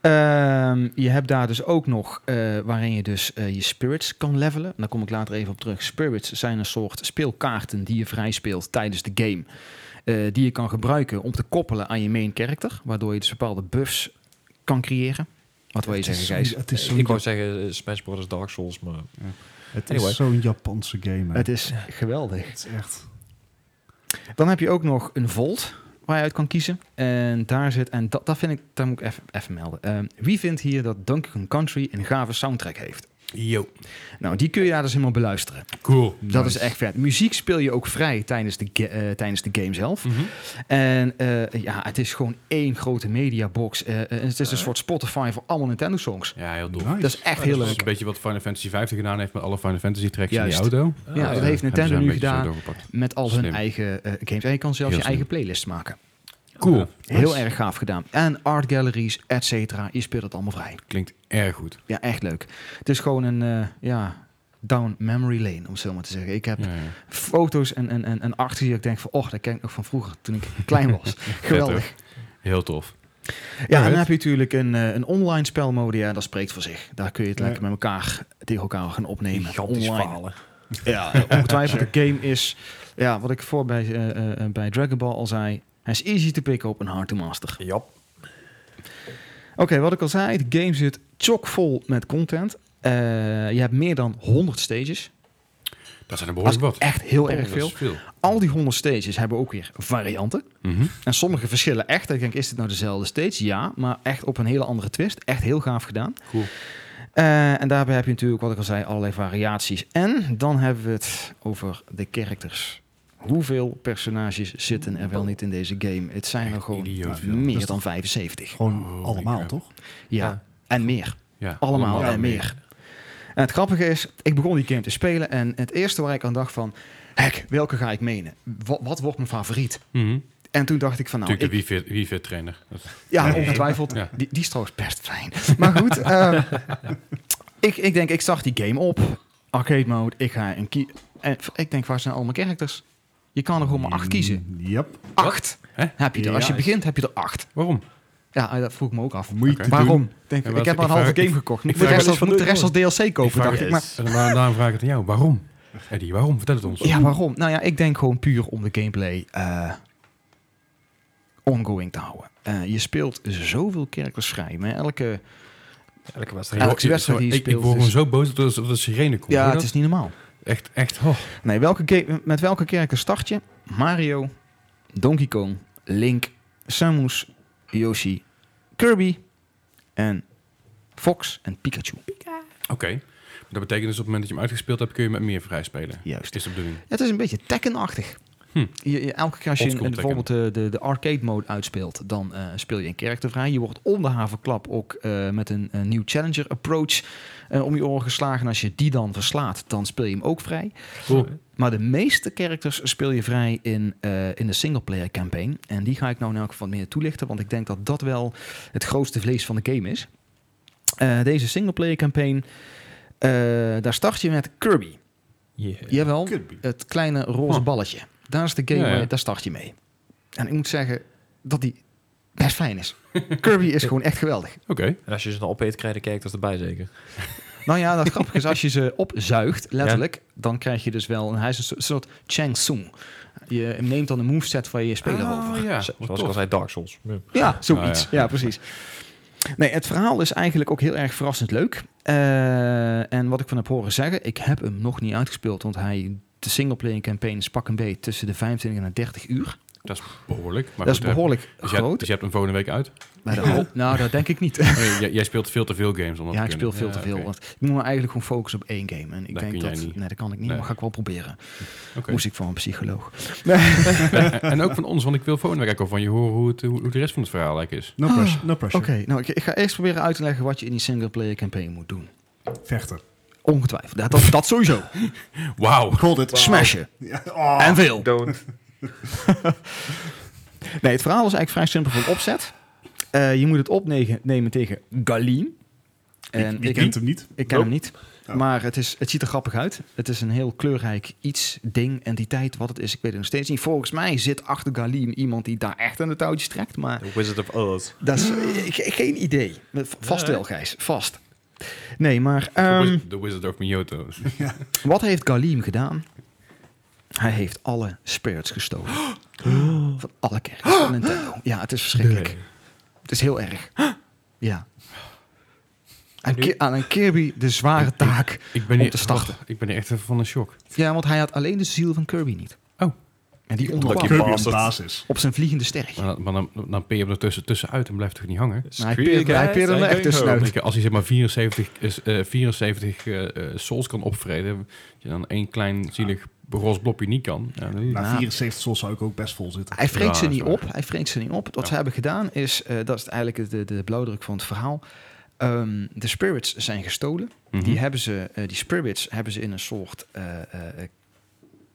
[SPEAKER 5] Ehm, je hebt daar dus ook nog eh, waarin je dus eh, je spirits kan levelen. En daar kom ik later even op terug. Spirits zijn een soort speelkaarten die je vrij speelt tijdens de game. eh, die je kan gebruiken om te koppelen aan je main character. Waardoor je dus bepaalde buffs kan creëren. Wat wil je zeggen,
[SPEAKER 1] zo'n-
[SPEAKER 5] Gijs?
[SPEAKER 1] Het is zo'n
[SPEAKER 2] ik wou zeggen eh, Smash Bros. Dark Souls, maar...
[SPEAKER 1] het
[SPEAKER 2] anyway.
[SPEAKER 1] is zo'n Japanse game. hè.
[SPEAKER 5] Het is geweldig.
[SPEAKER 1] Het is echt...
[SPEAKER 5] Dan heb je ook nog een volt waar je uit kan kiezen. En daar zit, en dat, dat vind ik, daar moet ik even, even melden. Ehm, wie vindt hier dat Donkey Kong Country een gave soundtrack heeft?
[SPEAKER 3] Yo.
[SPEAKER 5] Nou, die kun je daar dus helemaal beluisteren.
[SPEAKER 3] Cool.
[SPEAKER 5] Dat is echt vet. Muziek speel je ook vrij tijdens de, ga- eh, tijdens de game zelf.
[SPEAKER 3] Mhm.
[SPEAKER 5] En eh, ja, het is gewoon één grote mediabox. Eh, eh, het is een soort Spotify voor allemaal Nintendo songs.
[SPEAKER 3] Ja, heel tof. Dus
[SPEAKER 1] nice.
[SPEAKER 5] Dat is echt heel
[SPEAKER 3] Oh, Dat is
[SPEAKER 5] leuk.
[SPEAKER 3] een beetje wat Final Fantasy 50 gedaan heeft met alle Final Fantasy tracks
[SPEAKER 5] Juist.
[SPEAKER 3] in die auto.
[SPEAKER 5] Ja,
[SPEAKER 2] Ah,
[SPEAKER 5] dat
[SPEAKER 3] Eh,
[SPEAKER 5] heeft
[SPEAKER 3] hebben ze
[SPEAKER 5] Nintendo
[SPEAKER 3] een
[SPEAKER 5] nu
[SPEAKER 3] beetje zo
[SPEAKER 5] gedaan
[SPEAKER 3] doorgepakt.
[SPEAKER 5] met al
[SPEAKER 3] Slim.
[SPEAKER 5] hun eigen eh, games. En je kan zelfs
[SPEAKER 3] Heel
[SPEAKER 5] je eigen
[SPEAKER 3] slim.
[SPEAKER 5] playlist maken.
[SPEAKER 3] Cool.
[SPEAKER 5] Heel erg gaaf gedaan. En art galleries, et cetera. Je speelt het allemaal vrij.
[SPEAKER 3] Klinkt erg goed.
[SPEAKER 5] Ja, echt leuk. Het is gewoon een eh, ja, down memory lane, om het zo maar te zeggen. Ik heb
[SPEAKER 3] Ja, ja.
[SPEAKER 5] foto's en, en, en, en artsen die ik denk van... och, dat ken ik nog van vroeger, toen ik klein was.
[SPEAKER 3] Vet,
[SPEAKER 5] Geweldig.
[SPEAKER 3] Heel tof.
[SPEAKER 5] Ja, en
[SPEAKER 3] Alright.
[SPEAKER 5] dan heb je natuurlijk een, eh, een online spelmode. Ja, dat spreekt voor zich. Daar kun je het
[SPEAKER 1] Ja.
[SPEAKER 5] lekker met elkaar tegen elkaar gaan opnemen.
[SPEAKER 2] Gigantisch
[SPEAKER 5] Online.
[SPEAKER 2] falen.
[SPEAKER 5] Ja, eh, ongetwijfeld. De game is, ja, wat ik voor bij, eh, eh, bij Dragon Ball al zei... Hij is easy to pick up en hard to master.
[SPEAKER 2] Ja.
[SPEAKER 5] Oké, wat ik al zei, de game zit chockvol met content. Eh, je hebt meer dan 100 stages.
[SPEAKER 3] Dat zijn er
[SPEAKER 5] Dat
[SPEAKER 3] behoorlijk
[SPEAKER 5] is
[SPEAKER 3] wat.
[SPEAKER 5] echt heel
[SPEAKER 3] Oh,
[SPEAKER 5] erg
[SPEAKER 3] dat
[SPEAKER 5] veel.
[SPEAKER 3] is veel.
[SPEAKER 5] Al die 100 stages hebben ook weer varianten.
[SPEAKER 3] Mhm.
[SPEAKER 5] En sommige verschillen echt. Ik denk, is dit nou dezelfde stage? Ja, maar echt op een hele andere twist. Echt heel gaaf gedaan.
[SPEAKER 3] Cool.
[SPEAKER 5] Eh, en daarbij heb je natuurlijk, wat ik al zei, allerlei variaties. En dan hebben we het over de characters. Hoeveel personages zitten er wel niet in deze game? Het zijn er gewoon
[SPEAKER 3] idioot veel.
[SPEAKER 5] meer
[SPEAKER 1] Dus
[SPEAKER 5] dan 75.
[SPEAKER 1] Gewoon
[SPEAKER 3] Holy
[SPEAKER 1] allemaal,
[SPEAKER 3] crap.
[SPEAKER 1] toch?
[SPEAKER 5] Ja,
[SPEAKER 2] Ja.
[SPEAKER 5] en meer.
[SPEAKER 3] Ja,
[SPEAKER 5] Allemaal
[SPEAKER 1] allemaal
[SPEAKER 5] en
[SPEAKER 1] meer.
[SPEAKER 5] meer. En het grappige is, ik begon die game te spelen en het eerste waar ik aan dacht van... Hek, welke ga ik menen? Wat, wat wordt mijn favoriet?
[SPEAKER 3] Mhm.
[SPEAKER 5] En toen dacht Nou, ik van nou,
[SPEAKER 3] Natuurlijk
[SPEAKER 5] ik,
[SPEAKER 3] de Wii Fit- Wii Fit trainer. Dat is-
[SPEAKER 5] Ja, ongetwijfeld.
[SPEAKER 3] Ja.
[SPEAKER 5] Die, die is trouwens best fijn. Maar goed, ehm, ik, ik denk, ik start die game op. Arcade mode, ik ga een kie... En ik denk, waar zijn al mijn characters? Je kan er gewoon maar acht kiezen.
[SPEAKER 1] Yep.
[SPEAKER 5] Acht
[SPEAKER 3] Hè?
[SPEAKER 5] heb je er.
[SPEAKER 1] Mm. Ja,
[SPEAKER 5] Als je
[SPEAKER 1] ik-
[SPEAKER 5] begint, heb je er acht.
[SPEAKER 3] Waarom?
[SPEAKER 5] Ja, eh, dat vroeg ik me ook af.
[SPEAKER 1] Moet je
[SPEAKER 3] Oké.
[SPEAKER 1] te doen.
[SPEAKER 5] Waarom? Denk,
[SPEAKER 3] Ja,
[SPEAKER 5] ik
[SPEAKER 3] maar
[SPEAKER 5] heb
[SPEAKER 3] als-
[SPEAKER 5] maar een
[SPEAKER 3] ik
[SPEAKER 5] halve
[SPEAKER 3] vraag-
[SPEAKER 5] game gekocht. Moet
[SPEAKER 3] ik
[SPEAKER 5] de
[SPEAKER 3] vraag
[SPEAKER 5] rest
[SPEAKER 2] me
[SPEAKER 5] als,
[SPEAKER 2] eens
[SPEAKER 5] moet de
[SPEAKER 2] van
[SPEAKER 5] rest als
[SPEAKER 2] door.
[SPEAKER 5] DLC
[SPEAKER 3] Ik
[SPEAKER 5] kopen,
[SPEAKER 3] vraag dus
[SPEAKER 5] dacht
[SPEAKER 3] het-
[SPEAKER 5] ik. Maar,
[SPEAKER 3] en waar- daarom vraag ik het aan jou. Waarom? Eddie, waarom? Vertel het ons.
[SPEAKER 5] ja, waarom? Nou ja, ik denk gewoon puur om de gameplay eh, ongoing te houden. Eh, je speelt zoveel characters vrij. Maar elke...
[SPEAKER 2] Elke wedstrijd.
[SPEAKER 5] Ja, elke
[SPEAKER 3] Ik- ik-
[SPEAKER 5] wedstrijd die je
[SPEAKER 3] ik, ik
[SPEAKER 5] speelt
[SPEAKER 3] word
[SPEAKER 5] is-
[SPEAKER 3] gewoon zo boos dat er, dat er sirene komt.
[SPEAKER 5] Ja,
[SPEAKER 3] Hoor
[SPEAKER 5] het
[SPEAKER 3] je
[SPEAKER 5] is niet normaal.
[SPEAKER 3] dat? Echt, echt. Oh.
[SPEAKER 5] Nee, welke ga- met welke kerken start je? Mario, Donkey Kong, Link, Samus, Yoshi, Kirby en Fox en Pikachu.
[SPEAKER 3] Oké. Maar Dat betekent dus op het moment dat je hem uitgespeeld hebt, kun je met meer vrij spelen.
[SPEAKER 5] Juist.
[SPEAKER 3] Is de bedoeling.
[SPEAKER 5] Het is een beetje Tekken-achtig.
[SPEAKER 3] Hm.
[SPEAKER 5] Je, je- elke keer als je
[SPEAKER 3] Oldschool
[SPEAKER 5] in- bijvoorbeeld de, de, de arcade mode uitspeelt, dan eh, speel je een karakter vrij. Je wordt om de haverklap ook eh, met een, een nieuw challenger approach eh, om je oren geslagen. En als je die dan verslaat, dan speel je hem ook vrij.
[SPEAKER 3] Cool.
[SPEAKER 5] Maar de meeste characters speel je vrij in, eh, in de singleplayer campaign. En die ga ik nou in elk geval wat meer toelichten. Want ik denk dat dat wel het grootste vlees van de game is. Eh, deze singleplayer campaign, eh, daar start je met Kirby.
[SPEAKER 2] Yeah.
[SPEAKER 5] Jawel,
[SPEAKER 1] Kirby.
[SPEAKER 5] het kleine roze
[SPEAKER 3] Huh.
[SPEAKER 5] balletje. Daar is de game,
[SPEAKER 3] Ja, ja.
[SPEAKER 5] waar je- daar start je mee. En ik moet zeggen dat die best fijn is. Kirby is gewoon echt geweldig.
[SPEAKER 3] Oké.
[SPEAKER 2] En als je ze dan opeet, krijg je de kijkers erbij zeker.
[SPEAKER 5] Nou ja, dat grappige is, als je ze opzuigt, letterlijk, dan krijg je dus wel... En hij is een so- soort Chang Tsung. Je neemt dan een moveset van je speler
[SPEAKER 3] Ah,
[SPEAKER 5] over.
[SPEAKER 3] Ja,
[SPEAKER 2] Zo-
[SPEAKER 3] wat
[SPEAKER 2] Zoals ik
[SPEAKER 3] tof.
[SPEAKER 2] al zei, Dark Souls. Ja.
[SPEAKER 5] Ja, zoiets.
[SPEAKER 3] Ah,
[SPEAKER 5] ja. precies. Nee, het verhaal is eigenlijk ook heel erg verrassend leuk. Eh, en wat ik van heb horen zeggen, ik heb hem nog niet uitgespeeld, want hij... De singleplayer campaign is pak een beet tussen de 25 en de 30 uur.
[SPEAKER 3] Dat is behoorlijk. Maar
[SPEAKER 5] dat is
[SPEAKER 3] goed, hè.
[SPEAKER 5] behoorlijk
[SPEAKER 3] Dus je, hebt,
[SPEAKER 5] groot.
[SPEAKER 3] dus je hebt hem volgende week uit.
[SPEAKER 5] Maar dat- nou, dat denk ik niet.
[SPEAKER 3] Nee, jij, jij speelt veel te veel games. Om dat
[SPEAKER 5] Ja,
[SPEAKER 3] te
[SPEAKER 5] ik speel
[SPEAKER 3] kunnen.
[SPEAKER 5] veel te
[SPEAKER 3] Ja,
[SPEAKER 5] veel.
[SPEAKER 3] oké.
[SPEAKER 5] Want ik moet me eigenlijk gewoon focussen op één game. En ik
[SPEAKER 3] Dat
[SPEAKER 5] denk
[SPEAKER 3] kun
[SPEAKER 5] dat...
[SPEAKER 3] jij niet.
[SPEAKER 5] Nee, dat kan ik niet,
[SPEAKER 3] Nee.
[SPEAKER 5] maar ga ik wel proberen.
[SPEAKER 3] Oké.
[SPEAKER 5] Moest ik van een psycholoog.
[SPEAKER 3] En ook van ons, want ik wil volgende week ook wel van je horen hoe, het, hoe, hoe de rest van het verhaal eigenlijk is.
[SPEAKER 1] No
[SPEAKER 5] Ah,
[SPEAKER 1] pressure. No
[SPEAKER 5] Oké,
[SPEAKER 1] pressure.
[SPEAKER 5] nou, ik, ik ga eerst proberen uit te leggen wat je in die singleplayer campaign moet doen.
[SPEAKER 1] Vechten.
[SPEAKER 5] Ongetwijfeld. Ja, dat, dat sowieso.
[SPEAKER 3] Wauw.
[SPEAKER 1] Called it.
[SPEAKER 5] Smashen.
[SPEAKER 1] Ja, oh.
[SPEAKER 5] En veel.
[SPEAKER 2] Don't.
[SPEAKER 5] Nee, het verhaal is eigenlijk vrij simpel van opzet. Eh, je moet het opnemen tegen Galeen. En
[SPEAKER 1] Wie
[SPEAKER 5] ik,
[SPEAKER 1] kent hem niet?
[SPEAKER 5] ik ken hem niet.
[SPEAKER 1] Oh.
[SPEAKER 5] Maar het, is, het ziet er grappig uit. Het is een heel kleurrijk iets, ding, entiteit, wat het is. Ik weet het nog steeds niet. Volgens mij zit achter Galeen iemand die daar echt aan de touwtjes trekt. Maar
[SPEAKER 2] The Wizard of Oz.
[SPEAKER 5] dat is ik, ik- geen idee. Vast
[SPEAKER 2] Nee.
[SPEAKER 5] wel, Gijs. Vast. Nee, maar...
[SPEAKER 3] The
[SPEAKER 5] ehm,
[SPEAKER 3] Wizard- The Wizard of Miyoto.
[SPEAKER 5] Wat heeft Galim gedaan? Hij heeft alle spirits gestolen. Van alle kerkers van Nintendo. Ja, het is verschrikkelijk. Het is heel erg. Ja. Aan,
[SPEAKER 2] nu?
[SPEAKER 5] Ki- aan een Kirby de zware taak.
[SPEAKER 3] Ik ben
[SPEAKER 5] Om
[SPEAKER 3] hier,
[SPEAKER 5] te starten.
[SPEAKER 3] Oh, ik ben hier echt even van een shock.
[SPEAKER 5] Ja, want hij had alleen de ziel van Kirby niet.
[SPEAKER 3] Oh.
[SPEAKER 5] En die
[SPEAKER 1] Omdat
[SPEAKER 5] ontkwam
[SPEAKER 1] Kirby een
[SPEAKER 2] bastard.
[SPEAKER 1] basis.
[SPEAKER 5] op zijn vliegende sterk.
[SPEAKER 3] Maar, dan- maar dan, dan peer je hem er tussen, tussenuit en blijft toch niet hangen?
[SPEAKER 5] hij peerde- hij peerde hem echt tussenuit.
[SPEAKER 3] Ik denk, als hij zeg maar 74, is, eh, 74 eh, eh, souls kan opvreden, dat je dan één klein zielig roze blopje niet kan. Ja, dat-
[SPEAKER 1] Na
[SPEAKER 5] Nou.
[SPEAKER 1] 74 souls zou ik ook best vol zitten.
[SPEAKER 5] Hij vreet
[SPEAKER 3] Ja,
[SPEAKER 5] ze
[SPEAKER 3] dat is
[SPEAKER 5] niet
[SPEAKER 3] waar.
[SPEAKER 5] op. Hij vreet ze niet op. Wat
[SPEAKER 3] Ja.
[SPEAKER 5] ze hebben gedaan is, eh, dat is eigenlijk de, de blauwdruk van het verhaal. Ehm, de spirits zijn gestolen.
[SPEAKER 3] Mhm.
[SPEAKER 5] Die, hebben ze, eh, die spirits hebben ze in een soort eh eh, eh,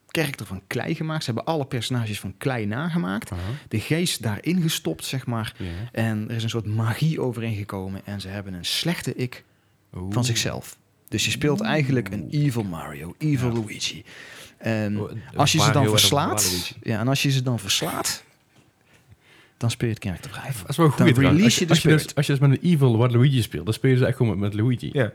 [SPEAKER 5] karakter van klei gemaakt. Ze hebben alle personages van klei nagemaakt.
[SPEAKER 3] Aha.
[SPEAKER 5] De geest daarin gestopt, zeg maar.
[SPEAKER 3] Ja.
[SPEAKER 5] En er is een soort magie overheen gekomen. En ze hebben een slechte ik
[SPEAKER 3] Oeh.
[SPEAKER 5] van zichzelf. Dus je speelt eigenlijk een evil Mario, evil Luigi. En
[SPEAKER 2] Oh, een-
[SPEAKER 5] Mm. als je
[SPEAKER 2] een
[SPEAKER 5] ze dan
[SPEAKER 2] Mario en een normale
[SPEAKER 5] verslaat,
[SPEAKER 2] Luigi.
[SPEAKER 5] ja, en als je ze dan verslaat, dan speel je het karakter vrij.
[SPEAKER 3] Dat is wel goed.
[SPEAKER 5] Dan release je de
[SPEAKER 3] als je, dus,
[SPEAKER 5] spirit.
[SPEAKER 3] als je dus met een evil Waluigi speelt, dan speel je dus echt gewoon met, met Luigi.
[SPEAKER 2] Ja.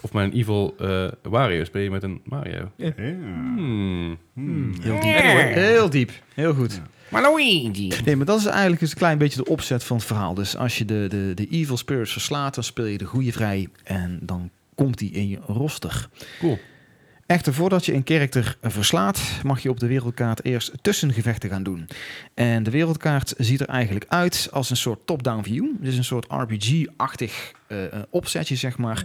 [SPEAKER 3] Of met een evil eh, Wario speel je met een Mario.
[SPEAKER 1] Ja.
[SPEAKER 3] Hmm.
[SPEAKER 1] Hmm.
[SPEAKER 5] Heel diep. Heel diep. Heel goed.
[SPEAKER 6] Luigi.
[SPEAKER 5] Nee, maar dat is eigenlijk eens een klein beetje de opzet van het verhaal. Dus als je de, de, de evil spirits verslaat, dan speel je de goede vrij. En dan komt die in je roster.
[SPEAKER 3] Cool.
[SPEAKER 5] Echter, voordat je een karakter verslaat, mag je op de wereldkaart eerst tussengevechten gaan doen. En de wereldkaart ziet er eigenlijk uit als een soort top-down view. Dus een soort RPG-achtig eh, eh, opzetje, zeg maar.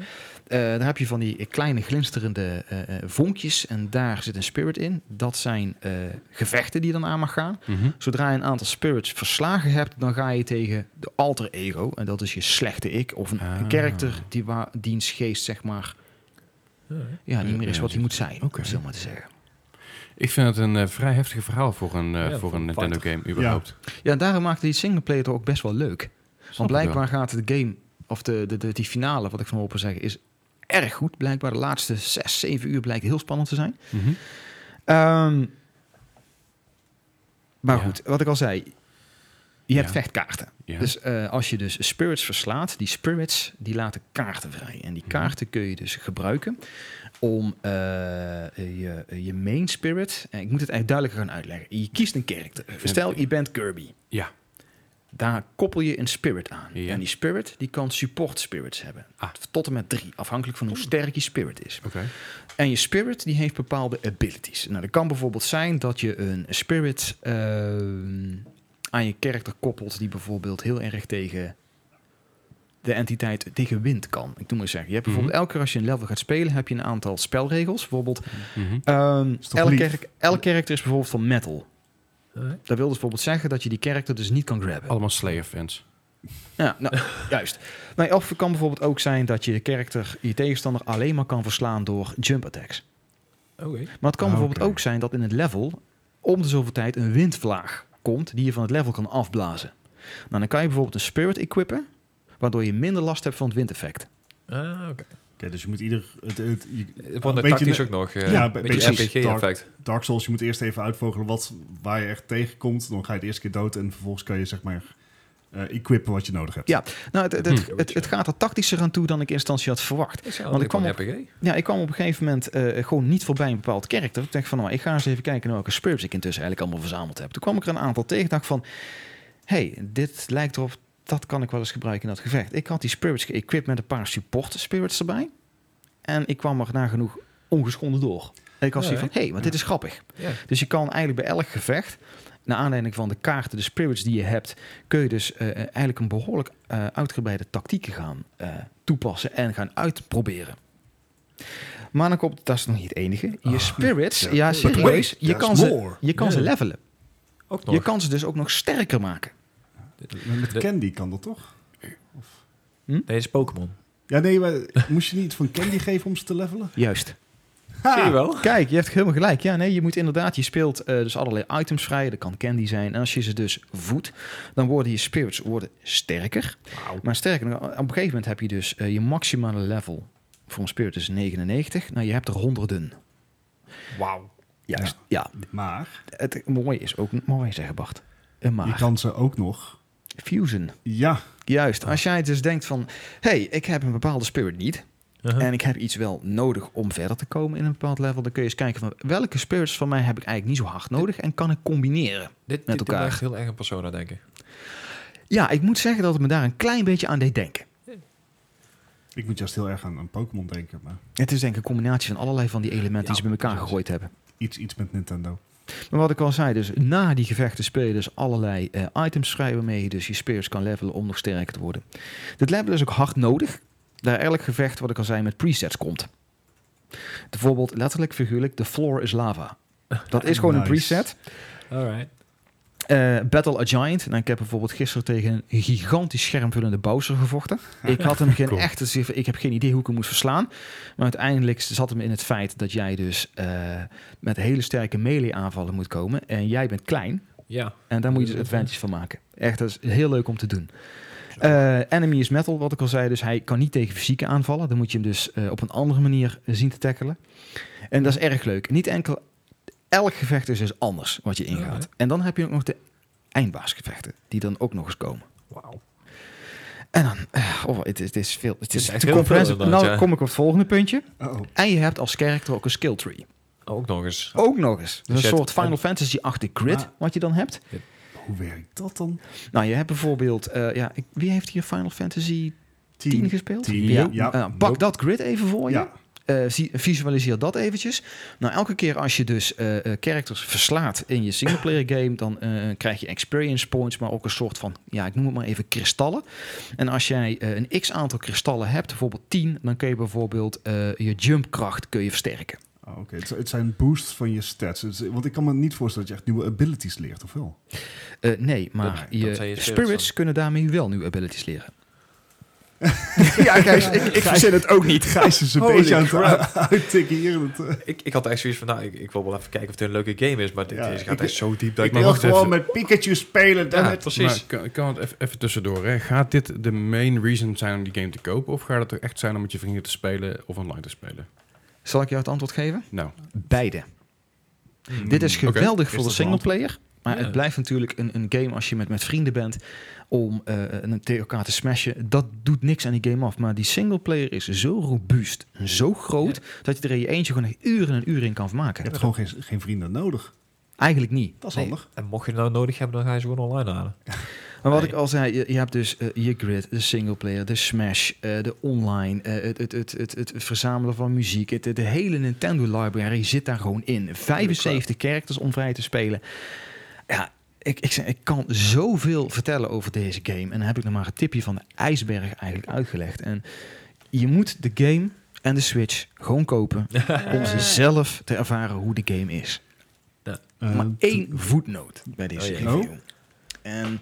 [SPEAKER 5] Eh, daar heb je van die kleine glinsterende eh, eh, vonkjes en daar zit een spirit in. Dat zijn eh, gevechten die je dan aan mag gaan.
[SPEAKER 3] Mhm.
[SPEAKER 5] Zodra je een aantal spirits verslagen hebt, dan ga je tegen de alter ego. En dat is je slechte ik of een,
[SPEAKER 3] Ah.
[SPEAKER 5] een karakter die waar diens geest, zeg maar, ja, niet meer is wat hij moet zijn.
[SPEAKER 3] Oké.
[SPEAKER 5] Om het zo maar te zeggen.
[SPEAKER 3] Ik vind het een eh, vrij heftig verhaal voor een, eh,
[SPEAKER 2] Ja,
[SPEAKER 3] voor
[SPEAKER 2] voor
[SPEAKER 3] een
[SPEAKER 2] een
[SPEAKER 3] Nintendo game überhaupt.
[SPEAKER 5] Ja, en daarom maakte die singleplayer toch ook best wel leuk.
[SPEAKER 3] Snap
[SPEAKER 5] Want
[SPEAKER 3] ik wel.
[SPEAKER 5] blijkbaar gaat de game, of de, de, de, die finale, wat ik van hoor zeggen, is erg goed. Blijkbaar de laatste zes, zeven uur blijkt heel spannend te zijn.
[SPEAKER 3] Mhm.
[SPEAKER 5] Ehm, maar
[SPEAKER 3] Ja.
[SPEAKER 5] goed, wat ik al zei. Je hebt
[SPEAKER 3] Ja.
[SPEAKER 5] vechtkaarten.
[SPEAKER 3] Ja.
[SPEAKER 5] Dus eh, als je dus spirits verslaat, die spirits die laten kaarten vrij. En die
[SPEAKER 3] Mhm.
[SPEAKER 5] kaarten kun je dus gebruiken om eh, je, eh, je main spirit. En ik moet het eigenlijk duidelijker gaan uitleggen. Je kiest een karakter. Stel, je bent Kirby.
[SPEAKER 3] Ja.
[SPEAKER 5] Daar koppel je een spirit aan.
[SPEAKER 3] Ja.
[SPEAKER 5] En die spirit die kan support spirits hebben.
[SPEAKER 3] Ah.
[SPEAKER 5] Tot en met drie, afhankelijk van hoe sterk je spirit is.
[SPEAKER 3] Oké.
[SPEAKER 5] En je spirit die heeft bepaalde abilities. Nou, dat kan bijvoorbeeld zijn dat je een spirit ehm, aan je karakter koppelt die bijvoorbeeld heel erg tegen de entiteit tegen wind kan. Ik doe maar zeggen. Je hebt bijvoorbeeld
[SPEAKER 1] Mhm.
[SPEAKER 5] elke keer als je een level gaat spelen heb je een aantal spelregels. Bijvoorbeeld
[SPEAKER 3] Mhm.
[SPEAKER 5] ehm
[SPEAKER 1] toch
[SPEAKER 5] elk,
[SPEAKER 1] lief?
[SPEAKER 5] karak- elk karakter is bijvoorbeeld van metal.
[SPEAKER 2] Eh?
[SPEAKER 5] Dat wil dus bijvoorbeeld zeggen dat je die karakter dus niet kan
[SPEAKER 1] Oh.
[SPEAKER 5] grabben.
[SPEAKER 3] Allemaal Slayer-fans.
[SPEAKER 5] Ja, nou, juist. Nee, of het kan bijvoorbeeld ook zijn dat je de karakter, je tegenstander alleen maar kan verslaan door jump attacks.
[SPEAKER 2] Oké.
[SPEAKER 5] Maar het kan
[SPEAKER 3] Ah,
[SPEAKER 5] bijvoorbeeld
[SPEAKER 3] oké.
[SPEAKER 5] ook zijn dat in het level om de zoveel tijd een windvlaag komt die je van het level kan afblazen. Nou, dan kan je bijvoorbeeld een spirit equippen, waardoor je minder last hebt van het windeffect.
[SPEAKER 2] Ah, oké.
[SPEAKER 1] dus je moet ieder... Het, het, je-
[SPEAKER 2] Het wordt een
[SPEAKER 1] Beetje
[SPEAKER 2] tactisch
[SPEAKER 1] ne-
[SPEAKER 2] ook nog.
[SPEAKER 1] Ja,
[SPEAKER 2] ja,
[SPEAKER 1] be-
[SPEAKER 2] een beetje
[SPEAKER 1] precies.
[SPEAKER 2] RPG-effect.
[SPEAKER 1] Dark Souls, je moet eerst even uitvogelen wat, waar je echt tegenkomt. Dan ga je de eerste keer dood en vervolgens kan je zeg maar eh, equippen wat je nodig hebt.
[SPEAKER 5] Ja. Nou, het, het, het,
[SPEAKER 2] Hm.
[SPEAKER 5] het, het gaat er tactischer aan toe dan ik in eerste instantie had verwacht.
[SPEAKER 2] Want ik kwam een
[SPEAKER 5] kwam
[SPEAKER 2] RPG.
[SPEAKER 5] Ja, ik kwam op een gegeven moment eh, gewoon niet voorbij een bepaald karakter. Ik dacht van, nou, ik ga eens even kijken naar welke spirits ik intussen eigenlijk allemaal verzameld heb. Toen kwam ik er een aantal tegen. Ik dacht van, hey, dit lijkt erop, dat kan ik wel eens gebruiken in dat gevecht. Ik had die spirits geëquipt met een paar support spirits erbij. En ik kwam er nagenoeg ongeschonden door. En ik had
[SPEAKER 2] Ja,
[SPEAKER 5] zoiets
[SPEAKER 2] hè?
[SPEAKER 5] van, hey, maar dit is grappig.
[SPEAKER 2] Ja.
[SPEAKER 5] Dus je kan eigenlijk bij elk gevecht, naar aanleiding van de kaarten, de spirits die je hebt, kun je dus eh, eigenlijk een behoorlijk eh, uitgebreide tactieken gaan eh, toepassen en gaan uitproberen. Maar dan komt, dat is nog niet het enige. Je spirits,
[SPEAKER 1] Ah, ja.
[SPEAKER 5] ja,
[SPEAKER 1] But
[SPEAKER 5] serieus,
[SPEAKER 1] wait,
[SPEAKER 5] je
[SPEAKER 1] there's
[SPEAKER 5] kan, ze,
[SPEAKER 1] more.
[SPEAKER 5] je kan
[SPEAKER 2] Ja.
[SPEAKER 5] ze levelen.
[SPEAKER 2] Ook nog.
[SPEAKER 5] Je kan ze dus ook nog sterker maken.
[SPEAKER 1] Met
[SPEAKER 2] De-
[SPEAKER 1] Candy kan dat toch?
[SPEAKER 2] Nee, is Pokémon.
[SPEAKER 1] Ja, nee, maar moest je niet iets van Candy geven om ze te levelen?
[SPEAKER 5] Juist.
[SPEAKER 1] Ha!
[SPEAKER 2] Zie je wel?
[SPEAKER 5] Kijk, je hebt helemaal gelijk. Ja, nee, je moet inderdaad, je speelt eh, dus allerlei items vrij. Dat kan candy zijn. En als je ze dus voedt, dan worden je spirits worden sterker. Maar sterker, nog, op een gegeven moment heb je dus eh, je maximale level voor een spirit is 99. Nou, je hebt er honderden.
[SPEAKER 2] Wauw.
[SPEAKER 5] Juist. Ja,
[SPEAKER 1] Maar
[SPEAKER 5] het mooie is ook, mooi zeggen Bart, een
[SPEAKER 1] je
[SPEAKER 5] maar.
[SPEAKER 1] kan ze ook nog...
[SPEAKER 5] Fusion.
[SPEAKER 1] Ja,
[SPEAKER 5] Juist, als jij dus denkt van, hey, ik heb een bepaalde spirit niet.
[SPEAKER 2] Uh-huh.
[SPEAKER 5] En ik heb iets wel nodig om verder te komen in een bepaald level. Dan kun je eens kijken van welke spirits van mij heb ik eigenlijk niet zo hard nodig en kan ik combineren.
[SPEAKER 2] Dit,
[SPEAKER 5] Met
[SPEAKER 2] dit
[SPEAKER 5] elkaar.
[SPEAKER 2] elkaar. echt heel erg een persona, denk ik.
[SPEAKER 5] Ja, ik moet zeggen dat het me daar een klein beetje aan deed denken.
[SPEAKER 1] ik moet juist heel erg aan, aan Pokémon denken, maar
[SPEAKER 5] Het is denk ik een combinatie van allerlei van die elementen die
[SPEAKER 2] Ja,
[SPEAKER 5] ze bij elkaar
[SPEAKER 2] precies.
[SPEAKER 5] gegooid hebben.
[SPEAKER 1] iets, iets met Nintendo.
[SPEAKER 5] Maar wat ik al zei, dus na die gevechten speel je dus allerlei eh, items vrij waarmee je dus je spirits kan levelen om nog sterker te worden. Dit level is ook hard nodig, daar elk gevecht wat ik al zei met presets komt. Bijvoorbeeld letterlijk figuurlijk, the floor is lava. Dat is gewoon een
[SPEAKER 1] Nice.
[SPEAKER 5] preset.
[SPEAKER 2] Alright.
[SPEAKER 5] Eh, Battle a Giant. Nou, ik heb bijvoorbeeld gisteren tegen een gigantisch schermvullende Bowser gevochten. Ik had hem geen
[SPEAKER 3] Cool.
[SPEAKER 5] echte zin- Ik heb geen idee hoe ik hem moest verslaan. Maar uiteindelijk zat hem in het feit dat jij dus eh, met hele sterke melee aanvallen moet komen. En jij bent klein.
[SPEAKER 2] Ja.
[SPEAKER 5] En daar moet je dus advantage van maken. Echt, dat is heel leuk om te doen. Eh, enemy is metal, wat ik al zei. Dus hij kan niet tegen fysieke aanvallen. Dan moet je hem dus eh, op een andere manier zien te tackelen. En dat is erg leuk. Niet enkel... Elk gevecht is dus anders wat je ingaat.
[SPEAKER 2] Oké.
[SPEAKER 5] En dan heb je ook nog de eindbaasgevechten. Die dan ook nog eens komen.
[SPEAKER 2] Wauw.
[SPEAKER 5] En dan... eh, oh, het is, het is veel... Het is,
[SPEAKER 2] echt
[SPEAKER 5] te
[SPEAKER 2] heel veel
[SPEAKER 5] comprehensive.
[SPEAKER 2] inderdaad,
[SPEAKER 5] Nou
[SPEAKER 2] ja.
[SPEAKER 5] kom ik op het volgende puntje.
[SPEAKER 1] Oh,
[SPEAKER 5] En je hebt als character ook een skill tree.
[SPEAKER 2] Ook nog eens.
[SPEAKER 5] Ook nog eens. Dus
[SPEAKER 2] Dus je
[SPEAKER 5] een
[SPEAKER 2] hebt
[SPEAKER 5] soort Final Fantasy-achtig grid
[SPEAKER 1] Ah.
[SPEAKER 5] wat je dan hebt.
[SPEAKER 1] hoe werkt dat dan?
[SPEAKER 5] Nou, je hebt bijvoorbeeld, eh, ja, ik- wie heeft hier Final Fantasy 10 gespeeld?
[SPEAKER 1] Tien,
[SPEAKER 5] ja.
[SPEAKER 1] ja.
[SPEAKER 5] Eh, pak dat grid even voor je.
[SPEAKER 1] Ja,
[SPEAKER 5] eh, zie- visualiseer dat eventjes. Nou, elke keer als je dus eh, eh, characters verslaat in je singleplayer game, dan eh, krijg je experience points, maar ook een soort van, ja, ik noem het maar even kristallen. En als jij eh, een x aantal kristallen hebt, bijvoorbeeld 10, dan kun je bijvoorbeeld eh, je jumpkracht kun je versterken.
[SPEAKER 1] Ah, Oké, het, het zijn boosts van je stats. Het is- want ik kan me niet voorstellen dat je echt nieuwe abilities leert, of wel?
[SPEAKER 5] Eh, nee, maar
[SPEAKER 6] Nee, dat
[SPEAKER 5] je,
[SPEAKER 6] zijn je spirits
[SPEAKER 5] spirits kunnen daarmee wel nieuwe abilities leren.
[SPEAKER 4] ja, Gijs, ik, ik verzin het ook niet.
[SPEAKER 1] Gijs is een
[SPEAKER 6] Holy
[SPEAKER 1] beetje aan het
[SPEAKER 6] crap.
[SPEAKER 1] u- uittikken hier. Het, eh,
[SPEAKER 6] Ik, ik had echt zoiets van, nou, ik, ik wil wel even kijken of het een leuke game is, maar dit
[SPEAKER 1] Ja,
[SPEAKER 6] deze gaat
[SPEAKER 1] ik-
[SPEAKER 6] echt zo diep dat ik...
[SPEAKER 1] ik
[SPEAKER 3] maar
[SPEAKER 1] wil
[SPEAKER 3] wacht
[SPEAKER 1] gewoon
[SPEAKER 3] even.
[SPEAKER 1] met Pikachu spelen. Dan
[SPEAKER 6] ja,
[SPEAKER 1] het.
[SPEAKER 6] precies.
[SPEAKER 3] Maar kan, kan het even, even tussendoor, hè? gaat dit de main reason zijn om die game te kopen? Of gaat het ook echt zijn om met je vrienden te spelen of online te spelen?
[SPEAKER 5] Zal ik jou het antwoord geven?
[SPEAKER 3] Nou,
[SPEAKER 5] Beide. Dit is
[SPEAKER 3] oké.
[SPEAKER 5] geweldig
[SPEAKER 3] Is
[SPEAKER 5] voor de
[SPEAKER 3] dat wel
[SPEAKER 5] singleplayer. Maar
[SPEAKER 2] Ja.
[SPEAKER 5] het blijft natuurlijk een, een game als je met, met vrienden bent om eh, een tegen elkaar te smashen. Dat doet niks aan die game af. Maar die singleplayer is zo robuust en zo groot dat je er in je eentje gewoon echt uren en uren in kan
[SPEAKER 1] Je
[SPEAKER 5] vermaken.
[SPEAKER 1] hebt gewoon geen, geen vrienden nodig.
[SPEAKER 5] Eigenlijk niet.
[SPEAKER 1] Dat is
[SPEAKER 2] Nee.
[SPEAKER 1] handig.
[SPEAKER 2] En mocht je het nou nodig hebben, dan ga je ze gewoon online halen.
[SPEAKER 5] Maar wat
[SPEAKER 2] Nee.
[SPEAKER 5] ik al zei, je, je hebt dus eh, je grid, de singleplayer, de smash, eh, de online, eh, het, het, het, het, het verzamelen van muziek. Het, het- de hele Nintendo library zit daar gewoon in. 75 characters om vrij te spelen. Ja, ik, ik, zeg, ik kan zoveel vertellen over deze game. En dan heb ik nog maar het tipje van de ijsberg eigenlijk uitgelegd. En je moet de game en de Switch gewoon kopen om ze zelf te ervaren hoe de game is
[SPEAKER 1] Eh,
[SPEAKER 5] maar één Ehm, voetnoot bij deze
[SPEAKER 6] Oh, jee.
[SPEAKER 5] review. En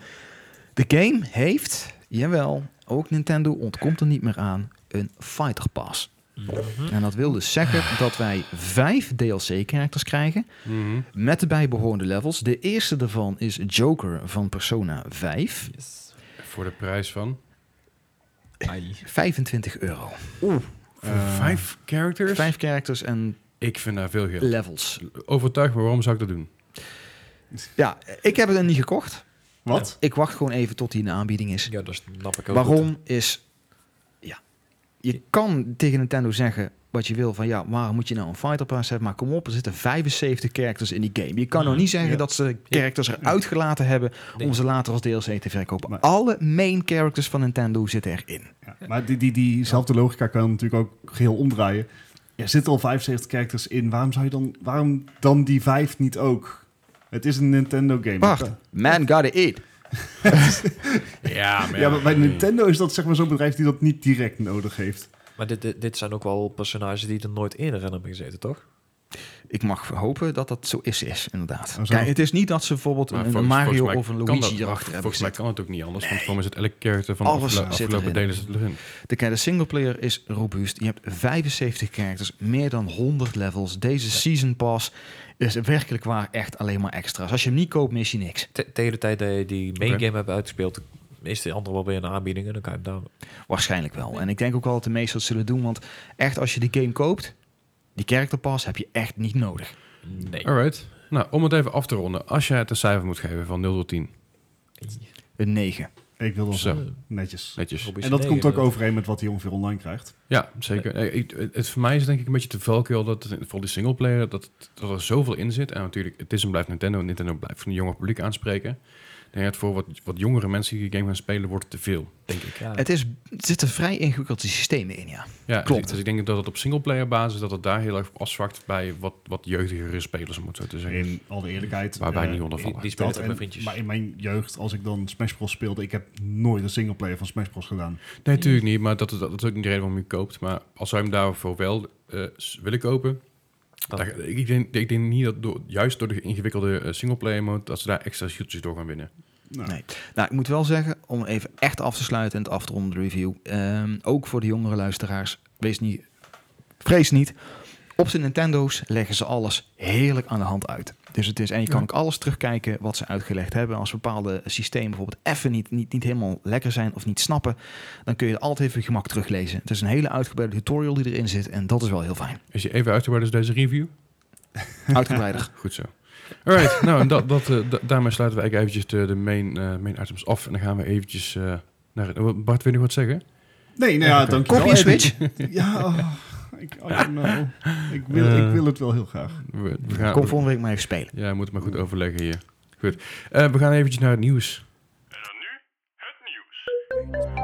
[SPEAKER 5] de game heeft, jawel, ook Nintendo ontkomt er niet meer aan, een Fighter Pass.
[SPEAKER 2] Mm-hmm.
[SPEAKER 5] En dat wil dus zeggen dat wij vijf DLC-characters krijgen
[SPEAKER 3] mhm.
[SPEAKER 5] met de bijbehorende levels. De eerste daarvan is Joker van Persona 5.
[SPEAKER 3] voor de prijs van
[SPEAKER 2] Ai.
[SPEAKER 5] 25 euro.
[SPEAKER 3] voor
[SPEAKER 1] Eh,
[SPEAKER 3] vijf characters?
[SPEAKER 5] Vijf characters en
[SPEAKER 3] Ik vind daar veel geld.
[SPEAKER 5] levels.
[SPEAKER 3] Overtuig me, waarom zou ik dat doen?
[SPEAKER 5] Ja, ik heb het er niet gekocht.
[SPEAKER 1] Wat?
[SPEAKER 5] Ik wacht gewoon even tot die in de aanbieding is.
[SPEAKER 2] Ja, dat snap ik ook.
[SPEAKER 5] Waarom is... Ja, je kan tegen Nintendo zeggen wat je wil van... ja, waarom moet je nou een Fighter Pass hebben? Maar kom op, er zitten 75 characters in die game. Je kan nog niet zeggen
[SPEAKER 1] Ja.
[SPEAKER 5] dat ze characters eruit gelaten hebben...
[SPEAKER 2] Nee.
[SPEAKER 5] om ze later als DLC te verkopen.
[SPEAKER 1] Maar-
[SPEAKER 5] Alle main characters van Nintendo zitten erin.
[SPEAKER 1] Ja, maar die, die, diezelfde logica kan natuurlijk ook geheel omdraaien. Er zitten al 75 characters in. Waarom zou je dan, waarom dan die vijf niet ook? Het is een Nintendo game.
[SPEAKER 5] Wacht, man gotta eat.
[SPEAKER 3] Ja, maar,
[SPEAKER 1] Ja, maar bij Nintendo is dat zeg maar zo'n bedrijf die dat niet direct nodig heeft.
[SPEAKER 2] Maar dit, dit, dit zijn ook wel personages die er nooit eerder in hebben gezeten, toch?
[SPEAKER 5] Ik mag hopen dat dat zo is, is inderdaad.
[SPEAKER 1] Oh, zo.
[SPEAKER 5] Kijk, het is niet dat ze bijvoorbeeld
[SPEAKER 3] Maar
[SPEAKER 5] een,
[SPEAKER 3] volgens-
[SPEAKER 5] Mario
[SPEAKER 3] volgens mij
[SPEAKER 5] of een
[SPEAKER 3] kan
[SPEAKER 5] Luigi
[SPEAKER 3] dat-
[SPEAKER 5] erachter hebben
[SPEAKER 3] Volgens mij
[SPEAKER 5] gezet.
[SPEAKER 3] kan het ook niet anders, want voor mij zit elke character van
[SPEAKER 5] Alles
[SPEAKER 3] de afgelo-
[SPEAKER 5] zit
[SPEAKER 3] afgelopen
[SPEAKER 5] erin.
[SPEAKER 3] delen zit erin.
[SPEAKER 5] De, kijk, de singleplayer is robuust. Je hebt 75 characters, meer dan 100 levels. Deze season pass is werkelijk waar echt alleen maar extra's. Als je hem niet koopt, mis je niks.
[SPEAKER 2] Te- tegen de tijd dat je die main
[SPEAKER 3] Oké.
[SPEAKER 2] game hebt uitgespeeld, is de andere wel weer in de aanbieding en dan kan je hem downloaden.
[SPEAKER 5] Waarschijnlijk wel. En ik denk ook wel dat de meesten dat zullen doen. Want echt, als je de game koopt, die character pass heb je echt niet nodig.
[SPEAKER 2] Nee.
[SPEAKER 3] Alright. Nou, om het even af te ronden. Als jij het een cijfer moet geven van 0 tot 10.
[SPEAKER 5] Een 9.
[SPEAKER 1] Ik wil dat
[SPEAKER 3] Zo,
[SPEAKER 1] netjes.
[SPEAKER 3] netjes.
[SPEAKER 2] Robby
[SPEAKER 1] En dat
[SPEAKER 2] Snee,
[SPEAKER 1] komt ook
[SPEAKER 2] inderdaad.
[SPEAKER 1] overeen met wat hij ongeveer online krijgt.
[SPEAKER 3] Ja, zeker. Eh, ik- het- het, voor mij is het denk ik een beetje te valkuil dat het- voor die singleplayer dat, het- dat er zoveel in zit. En natuurlijk, het is en blijft Nintendo. en Nintendo blijft een jonger publiek aanspreken. Ik denk dat voor wat, wat jongere mensen die die game gaan spelen, wordt het te veel, denk ik.
[SPEAKER 2] Ja.
[SPEAKER 5] Het, is, het zitten vrij ingewikkelde systemen in, ja.
[SPEAKER 3] Ja,
[SPEAKER 5] Klopt.
[SPEAKER 3] Dus, ik denk dat het op singleplayer basis dat het daar heel erg op afzwakt bij wat, wat jeugdigere spelers, om het zo te zeggen.
[SPEAKER 1] In alle eerlijkheid.
[SPEAKER 3] Waar wij
[SPEAKER 1] eh,
[SPEAKER 3] niet onder
[SPEAKER 2] die,
[SPEAKER 3] vallen.
[SPEAKER 2] die speelt
[SPEAKER 1] dat
[SPEAKER 2] ook
[SPEAKER 1] en-
[SPEAKER 2] met vriendjes.
[SPEAKER 1] maar in mijn jeugd, als ik dan Smash Bros speelde, ik heb nooit een singleplayer van Smash Bros gedaan.
[SPEAKER 3] Nee, natuurlijk niet. Maar dat, dat, dat is ook niet de reden waarom je hem koopt. Maar als zou je hem daarvoor wel eh, s- willen kopen...
[SPEAKER 2] Dan-
[SPEAKER 3] daar- ik, denk, ik denk niet dat door, juist door de ingewikkelde eh, singleplayer mode... dat ze daar extra shooters door gaan winnen.
[SPEAKER 1] Nou,
[SPEAKER 5] Nee. Nou, ik moet wel zeggen, om even echt af te sluiten en het af te ronden de review. ehm, ook voor de jongere luisteraars, wees niet, vrees niet. Op zijn Nintendo's leggen ze alles heerlijk aan de hand uit. Dus het is, en je kan ook alles terugkijken wat ze uitgelegd hebben. Als bepaalde systemen bijvoorbeeld even niet, niet, niet helemaal lekker zijn of niet snappen, dan kun je het altijd even gemak teruglezen. Het is een hele uitgebreide tutorial die erin zit en dat is wel heel fijn.
[SPEAKER 3] Is je even uitgebreid als deze review?
[SPEAKER 5] Uitgebreider.
[SPEAKER 3] Goed zo. Alright, nou, en dat, dat, eh, da- daarmee sluiten we eigenlijk eventjes de, de main, eh, main items af. En dan gaan we eventjes eh, naar... het- Bart, wil je nog wat zeggen?
[SPEAKER 1] nee, nou ja,
[SPEAKER 3] Oké.
[SPEAKER 1] dankjewel.
[SPEAKER 5] Koop je een
[SPEAKER 1] En-
[SPEAKER 5] Switch?
[SPEAKER 1] Ja, oh, ik, I don't know. Ik, wil,
[SPEAKER 3] Eh.
[SPEAKER 1] ik wil het wel heel graag.
[SPEAKER 3] We, we gaan,
[SPEAKER 5] Kom volgende week maar even spelen.
[SPEAKER 3] Ja, we moeten maar goed overleggen hier. Goed. Eh, we gaan eventjes naar het nieuws. En dan nu het nieuws.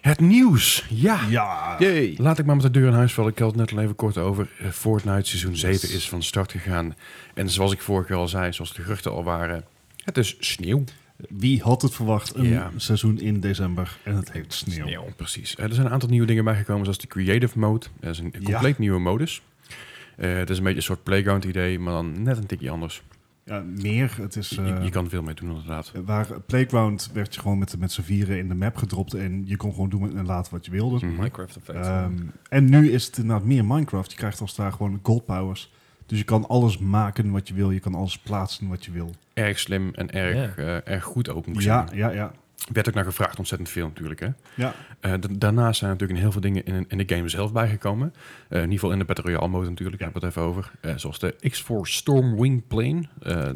[SPEAKER 3] Het nieuws. Ja.
[SPEAKER 1] Ja.
[SPEAKER 4] Jee.
[SPEAKER 3] Laat ik maar met de deur in huis vallen. Ik had het net al even kort over. Eh, Fortnite seizoen 7 is van start gegaan. En zoals ik vorige keer al zei, zoals de geruchten al waren, het is sneeuw.
[SPEAKER 1] Wie had het verwacht? Een
[SPEAKER 3] Ja.
[SPEAKER 1] seizoen in december en het heet sneeuw.
[SPEAKER 3] Precies. Eh, er zijn een aantal nieuwe dingen bijgekomen, zoals de creative mode. Dat is een
[SPEAKER 1] Ja.
[SPEAKER 3] compleet nieuwe modus. Eh, het is een beetje een soort playground idee, maar dan net een tikje anders.
[SPEAKER 1] Ja, meer. Het is...
[SPEAKER 3] Je-
[SPEAKER 1] eh,
[SPEAKER 3] je, kan veel mee doen, inderdaad.
[SPEAKER 1] Waar Playground werd je gewoon met, de- met z'n vieren in de map gedropt en je kon gewoon doen en laten wat je wilde.
[SPEAKER 3] Mhm.
[SPEAKER 6] Minecraft effect.
[SPEAKER 1] Ehm, en nu is het inderdaad meer Minecraft. Je krijgt als het ware gewoon gold powers. Dus je kan alles maken wat je wil. Je kan alles plaatsen wat je wil.
[SPEAKER 3] Erg slim en erg, eh, erg goed ook, moet ik
[SPEAKER 1] Ja,
[SPEAKER 3] zeggen.
[SPEAKER 1] ja, ja.
[SPEAKER 3] Werd ook naar gevraagd, ontzettend veel natuurlijk. Hè?
[SPEAKER 1] Ja,
[SPEAKER 3] Eh, da- daarnaast zijn natuurlijk heel veel dingen in, in de game zelf bijgekomen. Eh, in ieder geval in de Battle Royale mode natuurlijk, daar hebben we het even over. Eh, zoals de X4 Stormwing Plane. Eh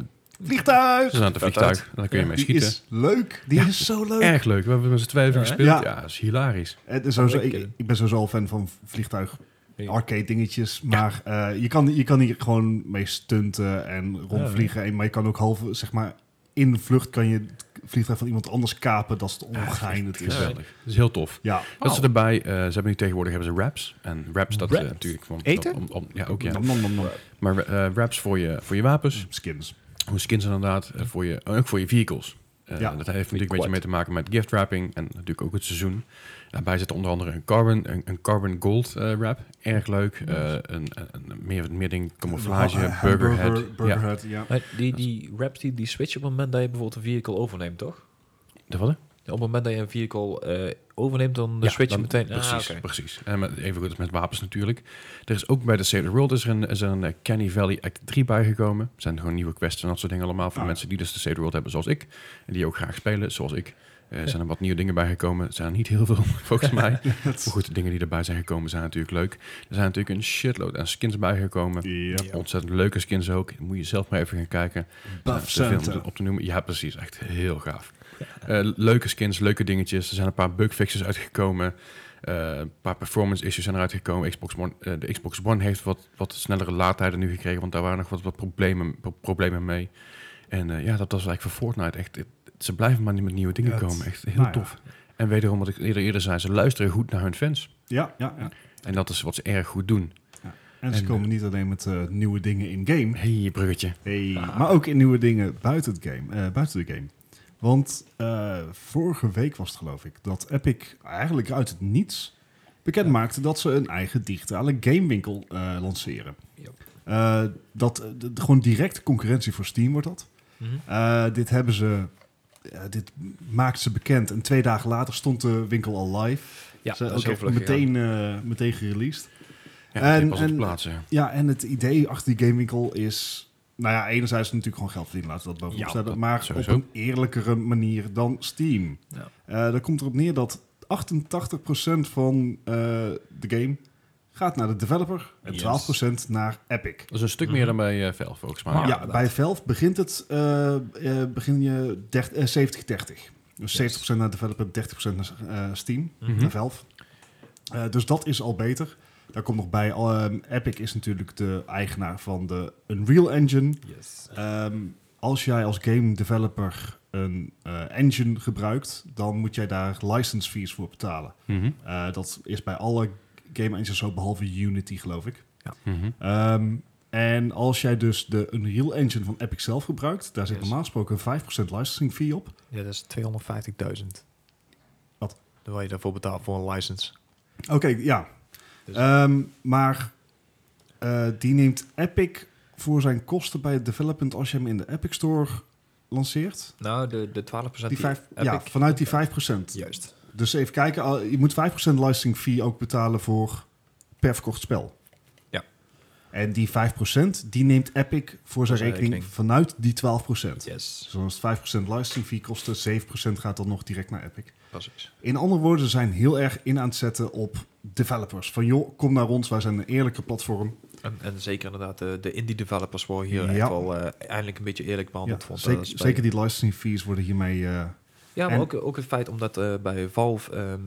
[SPEAKER 1] Vliegtuig!
[SPEAKER 3] dat is een vliegtuig, daar kun je mee
[SPEAKER 1] Die
[SPEAKER 3] schieten.
[SPEAKER 1] is leuk. Die is zo leuk.
[SPEAKER 3] Erg leuk, we hebben met z'n tweeën even
[SPEAKER 2] Ja, hè?
[SPEAKER 3] gespeeld. Ja.
[SPEAKER 1] Ja.
[SPEAKER 3] dat is hilarisch.
[SPEAKER 1] Het is sowieso,
[SPEAKER 2] Oh, ik
[SPEAKER 1] ik,
[SPEAKER 3] eh,
[SPEAKER 2] ken hem.
[SPEAKER 1] ik ben sowieso al fan van vliegtuig
[SPEAKER 2] Ja.
[SPEAKER 1] arcade dingetjes. Maar eh, je, kan, je kan hier gewoon mee stunten en rondvliegen. En- Maar je kan ook half, zeg maar, in de vlucht kan je het vliegtuig van iemand anders kapen. Dat is
[SPEAKER 3] Ah,
[SPEAKER 1] het ongein. het is.
[SPEAKER 3] Geweldig. Dat is heel tof.
[SPEAKER 1] Ja.
[SPEAKER 3] Dat ze erbij, eh, ze hebben nu tegenwoordig hebben ze wraps. En wraps, dat is
[SPEAKER 2] Wraps?
[SPEAKER 3] natuurlijk van...
[SPEAKER 4] Eten?
[SPEAKER 3] Om, om- ja, ook ja.
[SPEAKER 1] Nom, nom, nom, nom.
[SPEAKER 3] Maar eh, wraps voor je, voor je wapens.
[SPEAKER 1] Skins.
[SPEAKER 3] Hoe skins inderdaad, eh, voor je, en ook voor je vehicles. Eh,
[SPEAKER 1] Ja.
[SPEAKER 3] Dat heeft natuurlijk een beetje
[SPEAKER 2] quad.
[SPEAKER 3] mee te maken met gift wrapping en natuurlijk ook het seizoen. Daarbij zit onder andere een carbon, een, een carbon gold eh, wrap. Erg leuk. Eh, een, een, een- meer, meer ding, camouflage,
[SPEAKER 1] Eh, hamburger,
[SPEAKER 3] burgerhead. ja.
[SPEAKER 1] burgerhead, ja.
[SPEAKER 2] Maar die, die raps die, die switch op het moment dat je bijvoorbeeld een vehicle overneemt, toch?
[SPEAKER 3] De wat?
[SPEAKER 2] Op het moment dat je een vehicle eh, overneemt, dan
[SPEAKER 3] Ja,
[SPEAKER 2] switch je
[SPEAKER 3] dan-
[SPEAKER 2] meteen.
[SPEAKER 3] Precies,
[SPEAKER 2] Ah, oké.
[SPEAKER 3] precies. En met, even goed als met wapens natuurlijk. Er is ook bij de Save the World is er een, is er een eh, Canny Valley Act 3 bijgekomen. Er zijn gewoon nieuwe quests en dat soort dingen allemaal. Voor
[SPEAKER 1] Ah.
[SPEAKER 3] mensen die dus de Save the World hebben zoals ik. En die ook graag spelen zoals ik. Eh, zijn er wat nieuwe dingen bijgekomen. Er zijn er niet heel veel volgens mij. Maar goed, de dingen die erbij zijn gekomen zijn natuurlijk leuk. Er zijn natuurlijk een shitload aan skins bijgekomen.
[SPEAKER 1] Ja.
[SPEAKER 3] Ontzettend leuke skins ook. Moet je zelf maar even gaan kijken.
[SPEAKER 1] Buff
[SPEAKER 3] Ja, te veel om
[SPEAKER 1] Santa.
[SPEAKER 3] te- op te noemen. Ja, precies. Echt heel gaaf. Eh, leuke skins, leuke dingetjes. Er zijn een paar bugfixes uitgekomen. Eh, een paar performance issues zijn eruit gekomen. Xbox One, eh, de Xbox One heeft wat, wat snellere laadtijden nu gekregen, want daar waren nog wat, wat problemen, pro- problemen mee. En eh, ja, dat was eigenlijk voor Fortnite. Echt, het- ze blijven maar niet met nieuwe dingen
[SPEAKER 1] Ja, het-
[SPEAKER 3] komen. Echt heel
[SPEAKER 1] nou ja.
[SPEAKER 3] tof. En wederom wat ik eerder, eerder zei, ze luisteren goed naar hun fans.
[SPEAKER 1] Ja, ja, ja.
[SPEAKER 3] En dat is wat ze erg goed doen.
[SPEAKER 1] En ze
[SPEAKER 3] En,
[SPEAKER 1] komen niet alleen met eh, nieuwe dingen in-game,
[SPEAKER 3] hey, bruggetje.
[SPEAKER 1] hey, maar ook in nieuwe dingen buiten, het game, eh, buiten de game. Want eh, vorige week was het geloof ik dat Epic eigenlijk uit het niets bekend maakte dat ze een eigen digitale gamewinkel eh, lanceren.
[SPEAKER 2] Yep.
[SPEAKER 1] Eh, dat eh, d- gewoon direct concurrentie voor Steam wordt dat.
[SPEAKER 2] Mhm.
[SPEAKER 1] Eh, dit hebben ze, eh, dit maakt ze bekend en twee dagen later stond de winkel al live.
[SPEAKER 2] Ja,
[SPEAKER 1] Ze
[SPEAKER 2] dat is
[SPEAKER 1] ook
[SPEAKER 2] heel
[SPEAKER 1] echt
[SPEAKER 2] vlug gegaan.
[SPEAKER 1] meteen, eh, meteen gereleased.
[SPEAKER 3] Ja, dat
[SPEAKER 1] En-
[SPEAKER 3] was op
[SPEAKER 1] en-
[SPEAKER 3] plaatsen.
[SPEAKER 1] Ja, en het idee achter die gamewinkel is... Nou ja, enerzijds natuurlijk gewoon geld verdienen, laten we dat bovenop
[SPEAKER 3] Ja,
[SPEAKER 1] stellen.
[SPEAKER 3] dat
[SPEAKER 1] Maar
[SPEAKER 3] sowieso.
[SPEAKER 1] op een eerlijkere manier dan Steam.
[SPEAKER 2] Ja.
[SPEAKER 1] Eh, daar komt erop neer dat 88% van eh, de game gaat naar de developer... en
[SPEAKER 6] Yes.
[SPEAKER 1] 12% naar Epic.
[SPEAKER 3] Dat is een stuk
[SPEAKER 1] Mhm.
[SPEAKER 3] meer dan bij eh Valve, volgens mij.
[SPEAKER 2] Ah,
[SPEAKER 1] Ja,
[SPEAKER 2] ja,
[SPEAKER 1] bij Valve begint het, eh, eh, begin je dert- eh, 70-30. Dus 70% naar developer, 30% naar eh, Steam,
[SPEAKER 2] Mhm.
[SPEAKER 1] naar Valve. Eh, dus dat is al beter. Daar komt nog bij, ehm, Epic is natuurlijk de eigenaar van de Unreal Engine.
[SPEAKER 2] Yes.
[SPEAKER 1] Ehm, als jij als game developer een eh, engine gebruikt, dan moet jij daar license fees voor betalen.
[SPEAKER 3] Mhm.
[SPEAKER 1] Eh, dat is bij alle game engines zo, behalve Unity geloof ik.
[SPEAKER 3] Mhm.
[SPEAKER 1] Ehm, en als jij dus de Unreal Engine van Epic zelf gebruikt, daar zit
[SPEAKER 2] Yes.
[SPEAKER 1] normaal gesproken een 5% licensing fee op.
[SPEAKER 2] Ja, dat is 250.000.
[SPEAKER 1] Wat?
[SPEAKER 2] Dan wil je daarvoor betaalt voor een license.
[SPEAKER 1] Oké, ja.
[SPEAKER 2] Dus-
[SPEAKER 1] Ehm, maar eh, die neemt Epic voor zijn kosten bij het development als je hem in de Epic Store lanceert.
[SPEAKER 2] Nou, de, de 12%
[SPEAKER 1] Die vijf,
[SPEAKER 2] heb
[SPEAKER 1] ja,
[SPEAKER 2] ik-
[SPEAKER 1] vanuit die 5%.
[SPEAKER 2] Juist.
[SPEAKER 1] Dus even kijken, al- je moet 5% licensing fee ook betalen voor per verkocht spel.
[SPEAKER 2] Ja.
[SPEAKER 1] En die 5% die neemt Epic voor zijn
[SPEAKER 2] zijn
[SPEAKER 1] rekening,
[SPEAKER 2] rekening.
[SPEAKER 1] vanuit die 12%.
[SPEAKER 2] Yes.
[SPEAKER 1] Dus als het 5% licensing fee kost, 7% gaat dan nog direct naar Epic.
[SPEAKER 2] Precies.
[SPEAKER 1] In andere woorden, ze zijn heel erg in aan het zetten op developers. Van joh, kom naar ons, wij zijn een eerlijke platform.
[SPEAKER 2] En, en zeker inderdaad, de, de indie developers worden hier
[SPEAKER 1] Ja.
[SPEAKER 2] echt wel eh, eindelijk een beetje eerlijk
[SPEAKER 1] Ja,
[SPEAKER 2] behandeld. vond. Dat
[SPEAKER 1] zeker,
[SPEAKER 2] is bij-
[SPEAKER 1] zeker die licensing fees worden hiermee... eh,
[SPEAKER 2] Ja, maar
[SPEAKER 1] en-
[SPEAKER 2] ook, ook het feit omdat eh, bij Valve, ehm,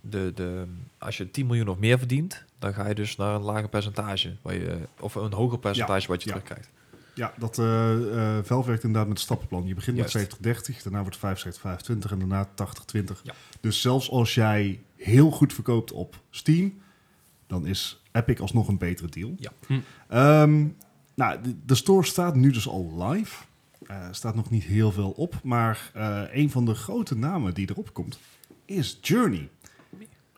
[SPEAKER 2] de, de, als je 10 miljoen of meer verdient, dan ga je dus naar een lager percentage. Waar je, of een hoger percentage wat je
[SPEAKER 1] ja.
[SPEAKER 2] terugkrijgt.
[SPEAKER 1] Ja, dat eh eh Valve werkt inderdaad met stappenplan. Je begint
[SPEAKER 2] Juist.
[SPEAKER 1] met 70-30, daarna wordt 75-25 en daarna 80-20.
[SPEAKER 2] Ja.
[SPEAKER 1] Dus zelfs als jij heel goed verkoopt op Steam, dan is Epic alsnog een betere deal.
[SPEAKER 2] Ja.
[SPEAKER 3] Hm.
[SPEAKER 1] Ehm, nou, de, de store staat nu dus al live. Eh staat nog niet heel veel op, maar eh, een van de grote namen die erop komt is Journey.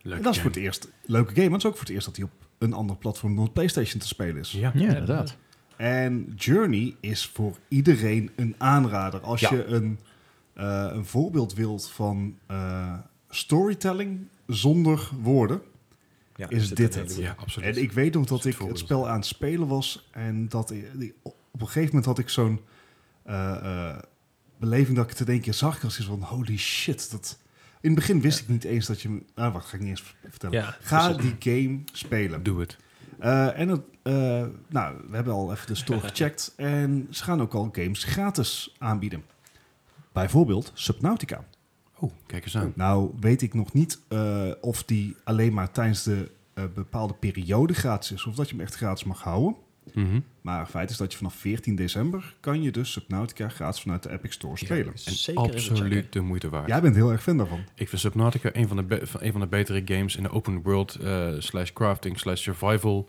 [SPEAKER 3] Leuk.
[SPEAKER 1] En dat is voor het eerst leuke game, maar het is ook voor het eerst dat hij op een ander platform dan PlayStation te spelen is.
[SPEAKER 3] Ja.
[SPEAKER 5] Ja, inderdaad.
[SPEAKER 1] En Journey is voor iedereen een aanrader. Als
[SPEAKER 2] Ja.
[SPEAKER 1] je een, eh, een voorbeeld wilt van eh, storytelling zonder woorden.
[SPEAKER 2] Ja,
[SPEAKER 1] Is
[SPEAKER 2] dat
[SPEAKER 1] dit
[SPEAKER 2] een
[SPEAKER 1] het?
[SPEAKER 2] hele-
[SPEAKER 3] Ja, absoluut.
[SPEAKER 1] En ik weet nog dat
[SPEAKER 3] het
[SPEAKER 1] ik het
[SPEAKER 3] voorbeeld.
[SPEAKER 1] spel aan het spelen was. En dat i- die- op een gegeven moment had ik zo'n eh, eh, beleving dat ik te denken zag. Ik was iets van holy shit. Dat... In het begin wist ik niet eens dat je... hem- Nou, wacht, ga ik niet eens vertellen.
[SPEAKER 2] Ja,
[SPEAKER 1] Ga
[SPEAKER 2] precies.
[SPEAKER 1] die game spelen.
[SPEAKER 3] Doe het.
[SPEAKER 1] Eh, en het, eh, nou, we hebben al even de store gecheckt. En ze gaan ook al games gratis aanbieden. Bijvoorbeeld Subnautica.
[SPEAKER 3] Oh, kijk eens aan.
[SPEAKER 1] Nou weet ik nog niet eh, of die alleen maar tijdens de eh, bepaalde periode gratis is. Of dat je hem echt gratis mag houden.
[SPEAKER 3] Mhm.
[SPEAKER 1] Maar het feit is dat je vanaf 14 december kan je dus Subnautica gratis vanuit de Epic Store spelen.
[SPEAKER 3] En
[SPEAKER 6] Zeker even checken.
[SPEAKER 3] absoluut de moeite waard.
[SPEAKER 1] Jij bent heel erg fan daarvan.
[SPEAKER 3] Ik vind Subnautica een van de, be- van, een van de betere games in de open world eh, slash crafting slash survival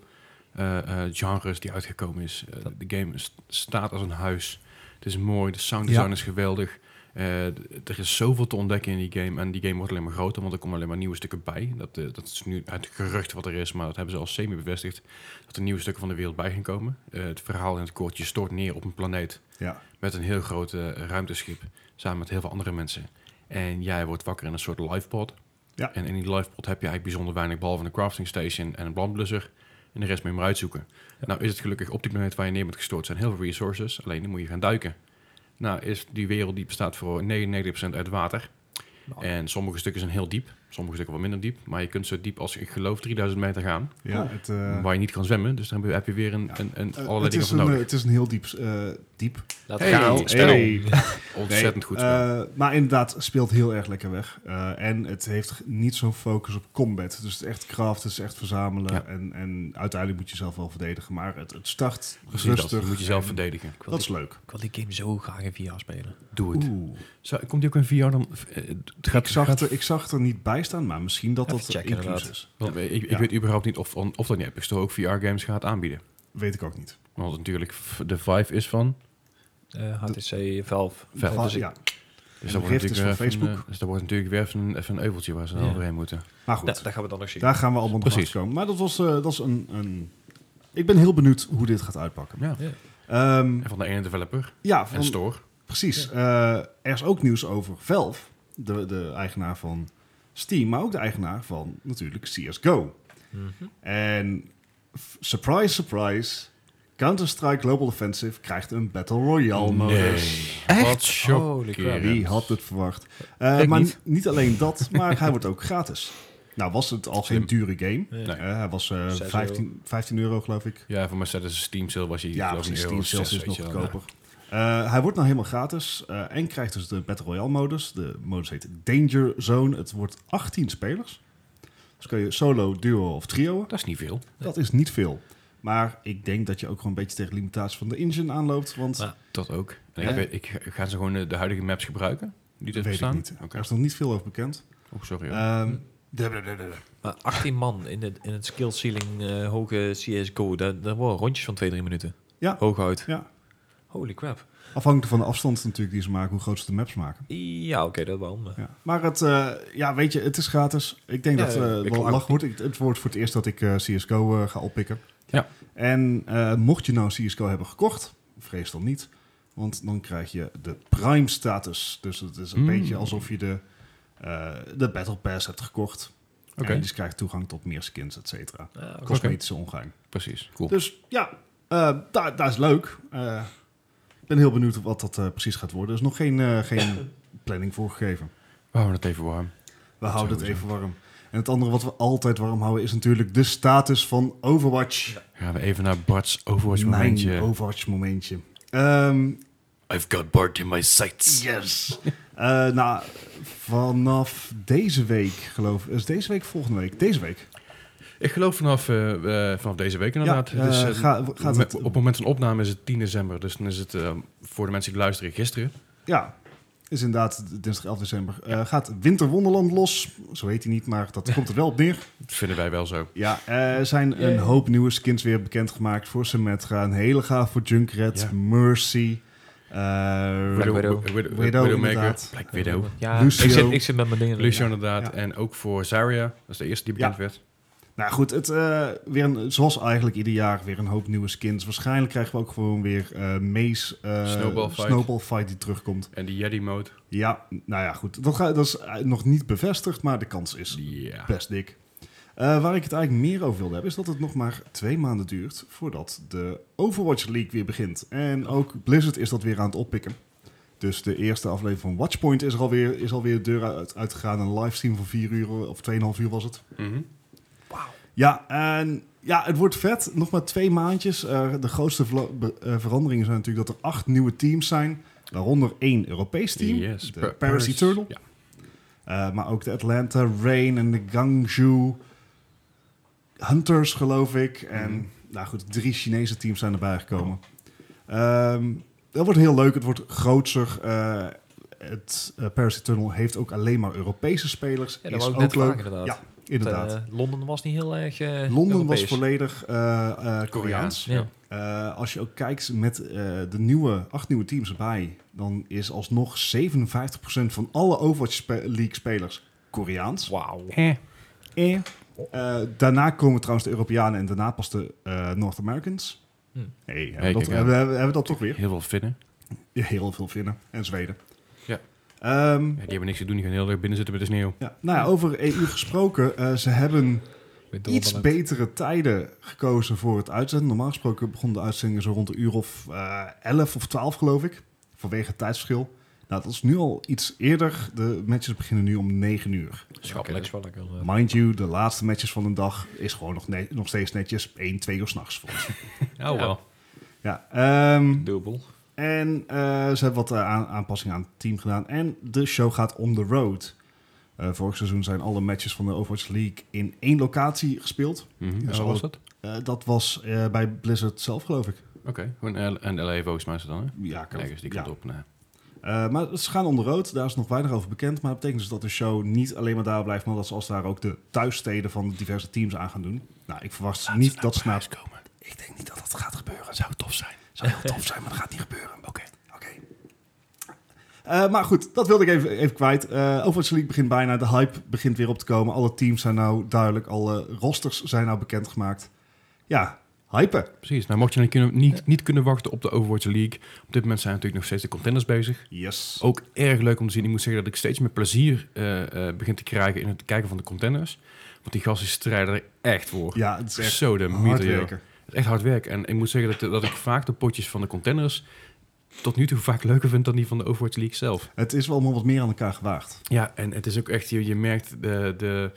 [SPEAKER 3] eh, eh, genres die uitgekomen is. Eh, de game st- staat als een huis. Het is mooi, de sound design
[SPEAKER 1] Ja.
[SPEAKER 3] is geweldig. Eh, d- er is zoveel te ontdekken in die game. En die game wordt alleen maar groter, want er komen alleen maar nieuwe stukken bij. Dat, eh, dat is nu uit gerucht wat er is, maar dat hebben ze al semi-bevestigd. Dat er nieuwe stukken van de wereld bij gaan komen. Eh, het verhaal in het kort, je stort neer op een planeet
[SPEAKER 1] Ja.
[SPEAKER 3] met een heel groot eh, ruimteschip samen met heel veel andere mensen. En jij wordt wakker in een soort livepod.
[SPEAKER 1] Ja.
[SPEAKER 3] En in die livepod heb je eigenlijk bijzonder weinig, behalve een crafting station en een brandblusser. En de rest moet je maar uitzoeken. Nou is het gelukkig op die planeet waar je neer bent gestoord zijn heel veel resources. Alleen dan moet je gaan duiken. Nou is die wereld die bestaat voor 99% uit water.
[SPEAKER 2] Nou.
[SPEAKER 3] En sommige stukken zijn heel diep, sommige stukken wat minder diep. Maar je kunt zo diep als, ik geloof, 3000 meter gaan.
[SPEAKER 1] ja het, eh,
[SPEAKER 3] Waar je niet kan zwemmen. Dus dan heb je- heb je weer een, een, een,
[SPEAKER 1] eh,
[SPEAKER 3] allerlei
[SPEAKER 1] het,
[SPEAKER 3] dingen
[SPEAKER 1] is
[SPEAKER 3] voor
[SPEAKER 1] een, eh,
[SPEAKER 3] nodig.
[SPEAKER 1] het is een heel diep, eh, diep
[SPEAKER 6] Laat
[SPEAKER 3] Hey,
[SPEAKER 6] gaan.
[SPEAKER 3] Gaal, spel.
[SPEAKER 1] hey.
[SPEAKER 3] Ontzettend
[SPEAKER 1] Nee,
[SPEAKER 3] goed spel.
[SPEAKER 1] eh, maar inderdaad, speelt heel erg lekker weg. Eh, en het heeft niet zo'n focus op combat. Dus het is echt craft, het is echt verzamelen.
[SPEAKER 3] Ja.
[SPEAKER 1] En, en uiteindelijk moet je zelf wel verdedigen. Maar het, het start
[SPEAKER 3] Precies dat.
[SPEAKER 1] rustig.
[SPEAKER 3] Je moet jezelf
[SPEAKER 1] En
[SPEAKER 3] verdedigen.
[SPEAKER 6] Ik wil
[SPEAKER 1] Dat is
[SPEAKER 6] die-
[SPEAKER 1] leuk.
[SPEAKER 6] Ik wil die game zo graag in VR spelen.
[SPEAKER 3] Doe het.
[SPEAKER 1] Oeh.
[SPEAKER 3] Zo, komt die ook in VR dan? Eh, Het gaat,
[SPEAKER 1] Ik, zag
[SPEAKER 3] gaat-
[SPEAKER 1] het, ik zag het er niet bij staan, maar misschien dat
[SPEAKER 6] Even
[SPEAKER 1] dat
[SPEAKER 6] checken,
[SPEAKER 1] inclusief
[SPEAKER 6] inderdaad.
[SPEAKER 1] is.
[SPEAKER 3] want ik, ik
[SPEAKER 1] Ja.
[SPEAKER 3] weet überhaupt niet of, of dat niet Epic Store ook VR-games gaat aanbieden.
[SPEAKER 1] Weet ik ook niet.
[SPEAKER 3] Want natuurlijk f- de Vive is van. Dus
[SPEAKER 2] Eh, HTC Valve.
[SPEAKER 3] Valve,
[SPEAKER 2] Dus ik-
[SPEAKER 1] Ah, ja.
[SPEAKER 3] Dus
[SPEAKER 1] de
[SPEAKER 3] dat wordt
[SPEAKER 1] Rift is
[SPEAKER 3] natuurlijk weer
[SPEAKER 1] van
[SPEAKER 3] even,
[SPEAKER 1] Facebook.
[SPEAKER 3] eh, dus dat wordt natuurlijk weer even, een- even een euveltje waar ze dan
[SPEAKER 2] Ja.
[SPEAKER 3] overheen moeten.
[SPEAKER 1] Maar
[SPEAKER 2] da-
[SPEAKER 1] goed,
[SPEAKER 2] daar gaan we dan nog zien.
[SPEAKER 1] daar gaan we allemaal nog
[SPEAKER 3] Precies.
[SPEAKER 1] achter komen. Maar dat was, eh, dat is een, een... Ik ben heel benieuwd hoe dit gaat uitpakken.
[SPEAKER 3] Ja.
[SPEAKER 1] Ehm,
[SPEAKER 3] En van de ene developer
[SPEAKER 1] ja,
[SPEAKER 3] en
[SPEAKER 1] van,
[SPEAKER 3] store.
[SPEAKER 1] Precies. Eh, er is ook nieuws over Valve, de, de eigenaar van Steam, maar ook de eigenaar van natuurlijk CSGO.
[SPEAKER 2] Mhm.
[SPEAKER 1] En f- surprise, surprise, Counter-Strike Global Offensive krijgt een Battle Royale modus.
[SPEAKER 5] Echt?
[SPEAKER 3] Wat
[SPEAKER 1] Ja,
[SPEAKER 3] chockerend.
[SPEAKER 1] Wie had het verwacht? Eh,
[SPEAKER 2] Ik
[SPEAKER 1] maar
[SPEAKER 2] niet.
[SPEAKER 1] niet. alleen dat, maar hij wordt ook gratis. Nou was het al geen dure game.
[SPEAKER 2] Nee.
[SPEAKER 1] Eh, hij was eh,
[SPEAKER 2] Zes euro.
[SPEAKER 1] 15, 15 euro geloof ik.
[SPEAKER 3] Ja, voor mij staat het een Steam sale was je
[SPEAKER 1] Ja,
[SPEAKER 3] geloof ik,
[SPEAKER 1] precies.
[SPEAKER 3] een
[SPEAKER 1] Steam
[SPEAKER 3] euro
[SPEAKER 1] Sales
[SPEAKER 3] zes,
[SPEAKER 1] is nog
[SPEAKER 3] weet je wel.
[SPEAKER 1] goedkoper. Eh, hij wordt nou helemaal gratis eh, en krijgt dus de Battle Royale modus. De modus heet Danger Zone. Het wordt 18 spelers. Dus kun je solo, duo of trio.
[SPEAKER 3] Ja, Dat is niet veel.
[SPEAKER 1] Dat is niet veel. Maar ik denk dat je ook gewoon een beetje tegen de limitaties van de engine aanloopt. Want
[SPEAKER 6] Maar
[SPEAKER 3] Dat ook. En ik
[SPEAKER 1] Ja.
[SPEAKER 3] weet, ik, gaan ze gewoon eh, de, de huidige maps gebruiken? Die er
[SPEAKER 1] dat weet ik
[SPEAKER 3] bestaan?
[SPEAKER 1] niet.
[SPEAKER 3] Oké.
[SPEAKER 1] Er is nog niet veel over bekend.
[SPEAKER 3] Oh, sorry. hoor.
[SPEAKER 1] Ehm
[SPEAKER 6] Maar 18 man in, de, in het skill ceiling eh, hoge CSGO, daar, daar worden rondjes van 2-3 minuten.
[SPEAKER 1] Ja.
[SPEAKER 6] Hooguit.
[SPEAKER 1] Ja.
[SPEAKER 6] Holy crap.
[SPEAKER 1] Afhankelijk van de afstand natuurlijk die ze maken, hoe groot ze de maps maken.
[SPEAKER 6] Ja, oké, dat wel. maar-
[SPEAKER 1] Ja. Maar het, eh, ja, weet je, het is gratis. Ik denk
[SPEAKER 6] Ja,
[SPEAKER 1] dat eh
[SPEAKER 6] ik
[SPEAKER 1] wel
[SPEAKER 6] klaag
[SPEAKER 1] lach
[SPEAKER 6] ook
[SPEAKER 1] wordt. Ik- Het wordt voor het eerst dat ik eh, CSGO eh, ga oppikken.
[SPEAKER 3] Ja.
[SPEAKER 1] En eh, mocht je nou CSGO hebben gekocht, vrees dan niet. Want dan krijg je de Prime status. Dus het is een
[SPEAKER 6] Hmm.
[SPEAKER 3] Mm.
[SPEAKER 1] beetje alsof je de, eh, de Battle Pass hebt gekocht.
[SPEAKER 3] Oké.
[SPEAKER 1] En dus je krijgt toegang tot meer skins, et cetera.
[SPEAKER 6] Ah, oké.
[SPEAKER 1] Cosmetische ongein.
[SPEAKER 3] Precies. Cool.
[SPEAKER 1] Dus ja, eh, daar, daar is leuk. Eh, Ik ben heel benieuwd wat dat eh, precies gaat worden. Er is nog geen, eh, geen planning voorgegeven.
[SPEAKER 3] We houden het even warm.
[SPEAKER 1] We houden het
[SPEAKER 3] Sowieso.
[SPEAKER 1] even warm. En het andere wat we altijd warm houden is natuurlijk de status van Overwatch.
[SPEAKER 3] Gaan we even naar Bart's Overwatch
[SPEAKER 1] Mijn
[SPEAKER 3] momentje.
[SPEAKER 1] Overwatch momentje. Ehm,
[SPEAKER 6] I've got Bart in my sights.
[SPEAKER 1] yes. Eh, nou, vanaf deze week geloof ik. Is deze week volgende week? Deze week.
[SPEAKER 3] Ik Ik geloof vanaf, eh, eh, vanaf deze week inderdaad.
[SPEAKER 1] Ja,
[SPEAKER 3] het is,
[SPEAKER 1] eh,
[SPEAKER 3] eh,
[SPEAKER 1] ga- gaat het-
[SPEAKER 3] met- op het moment van opname is het 10 december. Dus dan is het eh, voor de mensen die luisteren gisteren.
[SPEAKER 1] Ja, is inderdaad dinsdag 11 december. Eh, gaat Winterwonderland los. Zo heet hij niet, maar dat komt er wel op neer.
[SPEAKER 3] Dat vinden wij wel zo.
[SPEAKER 1] Ja, er zijn een hoop nieuwe skins weer bekendgemaakt voor Symmetra. Een hele gaaf voor Junkrat,
[SPEAKER 3] Ja.
[SPEAKER 1] Mercy, eh
[SPEAKER 2] Black Widow.
[SPEAKER 3] Widow- Widow-
[SPEAKER 1] Widow,
[SPEAKER 3] Widowmaker.
[SPEAKER 1] inderdaad.
[SPEAKER 3] Black Widow.
[SPEAKER 6] Ja,
[SPEAKER 1] Lucio.
[SPEAKER 6] ik zit, ik zit met mijn dingen.
[SPEAKER 3] Lucio inderdaad.
[SPEAKER 1] Ja.
[SPEAKER 3] En ook voor Zarya. Dat is de eerste die bekend
[SPEAKER 1] Ja.
[SPEAKER 3] werd.
[SPEAKER 1] Nou goed, het, eh, weer een, zoals eigenlijk ieder jaar weer een hoop nieuwe skins. Waarschijnlijk krijgen we ook gewoon weer eh Mace eh,
[SPEAKER 3] Snowball Fight.
[SPEAKER 1] Snowball Fight die terugkomt.
[SPEAKER 3] En die Jedi mode.
[SPEAKER 1] Ja, nou ja goed. Dat, ga, dat is eh, nog niet bevestigd, maar de kans is
[SPEAKER 3] Ja.
[SPEAKER 1] best dik. Eh, waar ik het eigenlijk meer over wilde hebben, is dat het nog maar twee maanden duurt voordat de Overwatch League weer begint. En
[SPEAKER 3] Oh.
[SPEAKER 1] ook Blizzard is dat weer aan het oppikken. Dus de eerste aflevering van Watchpoint is er alweer, is alweer de deur uit, uitgegaan. Een livestream van 4 uur of 2,5 uur was het.
[SPEAKER 3] Mhm.
[SPEAKER 1] Ja, en ja, het wordt vet. Nog maar twee maandjes. Eh, de grootste vla- be- eh, veranderingen zijn natuurlijk dat er acht nieuwe teams zijn. Waaronder één Europees team,
[SPEAKER 3] Yes.
[SPEAKER 1] de
[SPEAKER 3] Pa-
[SPEAKER 1] Paris, Eternal.
[SPEAKER 3] Ja.
[SPEAKER 1] Eh, maar ook de Atlanta Rain en de Gangju Hunters, geloof ik. En
[SPEAKER 3] Mhm.
[SPEAKER 1] nou goed, drie Chinese teams zijn erbij gekomen. Ehm, dat wordt heel leuk. Het wordt grootser. Eh, het eh, Paris Eternal heeft ook alleen maar Europese spelers.
[SPEAKER 6] Ja, dat
[SPEAKER 1] is
[SPEAKER 6] wou ik
[SPEAKER 1] ook
[SPEAKER 6] net
[SPEAKER 1] leuk.
[SPEAKER 6] vragen, inderdaad.
[SPEAKER 1] Ja, inderdaad.
[SPEAKER 6] Want, eh, Londen was niet heel erg. eh,
[SPEAKER 1] Londen
[SPEAKER 6] Europees.
[SPEAKER 1] was volledig eh, eh, Koreaans.
[SPEAKER 3] Koreaans.
[SPEAKER 6] Ja.
[SPEAKER 3] Ja.
[SPEAKER 1] Eh, als je ook kijkt met eh, de nieuwe, acht nieuwe teams erbij, dan is alsnog 57% van alle Overwatch spe- League spelers Koreaans.
[SPEAKER 6] Wauw.
[SPEAKER 1] Eh, daarna komen trouwens de Europeanen en daarna pas de eh, North Americans.
[SPEAKER 6] Hm.
[SPEAKER 1] Hey, hebben,
[SPEAKER 3] Hey,
[SPEAKER 1] we dat,
[SPEAKER 3] kijk aan.
[SPEAKER 1] hebben, we- hebben we dat toch weer?
[SPEAKER 3] Heel veel vinnen.
[SPEAKER 1] Heel veel Finnen en Zweden.
[SPEAKER 3] Ja.
[SPEAKER 1] Ehm,
[SPEAKER 3] Ja, die hebben niks te doen. Die gaan heel erg binnen zitten met de sneeuw.
[SPEAKER 1] ja. Nou ja, over EU gesproken, eh, ze hebben
[SPEAKER 6] Met
[SPEAKER 1] iets
[SPEAKER 6] Londen.
[SPEAKER 1] betere tijden gekozen voor het uitzenden. Normaal gesproken begonnen de uitzendingen zo rond de uur of eh 11 of 12, geloof ik. Vanwege het tijdsverschil. Nou, dat is nu al iets eerder. De matches beginnen nu om 9 uur.
[SPEAKER 6] Schappelijk is wel lekker. eh.
[SPEAKER 1] Mind you, de laatste matches van de dag is gewoon nog, ne- nog steeds netjes 1, 2 uur s'nachts.
[SPEAKER 3] Oh, wel.
[SPEAKER 1] Ja, ehm,
[SPEAKER 6] Dubbel.
[SPEAKER 1] en eh, ze hebben wat eh, aan, aanpassingen aan het team gedaan. En de show gaat on the road. Eh, vorig seizoen zijn alle matches van de Overwatch League in één locatie gespeeld.
[SPEAKER 3] Mhm.
[SPEAKER 1] Ja,
[SPEAKER 3] Zo
[SPEAKER 1] wel.
[SPEAKER 3] was dat?
[SPEAKER 1] Eh, dat was eh, bij Blizzard zelf, geloof ik.
[SPEAKER 3] Oké. Gewoon L- en LA volgens mij is het dan, hè?
[SPEAKER 1] Ja, kan
[SPEAKER 3] Ergens die
[SPEAKER 1] ja.
[SPEAKER 3] kant op. Nee.
[SPEAKER 1] Eh, maar ze gaan onder rood, daar is nog weinig over bekend. Maar dat betekent dus dat de show niet alleen maar daar blijft, maar dat ze als daar ook de thuissteden van de diverse teams aan gaan doen. Nou, ik verwacht niet dat ze naar.
[SPEAKER 3] komen.
[SPEAKER 1] Ik denk niet dat dat gaat gebeuren. Zou tof zijn. Zou heel tof zijn, maar dat gaat niet gebeuren. Oké. oké. Eh, maar goed, dat wilde ik even, even kwijt. Eh Overwatch League begint bijna. De hype begint weer op te komen. Alle teams zijn nou duidelijk. Alle rosters zijn nou bekendgemaakt. Ja, hypen.
[SPEAKER 3] Precies. Nou, mocht je dan kunnen, niet, niet kunnen wachten op de Overwatch League. Op dit moment zijn natuurlijk nog steeds de contenders bezig.
[SPEAKER 1] Yes.
[SPEAKER 3] Ook erg leuk om te zien. Ik moet zeggen dat ik steeds meer plezier eh, eh, begin te krijgen in het kijken van de contenders. Want die gasten strijden er echt voor.
[SPEAKER 1] Ja, het is echt
[SPEAKER 3] Zo de
[SPEAKER 1] hard
[SPEAKER 3] mythe, joh.
[SPEAKER 1] werken.
[SPEAKER 3] Het is echt hard werk. En ik moet zeggen dat, dat ik vaak de potjes van de contenders tot nu toe vaak leuker vind dan die van de Overwatch League zelf.
[SPEAKER 1] Het is wel allemaal wat meer aan elkaar gewaagd.
[SPEAKER 3] Ja, en het is ook echt, je, je merkt de, de,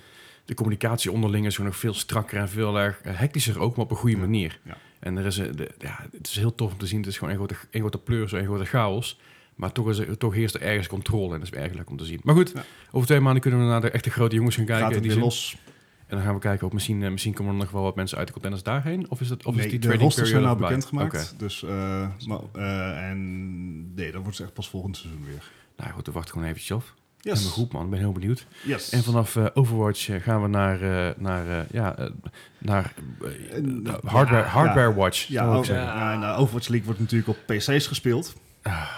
[SPEAKER 3] de communicatie onderling is gewoon nog veel strakker en veel erg eh, hectischer ook, maar op een goede
[SPEAKER 1] Ja,
[SPEAKER 3] manier.
[SPEAKER 1] ja.
[SPEAKER 3] En er is, een- de, ja, het is heel tof om te zien. Het is gewoon een grote, een grote pleurs, een grote chaos. Maar toch, is er, toch heerst er ergens controle en dat is erg leuk om te zien. Maar goed,
[SPEAKER 1] Ja.
[SPEAKER 3] over twee maanden kunnen we naar de echte grote jongens gaan kijken.
[SPEAKER 1] Gaat het
[SPEAKER 3] die
[SPEAKER 1] weer
[SPEAKER 3] zijn-
[SPEAKER 1] los?
[SPEAKER 3] En dan gaan we kijken, of misschien, eh, misschien komen er nog wel wat mensen uit de contenders daarheen. Of is, dat, of is
[SPEAKER 1] nee,
[SPEAKER 3] die
[SPEAKER 1] de
[SPEAKER 3] trading
[SPEAKER 1] rosters zijn
[SPEAKER 3] period
[SPEAKER 1] nou
[SPEAKER 3] voorbij?
[SPEAKER 1] bekendgemaakt.
[SPEAKER 3] Oké.
[SPEAKER 1] Dus, eh, maar, eh, en nee, dat wordt ze echt pas volgend seizoen weer.
[SPEAKER 3] Nou goed, we wachten gewoon eventjes af.
[SPEAKER 1] Yes.
[SPEAKER 3] Helemaal goed man, ik ben heel benieuwd.
[SPEAKER 1] Yes.
[SPEAKER 3] En vanaf eh, Overwatch eh, gaan we naar, eh, naar, eh, ja, eh, naar eh,
[SPEAKER 1] En-
[SPEAKER 3] eh, hardware,
[SPEAKER 1] ja,
[SPEAKER 3] hardware Watch.
[SPEAKER 1] ja, oh.
[SPEAKER 3] zou ik
[SPEAKER 1] over,
[SPEAKER 3] zeggen.
[SPEAKER 1] ja, en, eh, Overwatch League wordt natuurlijk op PC's gespeeld.
[SPEAKER 3] ja.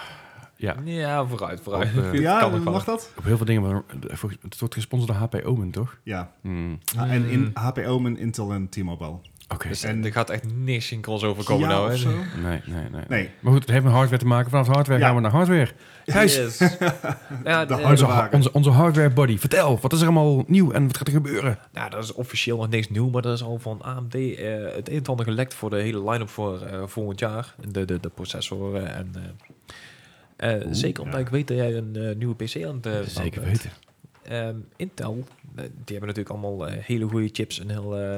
[SPEAKER 6] Ja, vooruit, vooruit.
[SPEAKER 3] Op, eh,
[SPEAKER 1] ja,
[SPEAKER 6] kan nog wel.
[SPEAKER 1] mag dat?
[SPEAKER 3] Op heel veel dingen, maar, eh, volgens- het wordt gesponsord door HP Omen, toch?
[SPEAKER 1] Ja.
[SPEAKER 3] Hmm,
[SPEAKER 1] Ah, En in HP Omen, Intel en T-Mobile.
[SPEAKER 3] Oké.
[SPEAKER 6] Dus
[SPEAKER 1] En-
[SPEAKER 6] er gaat echt niks in crossover komen
[SPEAKER 1] Ja,
[SPEAKER 6] nou.
[SPEAKER 1] of
[SPEAKER 6] hè?
[SPEAKER 1] zo?
[SPEAKER 3] Nee, nee, nee,
[SPEAKER 1] Nee.
[SPEAKER 3] Maar goed, het heeft met hardware te maken. Vanaf hardware
[SPEAKER 1] Ja.
[SPEAKER 3] gaan we naar hardware. Gijs,
[SPEAKER 6] Yes. ja, eh,
[SPEAKER 1] De hard-
[SPEAKER 3] onze, ha-
[SPEAKER 1] Hardware.
[SPEAKER 3] onze, onze hardware buddy, vertel, wat is er allemaal nieuw en wat gaat er gebeuren?
[SPEAKER 6] nou, dat is officieel nog niks nieuw, maar dat is al van AMD eh, het een en ander gelekt voor de hele line-up voor eh, volgend jaar. De, de, de processoren en... eh, eh, zeker omdat ik weet dat jij een eh, nieuwe PC aan het eh, bouwen
[SPEAKER 3] Oh,
[SPEAKER 6] bent. Ehm, Intel, eh, die hebben natuurlijk allemaal eh, hele goede chips en heel, eh,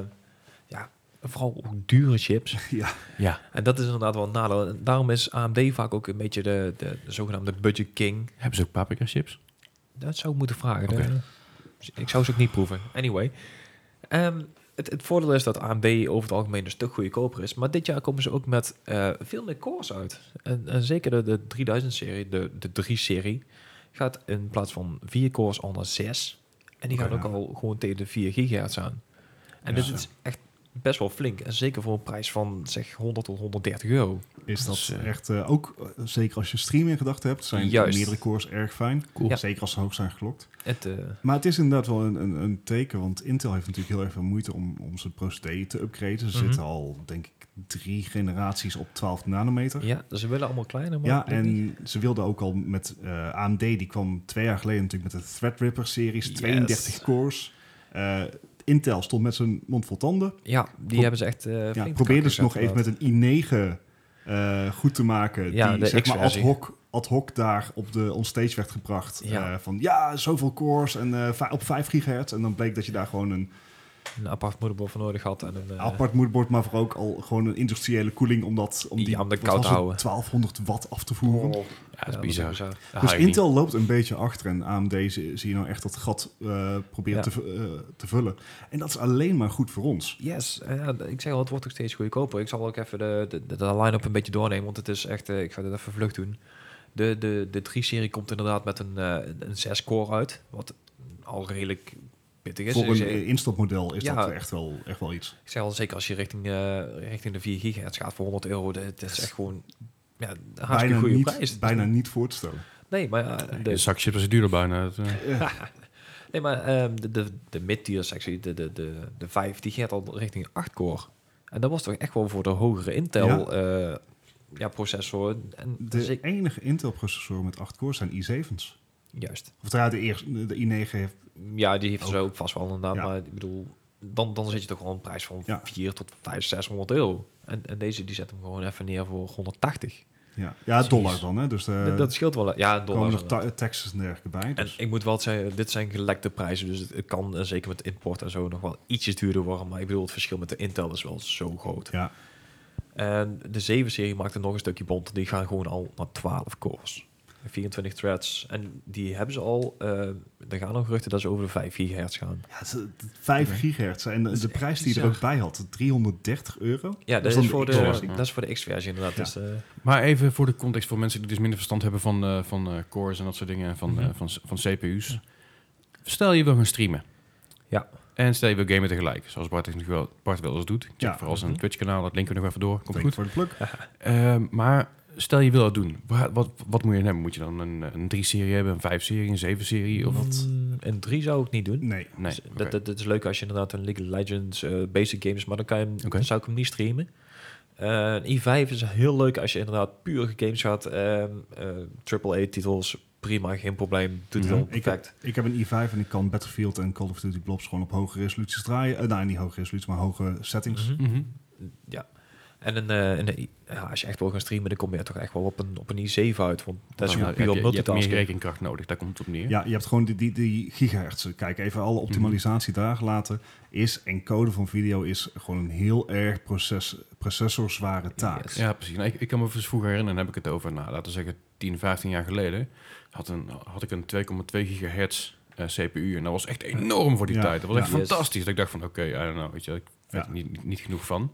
[SPEAKER 6] ja, vooral ook dure chips.
[SPEAKER 3] Ja.
[SPEAKER 6] En dat is inderdaad wel een nadeel. En daarom is AMD vaak ook een beetje de, de, de zogenaamde budget king.
[SPEAKER 3] Hebben ze ook paprika chips?
[SPEAKER 6] Dat zou ik moeten vragen.
[SPEAKER 3] Oké.
[SPEAKER 2] dus
[SPEAKER 6] Eh, Ik zou ze ook niet proeven. Anyway. Ehm,
[SPEAKER 2] het, het voordeel is dat AMD over het algemeen een stuk goedkoper is. Maar dit jaar komen ze ook met eh, veel meer cores uit. En, en zeker de, de 3000-serie, de, de 3-serie, gaat in plaats van 4 cores al naar 6. En die
[SPEAKER 1] Oké,
[SPEAKER 2] gaan ook al gewoon tegen de 4 gigahertz aan. En
[SPEAKER 1] Oh Ja.
[SPEAKER 2] dit is echt best wel flink. En zeker voor een prijs van zeg 100 tot 130 euro.
[SPEAKER 1] Is dat
[SPEAKER 2] Dus, eh,
[SPEAKER 1] echt eh, ook, eh, zeker als je stream in gedachten hebt, zijn
[SPEAKER 2] Juist.
[SPEAKER 1] meerdere cores erg fijn.
[SPEAKER 3] Cool.
[SPEAKER 2] Ja.
[SPEAKER 1] Zeker als ze hoog zijn geklokt.
[SPEAKER 2] Het, eh,
[SPEAKER 1] Maar het is inderdaad wel een, een, een teken, want Intel heeft natuurlijk heel erg veel moeite om, om zijn procedé te upgraden. Ze
[SPEAKER 2] Mhm.
[SPEAKER 1] zitten al, denk ik, drie generaties op 12 nanometer.
[SPEAKER 2] ja, ze willen allemaal kleiner. Maar
[SPEAKER 1] Ja,
[SPEAKER 2] dat niet.
[SPEAKER 1] en ze wilden ook al met eh, AMD, die kwam twee jaar geleden natuurlijk met de Threadripper-series,
[SPEAKER 2] Yes.
[SPEAKER 1] 32 cores. Eh, Intel stond met zijn mond vol tanden.
[SPEAKER 2] ja die
[SPEAKER 1] Pro-
[SPEAKER 2] hebben ze echt. eh, flink
[SPEAKER 1] Ja,
[SPEAKER 2] te
[SPEAKER 1] probeerden
[SPEAKER 2] kakken
[SPEAKER 1] ze nog even
[SPEAKER 2] gezet,
[SPEAKER 1] met een i9 eh, goed te maken,
[SPEAKER 2] Ja,
[SPEAKER 1] die
[SPEAKER 2] de
[SPEAKER 1] zeg maar ad
[SPEAKER 2] X-versie.
[SPEAKER 1] hoc, ad hoc daar op de onstage werd gebracht.
[SPEAKER 2] Ja.
[SPEAKER 1] Eh, van ja, zoveel cores en eh, va- op 5 gigahertz. En dan bleek dat je daar gewoon een
[SPEAKER 2] Een apart moederbord voor nodig had. En een, eh,
[SPEAKER 1] apart moederbord, maar vooral ook al gewoon een industriële koeling om dat om die
[SPEAKER 2] Ja, om dat
[SPEAKER 1] wat
[SPEAKER 2] koud te
[SPEAKER 1] was het,
[SPEAKER 2] houden. Oh,
[SPEAKER 1] 1200 watt af te voeren.
[SPEAKER 3] Ja, dat is bizar. Ah,
[SPEAKER 1] Dus
[SPEAKER 3] Haai.
[SPEAKER 1] Intel loopt een beetje achter en AMD zie, zie je nou echt dat gat eh probeert
[SPEAKER 2] Ja.
[SPEAKER 1] te, vu- eh, te vullen. En dat is alleen maar goed voor ons.
[SPEAKER 2] Yes, eh, ja, ik zeg al, het wordt ook steeds goedkoper. Ik zal ook even de, de, de- de line-up een beetje doornemen, want het is echt, eh, ik ga dit even vlug doen. De, de, de 3-serie komt inderdaad met een, eh, een 6-core uit, wat al redelijk pittig is.
[SPEAKER 1] voor
[SPEAKER 2] Ik
[SPEAKER 1] een
[SPEAKER 2] zeg-
[SPEAKER 1] eh, instapmodel is
[SPEAKER 2] Ja.
[SPEAKER 1] dat echt wel, echt wel iets.
[SPEAKER 2] ik zeg al, zeker als je richting, eh, richting de 4 gigahertz gaat voor 100 euro, dat dat is echt gewoon ja, een hartstikke
[SPEAKER 1] Bijna
[SPEAKER 2] goede
[SPEAKER 1] niet,
[SPEAKER 2] prijs.
[SPEAKER 1] bijna niet voor te stellen.
[SPEAKER 2] Nee, maar, ja,
[SPEAKER 3] Een
[SPEAKER 2] de,
[SPEAKER 3] zak chips is duurder bijna. Dat, eh,
[SPEAKER 2] nee, maar ehm, de, de, de mid-tier sectie, de, de, de, de 5, die gaat al richting 8-core. En dat was toch echt wel voor de hogere Intel... eh ja, processor. En dus
[SPEAKER 1] De
[SPEAKER 2] zeker-
[SPEAKER 1] enige Intel-processor met 8 cores zijn i7's.
[SPEAKER 2] Juist.
[SPEAKER 1] Of ja, de, eerste, de i9 heeft...
[SPEAKER 2] Ja, die heeft ze ook vast wel inderdaad.
[SPEAKER 1] Ja.
[SPEAKER 2] Maar ik bedoel, dan, dan zit je toch wel een prijs van
[SPEAKER 1] Ja.
[SPEAKER 2] 4 tot 5, 600 euro. En, en deze die zet hem gewoon even neer voor 180.
[SPEAKER 1] Ja, ja
[SPEAKER 2] Jeez.
[SPEAKER 1] dollar dan, hè. Dus eh
[SPEAKER 2] Dat- dat scheelt wel. Ja, een dollar.
[SPEAKER 1] komen nog
[SPEAKER 2] inderdaad.
[SPEAKER 1] ta- taxes en dergelijke bij.
[SPEAKER 2] En
[SPEAKER 1] Dus.
[SPEAKER 2] ik moet wel zeggen, dit zijn gelekte prijzen. Dus het, het kan, eh, zeker met import en zo, nog wel ietsjes duurder worden. Maar ik bedoel, het verschil met de Intel is wel zo groot.
[SPEAKER 1] Ja,
[SPEAKER 2] En de 7-serie maakt er nog een stukje bonter. Die gaan gewoon al naar 12 cores. 24 threads. En die hebben ze al. eh er gaan nog geruchten dat ze over de 5 gigahertz gaan.
[SPEAKER 1] ja ze- 5 gigahertz. En de, de prijs die je er ook bij had, 330 euro.
[SPEAKER 2] Ja, dat,
[SPEAKER 1] Dus dan
[SPEAKER 2] is, voor de,
[SPEAKER 1] X-versie.
[SPEAKER 2] dat is voor de X-versie inderdaad. Dus, eh,
[SPEAKER 3] Maar even voor de context voor mensen die dus minder verstand hebben van, eh, van eh, cores en dat soort dingen, en van, eh,
[SPEAKER 2] Mhm.
[SPEAKER 3] van, van CPU's. Stel je wil gaan streamen.
[SPEAKER 2] Ja.
[SPEAKER 3] En stel je wil gamen tegelijk, zoals Bart, het nog wel, Bart wel eens doet. Check
[SPEAKER 1] Ja.
[SPEAKER 3] vooral zijn
[SPEAKER 2] Mhm.
[SPEAKER 3] Twitch-kanaal, dat linken we nog even door. Komt
[SPEAKER 1] Denk
[SPEAKER 3] goed.
[SPEAKER 1] voor de pluk.
[SPEAKER 3] Eh, maar stel je wil dat doen, wat, wat, wat moet je dan hebben? Moet je dan een, een 3-serie hebben, een 5-serie, een 7-serie? Of...
[SPEAKER 2] mm, Een 3 zou ik niet doen.
[SPEAKER 1] Nee.
[SPEAKER 3] Nee,
[SPEAKER 2] Dus
[SPEAKER 3] oké.
[SPEAKER 2] dat, dat, dat is leuk als je inderdaad een League of Legends, eh, basic games, maar dan, kan je, hem-
[SPEAKER 3] Oké.
[SPEAKER 2] dan zou ik hem niet streamen. Eh, een i5 is heel leuk als je inderdaad pure games gaat. Ehm, eh, Triple A titels, prima, geen probleem. Doet het
[SPEAKER 1] Mhm.
[SPEAKER 2] wel
[SPEAKER 1] Ik-
[SPEAKER 2] perfect.
[SPEAKER 1] Ik heb een i5 en ik kan Battlefield en Call of Duty Blobs gewoon op hoge resoluties draaien. Eh, nee, niet hoge resoluties, maar hoge settings.
[SPEAKER 2] Mhm.
[SPEAKER 3] Mhm.
[SPEAKER 2] Ja. En een, eh, een i- ja, als je echt wil gaan streamen, dan kom je toch echt wel op een, op een i7 uit. Want dat is
[SPEAKER 3] Nou,
[SPEAKER 2] gewoon
[SPEAKER 3] heb je-
[SPEAKER 2] puur
[SPEAKER 3] je, hebt meer
[SPEAKER 2] multitasking.
[SPEAKER 3] rekenkracht nodig, daar komt het op neer.
[SPEAKER 1] Ja, je hebt gewoon die, die, die gigahertzen. Kijk, even alle
[SPEAKER 3] Mhm.
[SPEAKER 1] optimalisatie daar gelaten. Is encoden van video is gewoon een heel erg proces, processorzware taak.
[SPEAKER 2] Yes.
[SPEAKER 3] Ja, precies. Nou, ik, ik kan me dus vroeger herinneren, dan heb ik het over, nou, laten we zeggen 10, 15 jaar geleden, had, een, had ik een 2,2 gigahertz eh, CPU. En dat was echt enorm voor die
[SPEAKER 1] Ja,
[SPEAKER 3] tijd. Dat was echt
[SPEAKER 2] ja. Yes.
[SPEAKER 3] fantastisch. Dat ik dacht van, oké, I don't know, weet je, ik weet
[SPEAKER 1] Ja.
[SPEAKER 3] er niet, niet, niet genoeg van.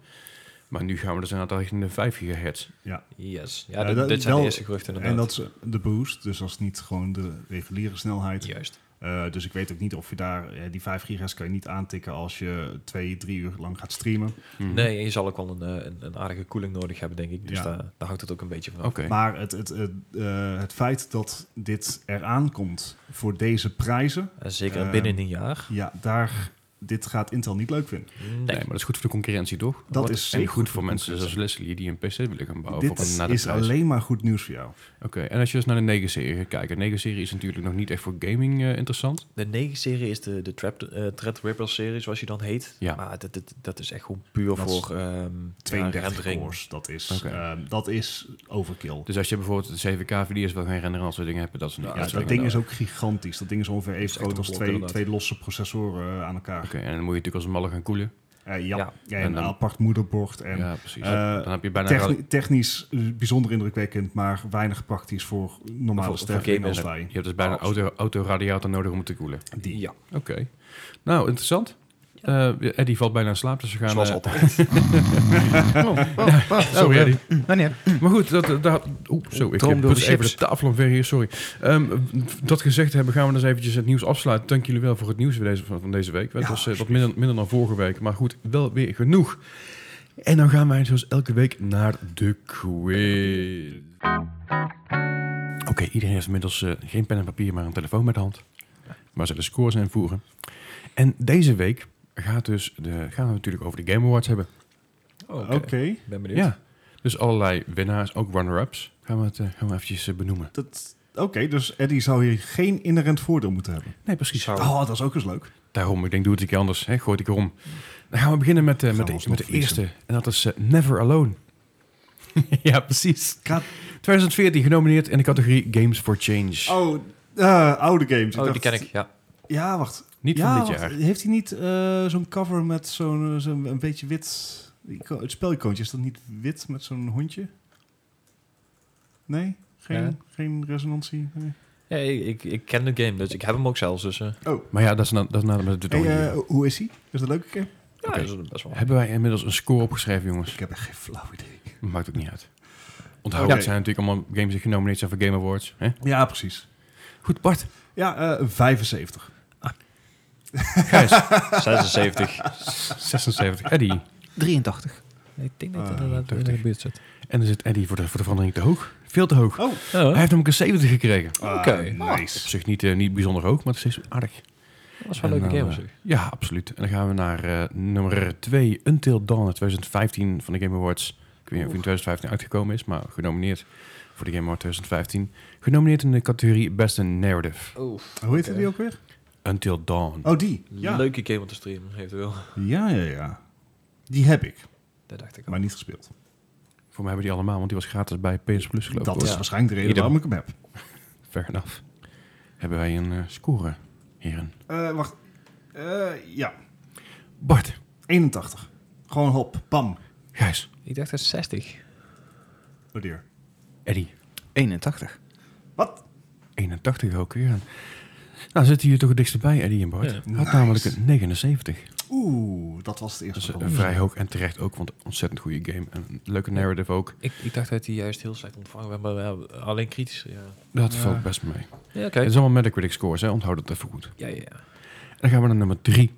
[SPEAKER 3] Maar nu gaan we dus inderdaad richting de 5 gigahertz.
[SPEAKER 2] Yes. Ja,
[SPEAKER 1] Ja,
[SPEAKER 2] dit-
[SPEAKER 1] dat-
[SPEAKER 2] dit zijn
[SPEAKER 1] wel-
[SPEAKER 2] de eerste geruchten inderdaad.
[SPEAKER 1] En dat is de boost, dus dat is niet gewoon de reguliere snelheid.
[SPEAKER 2] Juist.
[SPEAKER 1] Eh, dus ik weet ook niet of je daar, eh, die 5 gigahertz kan je niet aantikken als je twee, drie uur lang gaat streamen.
[SPEAKER 3] Mhm.
[SPEAKER 2] Nee, en je zal ook wel een, eh, een, een aardige koeling nodig hebben, denk ik. Dus
[SPEAKER 1] Ja.
[SPEAKER 2] daar, daar houdt het ook een beetje van.
[SPEAKER 3] Mhm. Oké.
[SPEAKER 2] af.
[SPEAKER 1] Maar het, het, het, eh, het feit dat dit eraan komt voor deze prijzen,
[SPEAKER 2] En zeker
[SPEAKER 1] Eh,
[SPEAKER 2] binnen een jaar.
[SPEAKER 1] ja, daar, dit gaat Intel niet leuk vinden.
[SPEAKER 2] Nee.
[SPEAKER 3] Nee, maar dat is goed voor de concurrentie, toch?
[SPEAKER 1] Dat
[SPEAKER 3] En
[SPEAKER 1] is zeker
[SPEAKER 3] goed
[SPEAKER 1] goed
[SPEAKER 3] voor
[SPEAKER 1] voor
[SPEAKER 3] mensen zoals
[SPEAKER 1] concurrentie.
[SPEAKER 3] Leslie die een PC willen gaan bouwen. voor een,
[SPEAKER 1] dit
[SPEAKER 3] naar de
[SPEAKER 1] is
[SPEAKER 3] prijs.
[SPEAKER 1] alleen maar goed nieuws voor jou.
[SPEAKER 3] Oké, en als je dus naar de 9-serie gaat kijken. De 9-serie is natuurlijk nog niet echt voor gaming eh, interessant.
[SPEAKER 2] De 9-serie is de, de Trap, eh Threadripper-serie, zoals je dan heet.
[SPEAKER 3] Ja.
[SPEAKER 2] Maar dat, dat, dat is echt gewoon puur
[SPEAKER 1] Dat is
[SPEAKER 2] voor ehm
[SPEAKER 1] 32
[SPEAKER 2] rendering.
[SPEAKER 1] cores, dat is,
[SPEAKER 3] Oké.
[SPEAKER 1] ehm, dat is overkill.
[SPEAKER 3] Dus als je bijvoorbeeld de 7K-video's wil gaan renderen en dat soort dingen, heb je dat soort
[SPEAKER 1] Ja,
[SPEAKER 3] soort
[SPEAKER 1] dat
[SPEAKER 3] dingen
[SPEAKER 1] ding
[SPEAKER 3] nodig.
[SPEAKER 1] is ook gigantisch. Dat ding is ongeveer
[SPEAKER 2] is
[SPEAKER 1] even
[SPEAKER 2] echt
[SPEAKER 1] groot
[SPEAKER 2] een
[SPEAKER 1] als
[SPEAKER 2] blok,
[SPEAKER 1] twee,
[SPEAKER 2] inderdaad.
[SPEAKER 1] twee losse processoren eh, aan elkaar.
[SPEAKER 3] Oké, en dan moet je natuurlijk als een malle gaan koelen.
[SPEAKER 1] Eh, ja.
[SPEAKER 2] Ja.
[SPEAKER 1] Ja, en
[SPEAKER 3] En dan-
[SPEAKER 1] een apart moederbord. En
[SPEAKER 3] ja, precies.
[SPEAKER 1] eh,
[SPEAKER 3] dan heb je bijna...
[SPEAKER 1] techni-
[SPEAKER 3] wel-
[SPEAKER 1] technisch eh, bijzonder indrukwekkend, maar weinig praktisch voor normale
[SPEAKER 2] Voor- voor
[SPEAKER 1] stervelingen
[SPEAKER 2] gamers.
[SPEAKER 1] als wij.
[SPEAKER 3] je hebt dus bijna een auto, autoradiator nodig om het te koelen.
[SPEAKER 1] Die.
[SPEAKER 2] Ja.
[SPEAKER 3] Oké. Nou, interessant. Eh, Eddie valt bijna in slaap, dus we gaan...
[SPEAKER 6] Zoals
[SPEAKER 3] eh,
[SPEAKER 6] altijd.
[SPEAKER 5] Oh,
[SPEAKER 3] sorry, Eddie.
[SPEAKER 5] Wanneer?
[SPEAKER 3] Maar goed, dat, eh, daar, oeh, zo, ik
[SPEAKER 5] Droom
[SPEAKER 3] heb
[SPEAKER 5] door de
[SPEAKER 3] even de
[SPEAKER 5] chips.
[SPEAKER 3] tafel omver hier, sorry. Ehm, dat gezegd hebben, gaan we dus eventjes het nieuws afsluiten. Dank jullie wel voor het nieuws van deze, van deze week. Het was eh, wat minder, minder dan vorige week, maar goed, wel weer genoeg. En dan gaan wij zoals elke week naar de quiz. Oké, iedereen heeft inmiddels eh, geen pen en papier, maar een telefoon met de hand. Waar ze de scores in voeren. En deze week gaat dus de, gaan we natuurlijk over de Game Awards hebben.
[SPEAKER 2] Oh,
[SPEAKER 1] Oké,
[SPEAKER 2] Oké. Ben benieuwd.
[SPEAKER 3] Ja, dus allerlei winnaars, ook runner-ups. Gaan we het eh, gaan we eventjes eh, benoemen.
[SPEAKER 1] dat- oké, dus Eddie zou hier geen inherent voordeel moeten hebben.
[SPEAKER 3] Nee, precies.
[SPEAKER 1] Oh, dat is ook eens leuk.
[SPEAKER 3] Daarom, ik denk, doe het een keer anders. Hè? Gooi het een keer om. Dan gaan we beginnen met, eh,
[SPEAKER 1] Gaan
[SPEAKER 3] met,
[SPEAKER 1] we
[SPEAKER 3] de,
[SPEAKER 1] ons
[SPEAKER 3] met
[SPEAKER 1] nog
[SPEAKER 3] de eerste. En dat is eh, Never Alone. ja, precies.
[SPEAKER 1] Ka-
[SPEAKER 3] 2014 genomineerd in de categorie Games for Change.
[SPEAKER 1] Oh, eh, oude games.
[SPEAKER 6] Oh, die
[SPEAKER 1] dacht-
[SPEAKER 6] ken ik, ja.
[SPEAKER 1] Ja, wacht.
[SPEAKER 3] Niet
[SPEAKER 1] ja,
[SPEAKER 3] van dit
[SPEAKER 1] wacht.
[SPEAKER 3] jaar.
[SPEAKER 1] Heeft hij niet eh, zo'n cover met zo'n eh, zo'n een beetje wit... ico- Het spelicoontje, is dat niet wit met zo'n hondje? Nee? Geen,
[SPEAKER 6] Ja.
[SPEAKER 1] geen resonantie? Nee.
[SPEAKER 6] ja ik, ik, ik ken de game, dus ik heb hem ook zelfs. Dus, eh,
[SPEAKER 3] Maar ja, dat is na, dat is na met de
[SPEAKER 1] Hey,
[SPEAKER 3] dominee.
[SPEAKER 1] eh, hoe is hij? Is dat een leuke game?
[SPEAKER 6] ja,
[SPEAKER 3] Oké.
[SPEAKER 6] dat is best wel.
[SPEAKER 3] Hebben wij inmiddels een score opgeschreven, jongens?
[SPEAKER 1] Ik heb echt geen flauw idee.
[SPEAKER 3] Maakt ook niet uit. Onthoud,
[SPEAKER 1] Oké.
[SPEAKER 3] het zijn natuurlijk allemaal games die genomineerd zijn voor Game Awards. Hè?
[SPEAKER 1] Ja, precies.
[SPEAKER 3] Goed, Bart.
[SPEAKER 1] Ja, eh 75.
[SPEAKER 6] 76.
[SPEAKER 3] 76. Eddie.
[SPEAKER 5] 83.
[SPEAKER 6] ik denk dat
[SPEAKER 1] Ah,
[SPEAKER 6] het inderdaad in de
[SPEAKER 3] 80.
[SPEAKER 6] buurt zit.
[SPEAKER 3] En dan zit Eddie voor de, voor de verandering te hoog. Veel te hoog.
[SPEAKER 1] Oh,
[SPEAKER 6] Oh,
[SPEAKER 3] Hij heeft namelijk een 70 gekregen.
[SPEAKER 6] Oké.
[SPEAKER 1] ah,
[SPEAKER 3] Op
[SPEAKER 1] nice.
[SPEAKER 3] zich niet, eh, niet bijzonder hoog, maar het is steeds aardig.
[SPEAKER 6] dat was wel
[SPEAKER 3] En
[SPEAKER 6] een leuke
[SPEAKER 3] dan,
[SPEAKER 6] game. op
[SPEAKER 3] eh,
[SPEAKER 6] zich.
[SPEAKER 3] Ja, absoluut. En dan gaan we naar eh, nummer 2, Until Dawn uit 2015 van de Game Awards. Ik weet niet of die in 2015 uitgekomen is, maar genomineerd voor de Game Award 2015. Genomineerd in de categorie Beste Narrative.
[SPEAKER 1] Hoe heette die ook weer?
[SPEAKER 3] Until Dawn.
[SPEAKER 1] Oh, die. Ja.
[SPEAKER 6] Leuke game om te streamen, eventueel.
[SPEAKER 1] ja, ja, ja. Die heb ik,
[SPEAKER 6] Dat dacht ik ook.
[SPEAKER 1] maar niet gespeeld.
[SPEAKER 3] Voor mij hebben die allemaal, want die was gratis bij PS Plus geloof ik.
[SPEAKER 1] Dat is
[SPEAKER 6] Ja.
[SPEAKER 1] waarschijnlijk de reden
[SPEAKER 6] Ieder-
[SPEAKER 1] waarom ik hem heb.
[SPEAKER 3] Fair enough. Hebben wij een eh, score, heren?
[SPEAKER 1] Eh, wacht. Eh, ja,
[SPEAKER 3] Bart,
[SPEAKER 1] 81. Gewoon hop, bam.
[SPEAKER 3] Gijs,
[SPEAKER 6] Ik dacht dat 60.
[SPEAKER 1] Oh dear.
[SPEAKER 3] Eddie.
[SPEAKER 5] 81.
[SPEAKER 1] Wat?
[SPEAKER 3] 81 ook weer aan. Nou, zitten jullie toch het dichtst bij, Eddie en Bart.
[SPEAKER 6] Ja.
[SPEAKER 3] Had namelijk een 79.
[SPEAKER 1] Oeh, dat was het
[SPEAKER 3] Dat is
[SPEAKER 1] eerste.
[SPEAKER 3] eh,
[SPEAKER 1] probleem.
[SPEAKER 3] vrij hoog en terecht ook, want een ontzettend goede game. En een leuke narrative ook.
[SPEAKER 6] Ik, ik dacht dat die juist heel slecht ontvangen werd, maar wel alleen kritisch. Ja,
[SPEAKER 3] Dat
[SPEAKER 1] Ja.
[SPEAKER 3] valt best mee. Het
[SPEAKER 6] ja oké.
[SPEAKER 3] is allemaal Metacritic scores, hè? onthoud dat even goed.
[SPEAKER 6] Ja, ja, ja.
[SPEAKER 3] En dan gaan we naar nummer 3.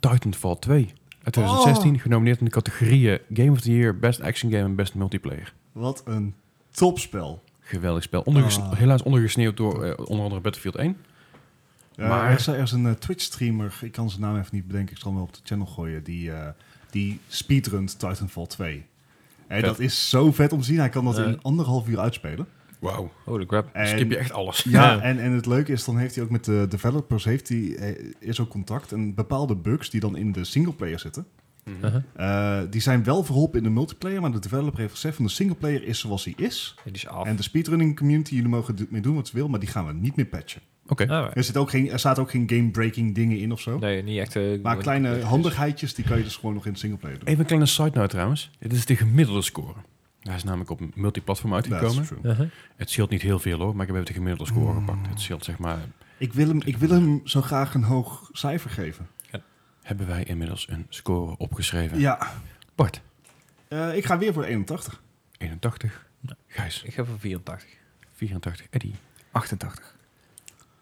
[SPEAKER 3] Titanfall 2. Uit 2016, genomineerd in de categorieën Game of the Year, Best Action Game en Best Multiplayer.
[SPEAKER 1] Wat een topspel.
[SPEAKER 3] Geweldig spel. Onderges-
[SPEAKER 1] Ah.
[SPEAKER 3] Helaas ondergesneeuwd door eh, onder andere Battlefield 1.
[SPEAKER 1] Eh,
[SPEAKER 3] Maar-
[SPEAKER 1] er, is, er is een eh, Twitch-streamer, ik kan zijn naam even niet bedenken, ik zal hem wel op de channel gooien, die, eh, die speedrunt Titanfall 2. En
[SPEAKER 3] Vet.
[SPEAKER 1] dat is zo vet om te zien. Hij kan dat
[SPEAKER 6] Eh.
[SPEAKER 1] in anderhalf uur uitspelen.
[SPEAKER 3] Wauw.
[SPEAKER 6] Holy crap.
[SPEAKER 1] En,
[SPEAKER 3] Dus Skip je echt alles.
[SPEAKER 1] Ja,
[SPEAKER 6] Ja.
[SPEAKER 1] En, en het leuke is, dan heeft hij ook met de developers heeft hij, eh, is ook contact. En bepaalde bugs die dan in de singleplayer zitten,
[SPEAKER 6] Uh-huh.
[SPEAKER 1] eh, die zijn wel verholpen in de multiplayer. Maar de developer heeft gezegd van de singleplayer is zoals hij is.
[SPEAKER 6] En die is af.
[SPEAKER 1] En de speedrunning community, jullie mogen dit mee doen wat ze wil, maar die gaan we niet meer patchen.
[SPEAKER 3] Oké.
[SPEAKER 6] Ah,
[SPEAKER 1] Er, zit ook geen, er staat ook geen game-breaking dingen in of zo.
[SPEAKER 6] nee, niet echt. eh,
[SPEAKER 1] Maar
[SPEAKER 6] wat-
[SPEAKER 1] kleine handigheidjes, die kan je dus gewoon nog in singleplayer doen.
[SPEAKER 3] Even een kleine side note trouwens. Dit is de gemiddelde score. Hij is namelijk op multiplatform
[SPEAKER 1] That's
[SPEAKER 3] uitgekomen.
[SPEAKER 1] true. Hmm.
[SPEAKER 6] Uh-huh.
[SPEAKER 3] Het scheelt niet heel veel hoor, maar ik heb even de gemiddelde score gepakt. Het scheelt zeg maar,
[SPEAKER 1] Ik wil, hem, ik wil hem zo graag een hoog cijfer geven.
[SPEAKER 3] hebben wij inmiddels een score opgeschreven.
[SPEAKER 1] Ja,
[SPEAKER 3] Bart,
[SPEAKER 1] Eh, ik ga weer voor 81.
[SPEAKER 3] 81. Gijs,
[SPEAKER 6] Ik ga voor 84.
[SPEAKER 3] 84. Eddie.
[SPEAKER 5] 88.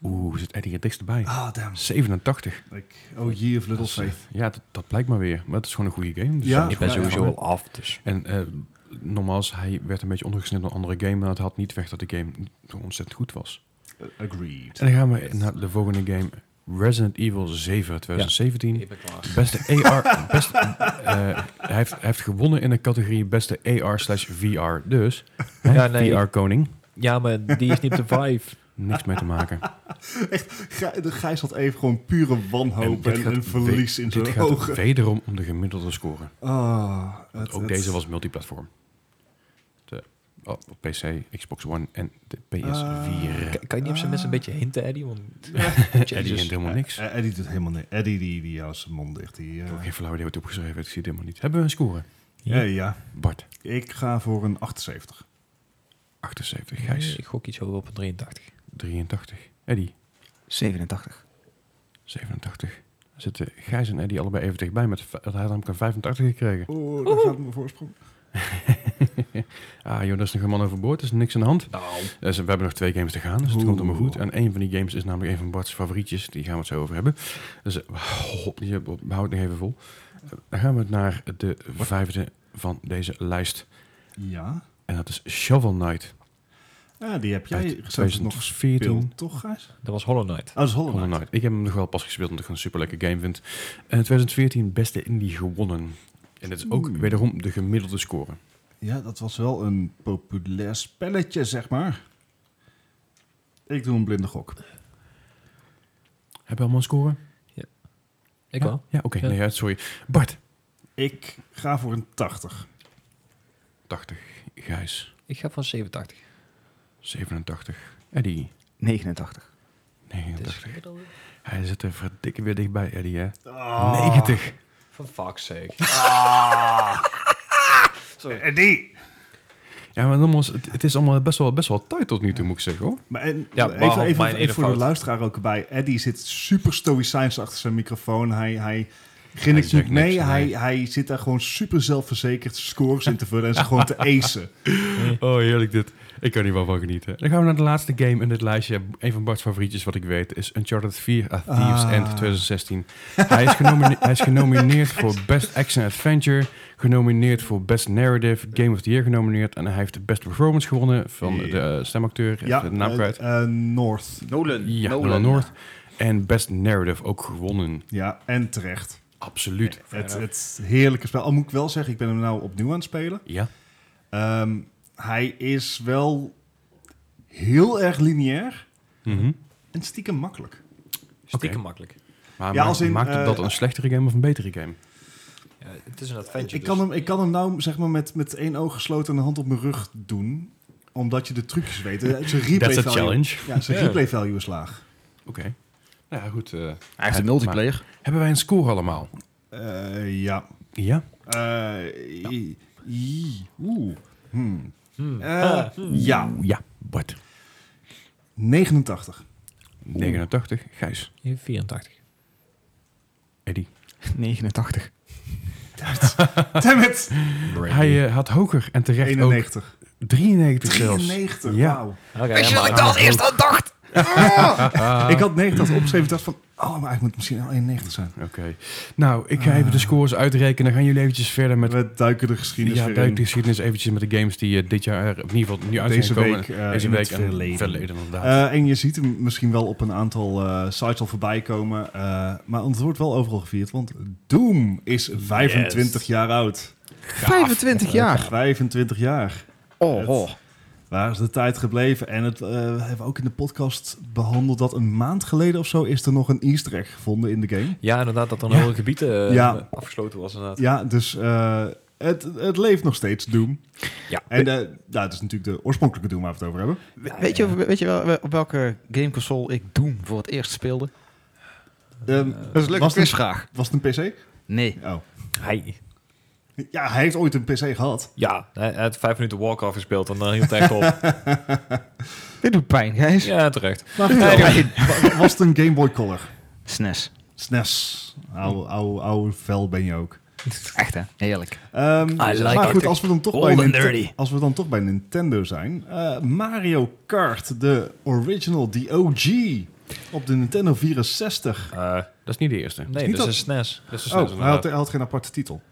[SPEAKER 3] Oeh, zit Eddie het dichtst bij.
[SPEAKER 1] Ah, damn.
[SPEAKER 3] 87.
[SPEAKER 1] Ik, oh, Year of Little
[SPEAKER 3] Dat is, eh,
[SPEAKER 1] Faith.
[SPEAKER 3] Ja, dat, dat blijkt maar weer. Maar het is gewoon een goede game. Dus
[SPEAKER 1] Ja,
[SPEAKER 3] daar
[SPEAKER 6] ik
[SPEAKER 3] is
[SPEAKER 6] ben
[SPEAKER 1] ja,
[SPEAKER 3] gewoon
[SPEAKER 6] sowieso
[SPEAKER 3] van.
[SPEAKER 6] al af, dus.
[SPEAKER 3] En eh nogmaals, hij werd een beetje ondergesneden door een andere game. Maar het had niet weg dat de game zo ontzettend goed was.
[SPEAKER 1] Agreed.
[SPEAKER 3] En dan gaan we naar de volgende game. Resident Evil 7 uit 2017.
[SPEAKER 6] Ik ben klaar.
[SPEAKER 3] Beste AR. best- eh, hij, heeft, hij heeft gewonnen in de categorie beste AR slash VR. Dus
[SPEAKER 6] Ja, nee,
[SPEAKER 3] VR koning.
[SPEAKER 6] Ja, maar die is niet op de vibe.
[SPEAKER 3] Niks mee te maken.
[SPEAKER 1] Gij- De Gijs had even gewoon pure wanhoop en,
[SPEAKER 3] dit gaat
[SPEAKER 1] een verlies in
[SPEAKER 3] Dit
[SPEAKER 1] zijn
[SPEAKER 3] gaat
[SPEAKER 1] ogen.
[SPEAKER 3] wederom om de gemiddelde score.
[SPEAKER 1] Ah, het-
[SPEAKER 3] Ook
[SPEAKER 1] het-
[SPEAKER 3] deze was multiplatform. De, oh, op PC, Xbox One en de
[SPEAKER 1] Ah.
[SPEAKER 3] PS4.
[SPEAKER 6] Kan, kan je niet op zijn minst een beetje hinten, Eddie? Want,
[SPEAKER 3] Eddie
[SPEAKER 6] Jezus.
[SPEAKER 3] heeft helemaal niks. Ik
[SPEAKER 1] Eh, Eddie doet helemaal niks. Eddie die, die houdt zijn mond dicht. Die, eh,
[SPEAKER 3] heb geen flauw idee wat hij opgeschreven heeft. Ik zie het helemaal niet. Hebben we een score?
[SPEAKER 1] ja, ja,
[SPEAKER 3] Bart,
[SPEAKER 1] ik ga voor een 78.
[SPEAKER 3] 78. Gijs,
[SPEAKER 6] Ik gok iets over op een 83.
[SPEAKER 3] 83. Eddie,
[SPEAKER 5] 87.
[SPEAKER 3] 87. Daar zitten Gijs en Eddie allebei even dichtbij. Met, v- hij had namelijk een 85 gekregen.
[SPEAKER 1] Oh, daar gaat mijn voorsprong.
[SPEAKER 3] ah joh, dat is nog helemaal overboord. Er is niks aan de hand. Dus we hebben nog twee games te gaan, dus het
[SPEAKER 1] Nou. Oeh.
[SPEAKER 3] komt allemaal goed. En een van die games is namelijk een van Bart's favorietjes. Die gaan we het zo over hebben. Dus eh, hop, die hebben- we houden het nog even vol. Eh, Dan gaan we naar de vijfde van deze lijst.
[SPEAKER 1] Ja.
[SPEAKER 3] En dat is Shovel Knight.
[SPEAKER 1] Ja, die heb
[SPEAKER 3] Uit
[SPEAKER 1] jij zelfs nog
[SPEAKER 3] 2014.
[SPEAKER 1] gespeeld, toch Gijs?
[SPEAKER 2] Dat was Hollow Knight.
[SPEAKER 1] Oh, dat is Hollow
[SPEAKER 3] Hollow
[SPEAKER 1] Knight.
[SPEAKER 3] Knight. Ik heb hem nog wel pas gespeeld omdat ik het een super lekker game vind. En 2014 beste indie gewonnen. En dat is ook
[SPEAKER 1] Oeh.
[SPEAKER 3] wederom de gemiddelde score.
[SPEAKER 1] Ja, dat was wel een populair spelletje, zeg maar. Ik doe een blinde gok.
[SPEAKER 3] Hebben we allemaal een score?
[SPEAKER 2] Ik
[SPEAKER 3] ja?
[SPEAKER 2] wel.
[SPEAKER 3] Ja, oké.
[SPEAKER 2] Ja.
[SPEAKER 3] Nee, ja, sorry. Bart.
[SPEAKER 1] Ik ga voor een 80.
[SPEAKER 3] 80. Gijs.
[SPEAKER 2] Ik ga van 87.
[SPEAKER 3] 87. Eddie.
[SPEAKER 4] 89.
[SPEAKER 2] Dus
[SPEAKER 3] 89.
[SPEAKER 2] gemiddelde.
[SPEAKER 3] Hij zit er verdikke weer dichtbij, Eddie, hè?
[SPEAKER 1] Ah.
[SPEAKER 3] 90.
[SPEAKER 2] Van fuck's sake.
[SPEAKER 1] En die.
[SPEAKER 3] Ja, maar nogmaals, het, het is allemaal best wel, best wel tijd tot nu toe, moet ik zeggen, hoor.
[SPEAKER 1] Maar en,
[SPEAKER 2] Ja,
[SPEAKER 1] even,
[SPEAKER 2] behalve
[SPEAKER 1] even,
[SPEAKER 2] mijn
[SPEAKER 1] even
[SPEAKER 2] ene
[SPEAKER 1] voor
[SPEAKER 2] fout.
[SPEAKER 1] de luisteraar ook bij. Eddie zit super stoïcijns achter zijn microfoon. Hij, hij
[SPEAKER 3] Hij
[SPEAKER 1] grinnikt
[SPEAKER 3] zegt
[SPEAKER 1] niet mee.
[SPEAKER 3] niks,
[SPEAKER 1] Hij,
[SPEAKER 3] nee.
[SPEAKER 1] hij zit daar gewoon super zelfverzekerd scores in te vullen en ze gewoon te acen. Mm.
[SPEAKER 3] Oh, heerlijk dit. Ik kan hier wel van genieten. Dan gaan we naar de laatste game in dit lijstje. Een van Bart's favorietjes, wat ik weet, is Uncharted 4 A Thieves
[SPEAKER 1] Ah.
[SPEAKER 3] End 2016. Hij is, genomine- hij is genomineerd voor Best Action Adventure, genomineerd voor Best Narrative, Game of the Year genomineerd. En hij heeft de Best Performance gewonnen van de eh, stemacteur,
[SPEAKER 1] Ja,
[SPEAKER 3] even de naam
[SPEAKER 1] eh,
[SPEAKER 3] kwijt.
[SPEAKER 1] eh, North.
[SPEAKER 5] Nolan.
[SPEAKER 3] Ja, Nolan North. En Best Narrative ook gewonnen.
[SPEAKER 1] Ja, en terecht.
[SPEAKER 3] Absoluut.
[SPEAKER 1] Het, het heerlijke spel. Al moet ik wel zeggen, ik ben hem nou opnieuw aan het spelen.
[SPEAKER 3] Ja.
[SPEAKER 1] Ehm, hij is wel heel erg lineair
[SPEAKER 3] Mhm.
[SPEAKER 1] en stiekem makkelijk.
[SPEAKER 2] Stiekem makkelijk.
[SPEAKER 3] Maar
[SPEAKER 1] Ja,
[SPEAKER 3] ma-
[SPEAKER 1] als in,
[SPEAKER 3] maakt het
[SPEAKER 1] eh,
[SPEAKER 3] dat een slechtere game of een betere game?
[SPEAKER 2] Ja, het is een adventure. dus-
[SPEAKER 1] Ik kan, hem, ik kan hem nou zeg maar met, met één oog gesloten en een hand op mijn rug doen, omdat je de trucjes weet. Eh, Zijn replay
[SPEAKER 3] That's a
[SPEAKER 1] value,
[SPEAKER 3] challenge.
[SPEAKER 1] Ja, zijn
[SPEAKER 2] Ja.
[SPEAKER 1] replay value is laag.
[SPEAKER 3] Oké. Nou ja, goed. eh,
[SPEAKER 4] Hij heeft een multiplayer.
[SPEAKER 3] hebben wij een score allemaal?
[SPEAKER 1] Eh, ja.
[SPEAKER 3] Ja.
[SPEAKER 1] Eh, i- i- Oeh. Hmm.
[SPEAKER 2] Hmm.
[SPEAKER 1] Eh, Ja,
[SPEAKER 3] Ja, Bart.
[SPEAKER 1] 89.
[SPEAKER 3] 89. Gijs.
[SPEAKER 2] 84.
[SPEAKER 3] Eddie.
[SPEAKER 4] 89.
[SPEAKER 1] Damn it!
[SPEAKER 3] Hij eh, had hoger en terecht
[SPEAKER 1] 91.
[SPEAKER 3] ook 93 zelfs.
[SPEAKER 1] 93,
[SPEAKER 3] Ja.
[SPEAKER 1] wauw.
[SPEAKER 2] Oké,
[SPEAKER 5] dat ik dat eerst aan dacht?
[SPEAKER 3] Ah.
[SPEAKER 1] Ik had 90 opgeschreven. Ik dacht van, oh, maar ik moet misschien al 91 zijn.
[SPEAKER 3] Oké. Nou, ik ga even de scores uitrekenen. Dan gaan jullie eventjes verder met...
[SPEAKER 1] We duiken de geschiedenis
[SPEAKER 3] Ja,
[SPEAKER 1] weer
[SPEAKER 3] duik
[SPEAKER 1] in.
[SPEAKER 3] de geschiedenis eventjes met de games die eh, dit jaar, eh, of in ieder geval nu uit
[SPEAKER 1] Deze
[SPEAKER 3] zijn gekomen.
[SPEAKER 1] week, eh,
[SPEAKER 3] Deze
[SPEAKER 1] in
[SPEAKER 3] week
[SPEAKER 1] het
[SPEAKER 3] en
[SPEAKER 1] verleden.
[SPEAKER 3] inderdaad.
[SPEAKER 1] Eh, en je ziet hem misschien wel op een aantal eh, sites al voorbij komen. eh, maar het wordt wel overal gevierd, want Doom is 25 jaar oud.
[SPEAKER 4] 25 jaar.
[SPEAKER 1] 25 jaar.
[SPEAKER 4] Oh, oh.
[SPEAKER 1] Waar is de tijd gebleven? En het eh, we hebben ook in de podcast behandeld dat een maand geleden of zo is er nog een easter egg gevonden in de game.
[SPEAKER 2] Ja, inderdaad, dat er een
[SPEAKER 3] Ja.
[SPEAKER 2] heel gebied eh,
[SPEAKER 1] Ja.
[SPEAKER 2] afgesloten was inderdaad.
[SPEAKER 1] Ja, dus eh, het, het leeft nog steeds, Doom.
[SPEAKER 2] Ja.
[SPEAKER 1] En eh nou, het is natuurlijk de oorspronkelijke Doom waar we het over hebben.
[SPEAKER 4] We- weet, je, weet je wel op welke gameconsole ik Doom voor het eerst speelde?
[SPEAKER 1] Ehm,
[SPEAKER 2] Eh,
[SPEAKER 4] Dat is een leuke
[SPEAKER 1] Was het-
[SPEAKER 4] quizvraag.
[SPEAKER 1] was het een PC?
[SPEAKER 4] Nee.
[SPEAKER 1] Oh.
[SPEAKER 2] Hij.
[SPEAKER 1] Ja, hij heeft ooit een PC gehad.
[SPEAKER 2] Ja, hij hij had vijf minuten Warcraft gespeeld en dan hield hij echt op.
[SPEAKER 4] Dit doet pijn, Gijs.
[SPEAKER 2] ja, terecht.
[SPEAKER 1] Maar vertel, wa- was het een Game Boy Color? E
[SPEAKER 4] SNES.
[SPEAKER 1] SNES. Oude, oude, oude vel ben je ook.
[SPEAKER 4] Echt, hè? Heerlijk.
[SPEAKER 1] Ehm, maar goed, als we, dan toch
[SPEAKER 4] Old
[SPEAKER 1] bij
[SPEAKER 4] and
[SPEAKER 1] Ninten-
[SPEAKER 4] dirty.
[SPEAKER 1] als we dan toch bij Nintendo zijn. eh, Mario Kart, de original, de OG. Op de Nintendo 64.
[SPEAKER 2] Eh,
[SPEAKER 3] dat is niet de eerste.
[SPEAKER 2] nee,
[SPEAKER 1] niet
[SPEAKER 2] dat,
[SPEAKER 1] dat-
[SPEAKER 2] is een E SNES.
[SPEAKER 3] Dat is de zesde,
[SPEAKER 1] Oh, hij had,
[SPEAKER 3] inderdaad.
[SPEAKER 1] hij had geen aparte titel.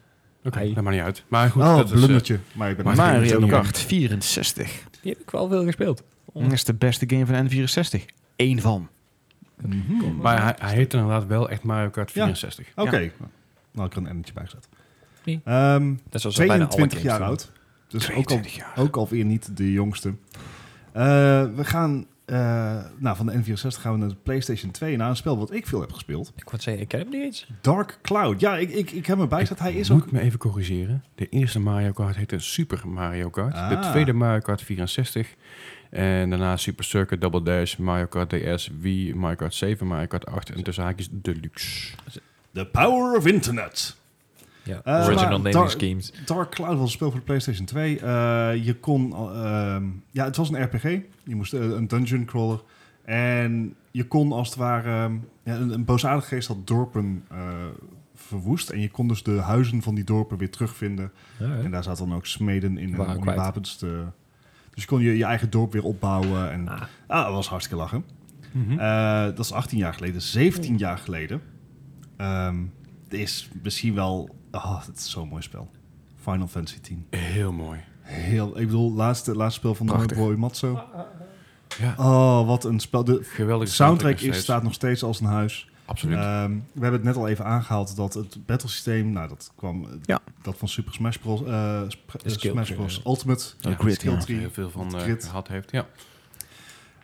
[SPEAKER 3] Oké,
[SPEAKER 2] Hij-
[SPEAKER 3] dat maakt niet uit. Maar goed,
[SPEAKER 1] oh,
[SPEAKER 3] dat is, eh,
[SPEAKER 1] blundertje. maar ik ben
[SPEAKER 3] maar-
[SPEAKER 1] maar,
[SPEAKER 4] Mario
[SPEAKER 3] Nintendo.
[SPEAKER 4] Kart 64.
[SPEAKER 2] Die heb ik wel veel gespeeld.
[SPEAKER 4] Dat is de beste game van de N64. Eén van.
[SPEAKER 3] maar hij, hij heet inderdaad wel echt Mario Kart
[SPEAKER 1] Ja.
[SPEAKER 3] 64.
[SPEAKER 1] Oké. Nou, ik er een emmetje bij gezet.
[SPEAKER 2] Nee.
[SPEAKER 1] Ehm,
[SPEAKER 2] Dat was bijna alle
[SPEAKER 1] 22
[SPEAKER 2] games
[SPEAKER 1] jaar
[SPEAKER 2] toen.
[SPEAKER 1] oud. Dus ook al
[SPEAKER 4] 22 jaar.
[SPEAKER 1] Ook alweer niet de jongste. Eh, we gaan eh, nou, van de N64 gaan we naar de PlayStation 2 naar een spel wat ik veel heb gespeeld.
[SPEAKER 2] Ik wou zeggen, ik ken hem niet eens.
[SPEAKER 1] Dark Cloud. Ja, ik, ik, ik heb hem bijgezet. Hij is
[SPEAKER 3] Moet
[SPEAKER 1] ook.
[SPEAKER 3] me even corrigeren. De eerste Mario Kart heette Super Mario Kart. De
[SPEAKER 1] Ah.
[SPEAKER 3] tweede Mario Kart 64. En daarna Super Circuit, Double Dash, Mario Kart DS, Wii, Mario Kart 7, Mario Kart 8 en tussen haakjes Deluxe.
[SPEAKER 1] The Power of Internet.
[SPEAKER 2] Ja,
[SPEAKER 1] Eh, maar
[SPEAKER 2] original naming
[SPEAKER 1] daar-
[SPEAKER 2] schemes.
[SPEAKER 1] Dark Cloud was een spel voor de PlayStation 2. Eh, je kon. al- ehm, ja, het was een RPG. Je moest eh, een eh, dungeon crawler. En je kon als het ware... ja, een, een boosaardige geest had dorpen eh, verwoest. En je kon dus de huizen van die dorpen weer terugvinden. En daar zaten dan ook smeden in
[SPEAKER 2] Waren
[SPEAKER 1] om die
[SPEAKER 2] kwijt.
[SPEAKER 1] wapens te... Dus je kon je, je eigen dorp weer opbouwen. En,
[SPEAKER 2] Ah.
[SPEAKER 1] ah, dat was hartstikke lachen.
[SPEAKER 3] Mhm.
[SPEAKER 1] Eh, dat is 18 jaar geleden. 17 jaar geleden. Ehm, het is misschien wel... Oh, het is zo'n mooi spel. Final Fantasy 10.
[SPEAKER 3] Heel mooi.
[SPEAKER 1] Heel, ik bedoel, laatste, laatste spel van
[SPEAKER 4] Prachtig.
[SPEAKER 1] Nobuo Matzo.
[SPEAKER 3] Ja.
[SPEAKER 1] Oh, wat een spel. De
[SPEAKER 3] Geweldig.
[SPEAKER 1] soundtrack is, staat nog steeds als een huis.
[SPEAKER 3] Absoluut.
[SPEAKER 1] Ehm, we hebben het net al even aangehaald dat het battlesysteem... Nou, dat kwam... eh,
[SPEAKER 4] Ja.
[SPEAKER 1] Dat van Super Smash Bros. eh, Sp- eh,
[SPEAKER 2] skill
[SPEAKER 1] Smash
[SPEAKER 2] tree,
[SPEAKER 1] Bros.
[SPEAKER 2] ja.
[SPEAKER 1] Ultimate.
[SPEAKER 4] Ja, grid,
[SPEAKER 1] skill
[SPEAKER 4] ja.
[SPEAKER 1] tree.
[SPEAKER 3] heel veel van eh,
[SPEAKER 1] Grid.
[SPEAKER 3] gehad heeft. Ja.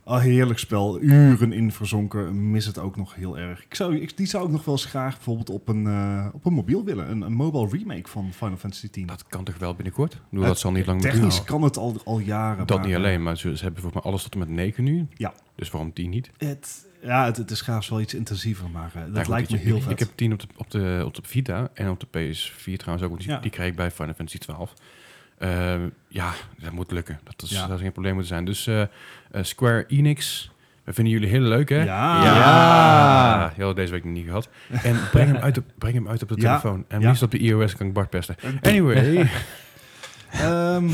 [SPEAKER 1] Oh, heerlijk spel. Uren in verzonken. Mis het ook nog heel erg. Ik zou, ik, die zou ik nog wel eens graag bijvoorbeeld op een, eh, op een mobiel willen. Een, een mobile remake van Final Fantasy X.
[SPEAKER 3] Dat kan toch wel binnenkort? Ik bedoel,
[SPEAKER 1] Het-
[SPEAKER 3] dat zal niet lang meer duren.
[SPEAKER 1] Technisch kan het al, al jaren.
[SPEAKER 3] Dat
[SPEAKER 1] maar-
[SPEAKER 3] niet alleen, maar ze, ze hebben volgens mij alles tot en met 9 nu.
[SPEAKER 1] Ja.
[SPEAKER 3] Dus waarom 10 niet?
[SPEAKER 1] Het, ja, het, het is graag wel iets intensiever, maar eh, dat
[SPEAKER 3] Nou, goed,
[SPEAKER 1] lijkt me
[SPEAKER 3] weet je,
[SPEAKER 1] heel
[SPEAKER 3] ik,
[SPEAKER 1] vet.
[SPEAKER 3] Ik heb 10 op de, op, de, op de Vita en op de PS4 trouwens ook. Die,
[SPEAKER 1] Ja.
[SPEAKER 3] die kreeg ik bij Final Fantasy 12. Ehm, ja, dat moet lukken. Dat is,
[SPEAKER 1] Ja.
[SPEAKER 3] dat is geen probleem moeten zijn. Dus eh, eh, Square Enix, we vinden jullie heel leuk, hè?
[SPEAKER 1] Ja.
[SPEAKER 3] ja. Die hadden deze week nog niet gehad. En breng hem uit op, breng hem uit op de
[SPEAKER 1] Ja.
[SPEAKER 3] telefoon. En
[SPEAKER 1] Ja.
[SPEAKER 3] liefst op de iOS kan ik Bart pesten. Anyway.
[SPEAKER 1] Ehm,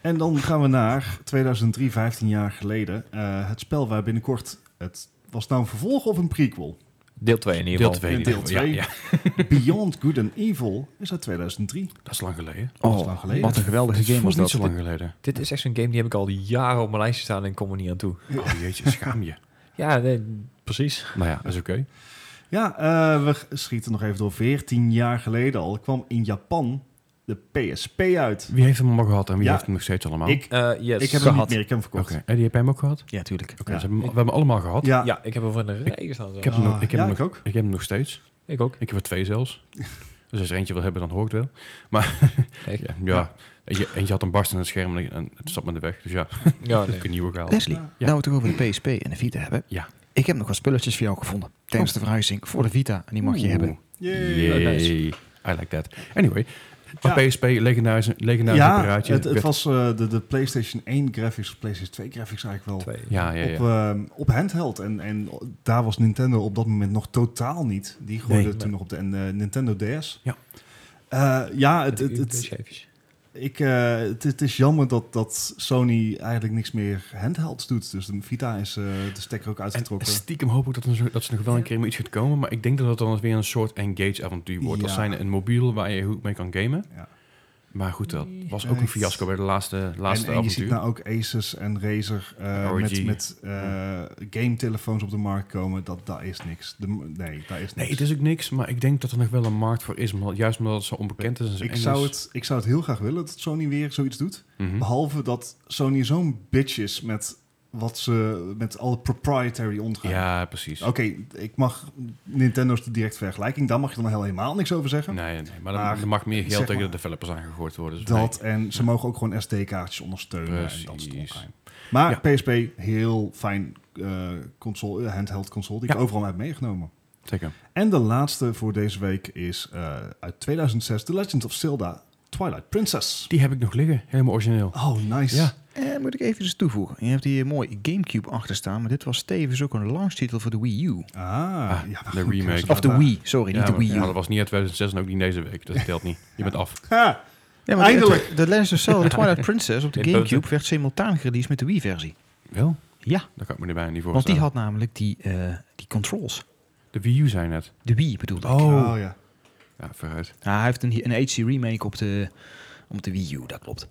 [SPEAKER 1] en dan gaan we naar 2003, 15 jaar geleden. Eh, het spel waar binnenkort... Het was nou een vervolg of een prequel?
[SPEAKER 2] Deel 2 in ieder
[SPEAKER 3] Deel
[SPEAKER 2] geval.
[SPEAKER 3] 2.
[SPEAKER 1] Deel twee.
[SPEAKER 3] Ja, ja.
[SPEAKER 1] Beyond Good and Evil is uit 2003.
[SPEAKER 3] Dat is lang geleden.
[SPEAKER 1] Dat is lang geleden.
[SPEAKER 4] Oh, wat een geweldige game
[SPEAKER 3] Voelt
[SPEAKER 4] was
[SPEAKER 3] niet
[SPEAKER 4] dat.
[SPEAKER 3] zo lang geleden.
[SPEAKER 2] Dit is echt zo'n game die heb ik al jaren op mijn lijstje staan en kom er niet aan toe.
[SPEAKER 3] Oh jeetje, schaam je.
[SPEAKER 2] Ja, nee, precies.
[SPEAKER 3] nou ja, dat is oké.
[SPEAKER 1] Ja, eh, we g- schieten nog even door. 14 jaar geleden al kwam in Japan de PSP uit.
[SPEAKER 3] Wie heeft hem allemaal gehad en wie
[SPEAKER 1] Ja.
[SPEAKER 3] heeft hem nog steeds allemaal?
[SPEAKER 1] Ik,
[SPEAKER 2] Eh, yes.
[SPEAKER 1] ik heb hem niet
[SPEAKER 4] Gehad.
[SPEAKER 1] meer, ik heb hem
[SPEAKER 3] Oké,
[SPEAKER 1] verkocht.
[SPEAKER 3] Eddie, heb jij hem ook gehad?
[SPEAKER 4] Ja, tuurlijk.
[SPEAKER 3] Oké,
[SPEAKER 1] Ja.
[SPEAKER 3] ze hebben, we hebben hem allemaal gehad.
[SPEAKER 1] Ja,
[SPEAKER 2] Ja, ik heb hem voor in de rij gestaan. zo.
[SPEAKER 3] Ik heb, hem,
[SPEAKER 1] Ah,
[SPEAKER 3] nog- ik, heb
[SPEAKER 1] ja,
[SPEAKER 3] hem
[SPEAKER 1] ik
[SPEAKER 3] nog,
[SPEAKER 1] ook.
[SPEAKER 3] ik heb hem nog steeds.
[SPEAKER 2] Ik ook.
[SPEAKER 3] Ik heb er twee zelfs. Dus als je er eentje wil hebben, dan hoor ik het wel.
[SPEAKER 2] Echt?
[SPEAKER 3] Ja, ja. Eentje, eentje had een barst in het scherm en- en het zat me in de weg. Dus ja,
[SPEAKER 2] Ja,
[SPEAKER 3] heb
[SPEAKER 2] nee.
[SPEAKER 3] ik een nieuwe gehaald.
[SPEAKER 4] Leslie,
[SPEAKER 1] Ja.
[SPEAKER 4] nou we het toch over de PSP en de Vita hebben.
[SPEAKER 3] Ja.
[SPEAKER 4] Ik heb nog wat spulletjes voor jou gevonden. Tijdens de verhuizing voor de Vita. En die mag je
[SPEAKER 3] Oeh.
[SPEAKER 4] hebben.
[SPEAKER 1] Yay.
[SPEAKER 3] Yay. I like that. Anyway, maar PSP, legendarisch legendarisch
[SPEAKER 1] Ja,
[SPEAKER 3] apparaatje.
[SPEAKER 1] het, het
[SPEAKER 3] Nou, Werd-
[SPEAKER 1] was eh, de, de PlayStation 1 graphics, PlayStation 2 graphics eigenlijk wel.
[SPEAKER 2] Twee.
[SPEAKER 3] Ja, ja, ja.
[SPEAKER 1] Op, eh, op handheld. En, en daar was Nintendo op dat moment nog totaal niet. Die gooide
[SPEAKER 2] Nee.
[SPEAKER 1] toen nog op de en, eh, Nintendo DS.
[SPEAKER 3] Ja.
[SPEAKER 1] Eh, ja, het,
[SPEAKER 2] Met
[SPEAKER 1] het,
[SPEAKER 2] die
[SPEAKER 1] het,
[SPEAKER 2] scheepjes.
[SPEAKER 1] Ik, eh, het, het is jammer dat, dat Sony eigenlijk niks meer handhelds doet. Dus de Vita is eh, de stekker ook
[SPEAKER 3] En
[SPEAKER 1] uitgetrokken.
[SPEAKER 3] stiekem hoop ik dat, er zo- dat ze nog wel een keer met iets gaat komen. Maar ik denk dat het dan weer een soort engage-avontuur wordt.
[SPEAKER 1] Ja.
[SPEAKER 3] Als zijn een mobiel waar je goed mee kan gamen.
[SPEAKER 1] Ja.
[SPEAKER 3] Maar goed, dat was
[SPEAKER 1] Ja,
[SPEAKER 3] ook een
[SPEAKER 1] het-
[SPEAKER 3] fiasco bij de laatste, laatste
[SPEAKER 1] en, en je
[SPEAKER 3] avontuur.
[SPEAKER 1] ziet nou ook Asus en Razer eh,
[SPEAKER 3] ROG.
[SPEAKER 1] met, met eh, game-telefoons op de markt komen. Dat, dat is niks. De, nee, daar is niks.
[SPEAKER 3] Nee, het is ook niks, maar ik denk dat er nog wel een markt voor is. Omdat, juist omdat het zo onbekend is. En zo
[SPEAKER 1] ik,
[SPEAKER 3] eng
[SPEAKER 1] zou
[SPEAKER 3] is.
[SPEAKER 1] het, ik zou het heel graag willen dat Sony weer zoiets doet.
[SPEAKER 3] Mhm.
[SPEAKER 1] Behalve dat Sony zo'n bitch is met wat ze met alle proprietary omgaan.
[SPEAKER 3] Ja, precies.
[SPEAKER 1] Oké, ik mag Nintendo's de directe vergelijking. Daar mag je dan heel- helemaal niks over zeggen.
[SPEAKER 3] Nee, nee, maar,
[SPEAKER 1] Maar,
[SPEAKER 3] er- er mag meer
[SPEAKER 1] zeg
[SPEAKER 3] geld tegen
[SPEAKER 1] maar-
[SPEAKER 3] de developers aangegooid worden. Dus
[SPEAKER 1] Dat en ze mogen ook gewoon SD-kaartjes ondersteunen. En dat is
[SPEAKER 3] Precies.
[SPEAKER 1] toch fijn. Maar
[SPEAKER 3] Ja.
[SPEAKER 1] PSP, heel fijn eh, console, eh, handheld console, die ik
[SPEAKER 3] Ja.
[SPEAKER 1] overal mee heb meegenomen.
[SPEAKER 3] nee, zeker.
[SPEAKER 1] En de laatste voor deze week is eh, uit 2006, The Legend of Zelda Twilight Princess.
[SPEAKER 3] Die heb ik nog liggen, helemaal origineel.
[SPEAKER 1] Oh, nice.
[SPEAKER 3] Ja.
[SPEAKER 4] Eh, moet ik even iets toevoegen. Je hebt hier mooi Gamecube achter staan. Maar dit was tevens ook een launchtitel voor de Wii U.
[SPEAKER 1] Ah,
[SPEAKER 3] Ah,
[SPEAKER 1] ja, maar
[SPEAKER 3] de
[SPEAKER 1] goed,
[SPEAKER 3] remake.
[SPEAKER 1] Chris,
[SPEAKER 4] Of de
[SPEAKER 1] daar-
[SPEAKER 4] Wii, sorry,
[SPEAKER 3] Ja,
[SPEAKER 4] niet de
[SPEAKER 3] maar-
[SPEAKER 4] Wii U.
[SPEAKER 3] ja, maar dat was niet uit 2006 en ook niet deze week. Dat telt niet. Je bent af.
[SPEAKER 1] Ha!
[SPEAKER 4] Ja, maar de-
[SPEAKER 1] Eindelijk.
[SPEAKER 4] De, de Legend of Zelda Twilight Princess op de
[SPEAKER 2] In
[SPEAKER 4] Gamecube
[SPEAKER 2] punten.
[SPEAKER 4] werd simultaan gereleased met de Wii-versie.
[SPEAKER 3] Wel?
[SPEAKER 4] Ja,
[SPEAKER 3] Daar kan ik me er bijna niet voor
[SPEAKER 4] want die had namelijk die, eh, die controls.
[SPEAKER 3] De Wii U zijn net.
[SPEAKER 4] De Wii bedoelde ik.
[SPEAKER 1] Oh. ja.
[SPEAKER 3] Ja, vooruit.
[SPEAKER 4] Ja, hij heeft een, een HD remake op de, op de Wii U, dat klopt.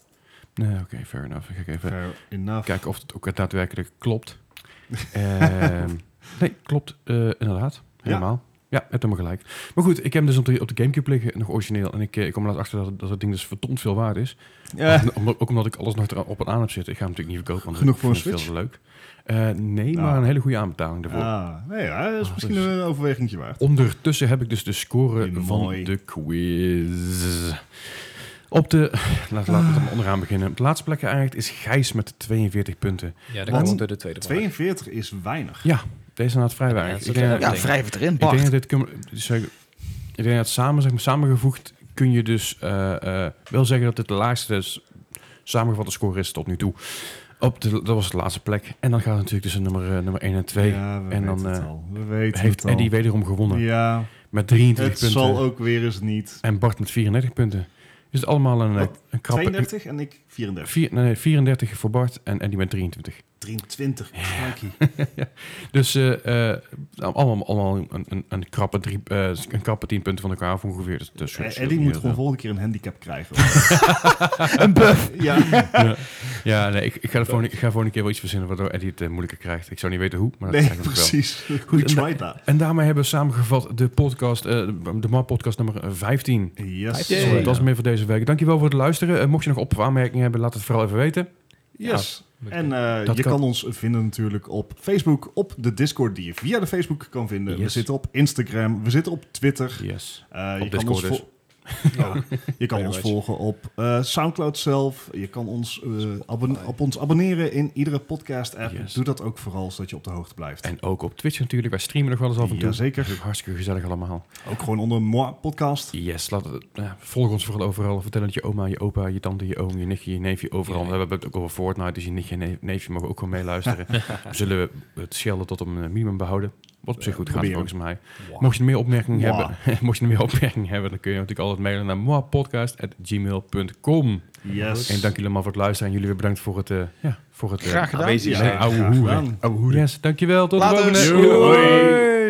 [SPEAKER 3] Nee, oké, fair enough. Ik ga even
[SPEAKER 1] Fair enough.
[SPEAKER 3] kijken of het ook daadwerkelijk klopt. Ehm, nee, klopt eh, inderdaad. Helemaal. Ja, het helemaal gelijk. Maar goed, ik heb hem dus op de, op de Gamecube liggen, nog origineel. En ik, eh, ik kom er laatst achter dat, het- dat het ding dus verdomd veel waard is.
[SPEAKER 1] Ja.
[SPEAKER 3] Om- omdat- ook omdat ik alles nog eraan- op en aan heb zitten. Ik ga hem natuurlijk niet verkopen, want
[SPEAKER 1] Genoeg
[SPEAKER 3] ik
[SPEAKER 1] voor
[SPEAKER 3] vind
[SPEAKER 1] een
[SPEAKER 3] het Veel te leuk. Eh, nee,
[SPEAKER 1] Nou.
[SPEAKER 3] maar een hele goede aanbetaling daarvoor.
[SPEAKER 1] Ah, nee, ja, dat is
[SPEAKER 3] Ah,
[SPEAKER 1] misschien
[SPEAKER 3] dus-
[SPEAKER 1] een overwegingje waard.
[SPEAKER 3] Ondertussen heb ik dus de score
[SPEAKER 1] Heel
[SPEAKER 3] van
[SPEAKER 1] mooi.
[SPEAKER 3] de quiz. Op de... Laat, laten
[SPEAKER 1] Ah.
[SPEAKER 3] we dan onderaan beginnen. Op de laatste plek eigenlijk is Gijs met 42 punten.
[SPEAKER 2] Ja,
[SPEAKER 1] Want
[SPEAKER 2] dan komt er de tweede vraag.
[SPEAKER 1] 42 is weinig.
[SPEAKER 3] Ja, deze is inderdaad vrij weinig.
[SPEAKER 2] dat is
[SPEAKER 3] Ik denk
[SPEAKER 2] ook
[SPEAKER 3] dat-
[SPEAKER 2] Ja,
[SPEAKER 4] Ja,
[SPEAKER 2] denk-
[SPEAKER 4] wrijf het erin,
[SPEAKER 3] Ik denk
[SPEAKER 4] Bart.
[SPEAKER 3] dat dit cum- dus zeg- ik denk dat samen, zeg maar, samengevoegd kun je dus eh, eh, wel zeggen dat het de laagste s- samengevatte score is tot nu toe. Op de, dat was de laatste plek. En dan gaat het natuurlijk tussen nummer, eh, nummer 1 en 2.
[SPEAKER 1] Ja, we
[SPEAKER 3] en
[SPEAKER 1] weten
[SPEAKER 3] dan,
[SPEAKER 1] het
[SPEAKER 3] eh,
[SPEAKER 1] al. We weten
[SPEAKER 3] Heeft
[SPEAKER 1] het al.
[SPEAKER 3] Eddie wederom gewonnen.
[SPEAKER 1] Ja,
[SPEAKER 3] Met 23
[SPEAKER 1] het
[SPEAKER 3] punten.
[SPEAKER 1] zal ook weer eens niet.
[SPEAKER 3] En Bart met 34 punten. Dus het allemaal een, eh,
[SPEAKER 1] Wat?
[SPEAKER 3] een krappe...
[SPEAKER 1] 32 en ik 34.
[SPEAKER 3] Vier, nee, nee, 34 voor Bart en Eddie met 23.
[SPEAKER 1] 23. crikey.
[SPEAKER 3] Dus eh, eh, allemaal, allemaal een, een, een, krappe drie, eh, een krappe 10 punten van elkaar af ongeveer. Dus, dus,
[SPEAKER 1] Eh, Eddie moet gewoon volgende keer een handicap krijgen.
[SPEAKER 5] Een buff.
[SPEAKER 1] ja,
[SPEAKER 3] Ja, ja nee, ik, ik, ga er volgende, ik ga volgende keer wel iets verzinnen waardoor Eddie het eh, moeilijker krijgt. Ik zou niet weten hoe, maar dat
[SPEAKER 1] nee,
[SPEAKER 3] krijg ik wel.
[SPEAKER 1] precies.
[SPEAKER 3] Goed,
[SPEAKER 1] Goed,
[SPEAKER 3] en-
[SPEAKER 1] try that.
[SPEAKER 3] En daarmee hebben we samengevat de podcast, eh, de MAP-podcast nummer 15.
[SPEAKER 1] Yes.
[SPEAKER 3] Zo,
[SPEAKER 1] Sorry,
[SPEAKER 3] dat was
[SPEAKER 1] ja.
[SPEAKER 3] het meer voor deze week. Dankjewel voor het luisteren. Eh, mocht je nog op- of aanmerkingen hebben, laat het vooral even weten.
[SPEAKER 1] Yes. En eh,
[SPEAKER 3] Dat
[SPEAKER 1] je
[SPEAKER 3] kan-
[SPEAKER 1] kan ons vinden natuurlijk op Facebook, op de Discord die je via de Facebook kan vinden. We
[SPEAKER 3] Yes.
[SPEAKER 1] zitten op Instagram, we zitten op Twitter.
[SPEAKER 3] Yes.
[SPEAKER 1] Eh,
[SPEAKER 3] Op
[SPEAKER 1] je
[SPEAKER 3] Discord
[SPEAKER 1] kan ons
[SPEAKER 3] dus.
[SPEAKER 1] vol- Ja, je kan ons volgen op eh, Soundcloud zelf. Je kan ons, eh, abon- op ons abonneren in iedere podcast-app.
[SPEAKER 3] Yes.
[SPEAKER 1] Doe dat ook vooral, zodat je op de hoogte blijft.
[SPEAKER 3] En ook op Twitch natuurlijk. Wij streamen nog wel eens af en toe.
[SPEAKER 1] Jazeker.
[SPEAKER 3] Dat is ook hartstikke gezellig allemaal.
[SPEAKER 1] Ook gewoon onder Moi podcast.
[SPEAKER 3] Yes, laat het, ja, volg ons vooral overal. Vertel het je oma, je opa, je tante, je oom, je nichtje, je neefje, overal. We hebben het ook over Fortnite, dus je nichtje en neef- neefje mogen ook gewoon meeluisteren. we zullen het shelden tot een eh, minimum behouden. Wat op zich goed gaat,
[SPEAKER 1] proberen.
[SPEAKER 3] volgens mij.
[SPEAKER 2] Wow.
[SPEAKER 3] Mocht je er meer opmerkingen
[SPEAKER 1] Wow.
[SPEAKER 3] hebben, mocht je er meer opmerkingen hebben, dan kun je natuurlijk altijd mailen naar moapodcast@gmail.com.
[SPEAKER 1] Yes.
[SPEAKER 3] En dank jullie allemaal voor het luisteren en jullie weer bedankt voor het eh, ja, voor het eh,
[SPEAKER 5] Graag gedaan.
[SPEAKER 3] aanwezig zijn. Oude hoeren.
[SPEAKER 1] gedaan.
[SPEAKER 3] Oude hoeren. Yes, dankjewel. Tot
[SPEAKER 5] Later.
[SPEAKER 3] de volgende.
[SPEAKER 1] Doei.
[SPEAKER 3] Hoi.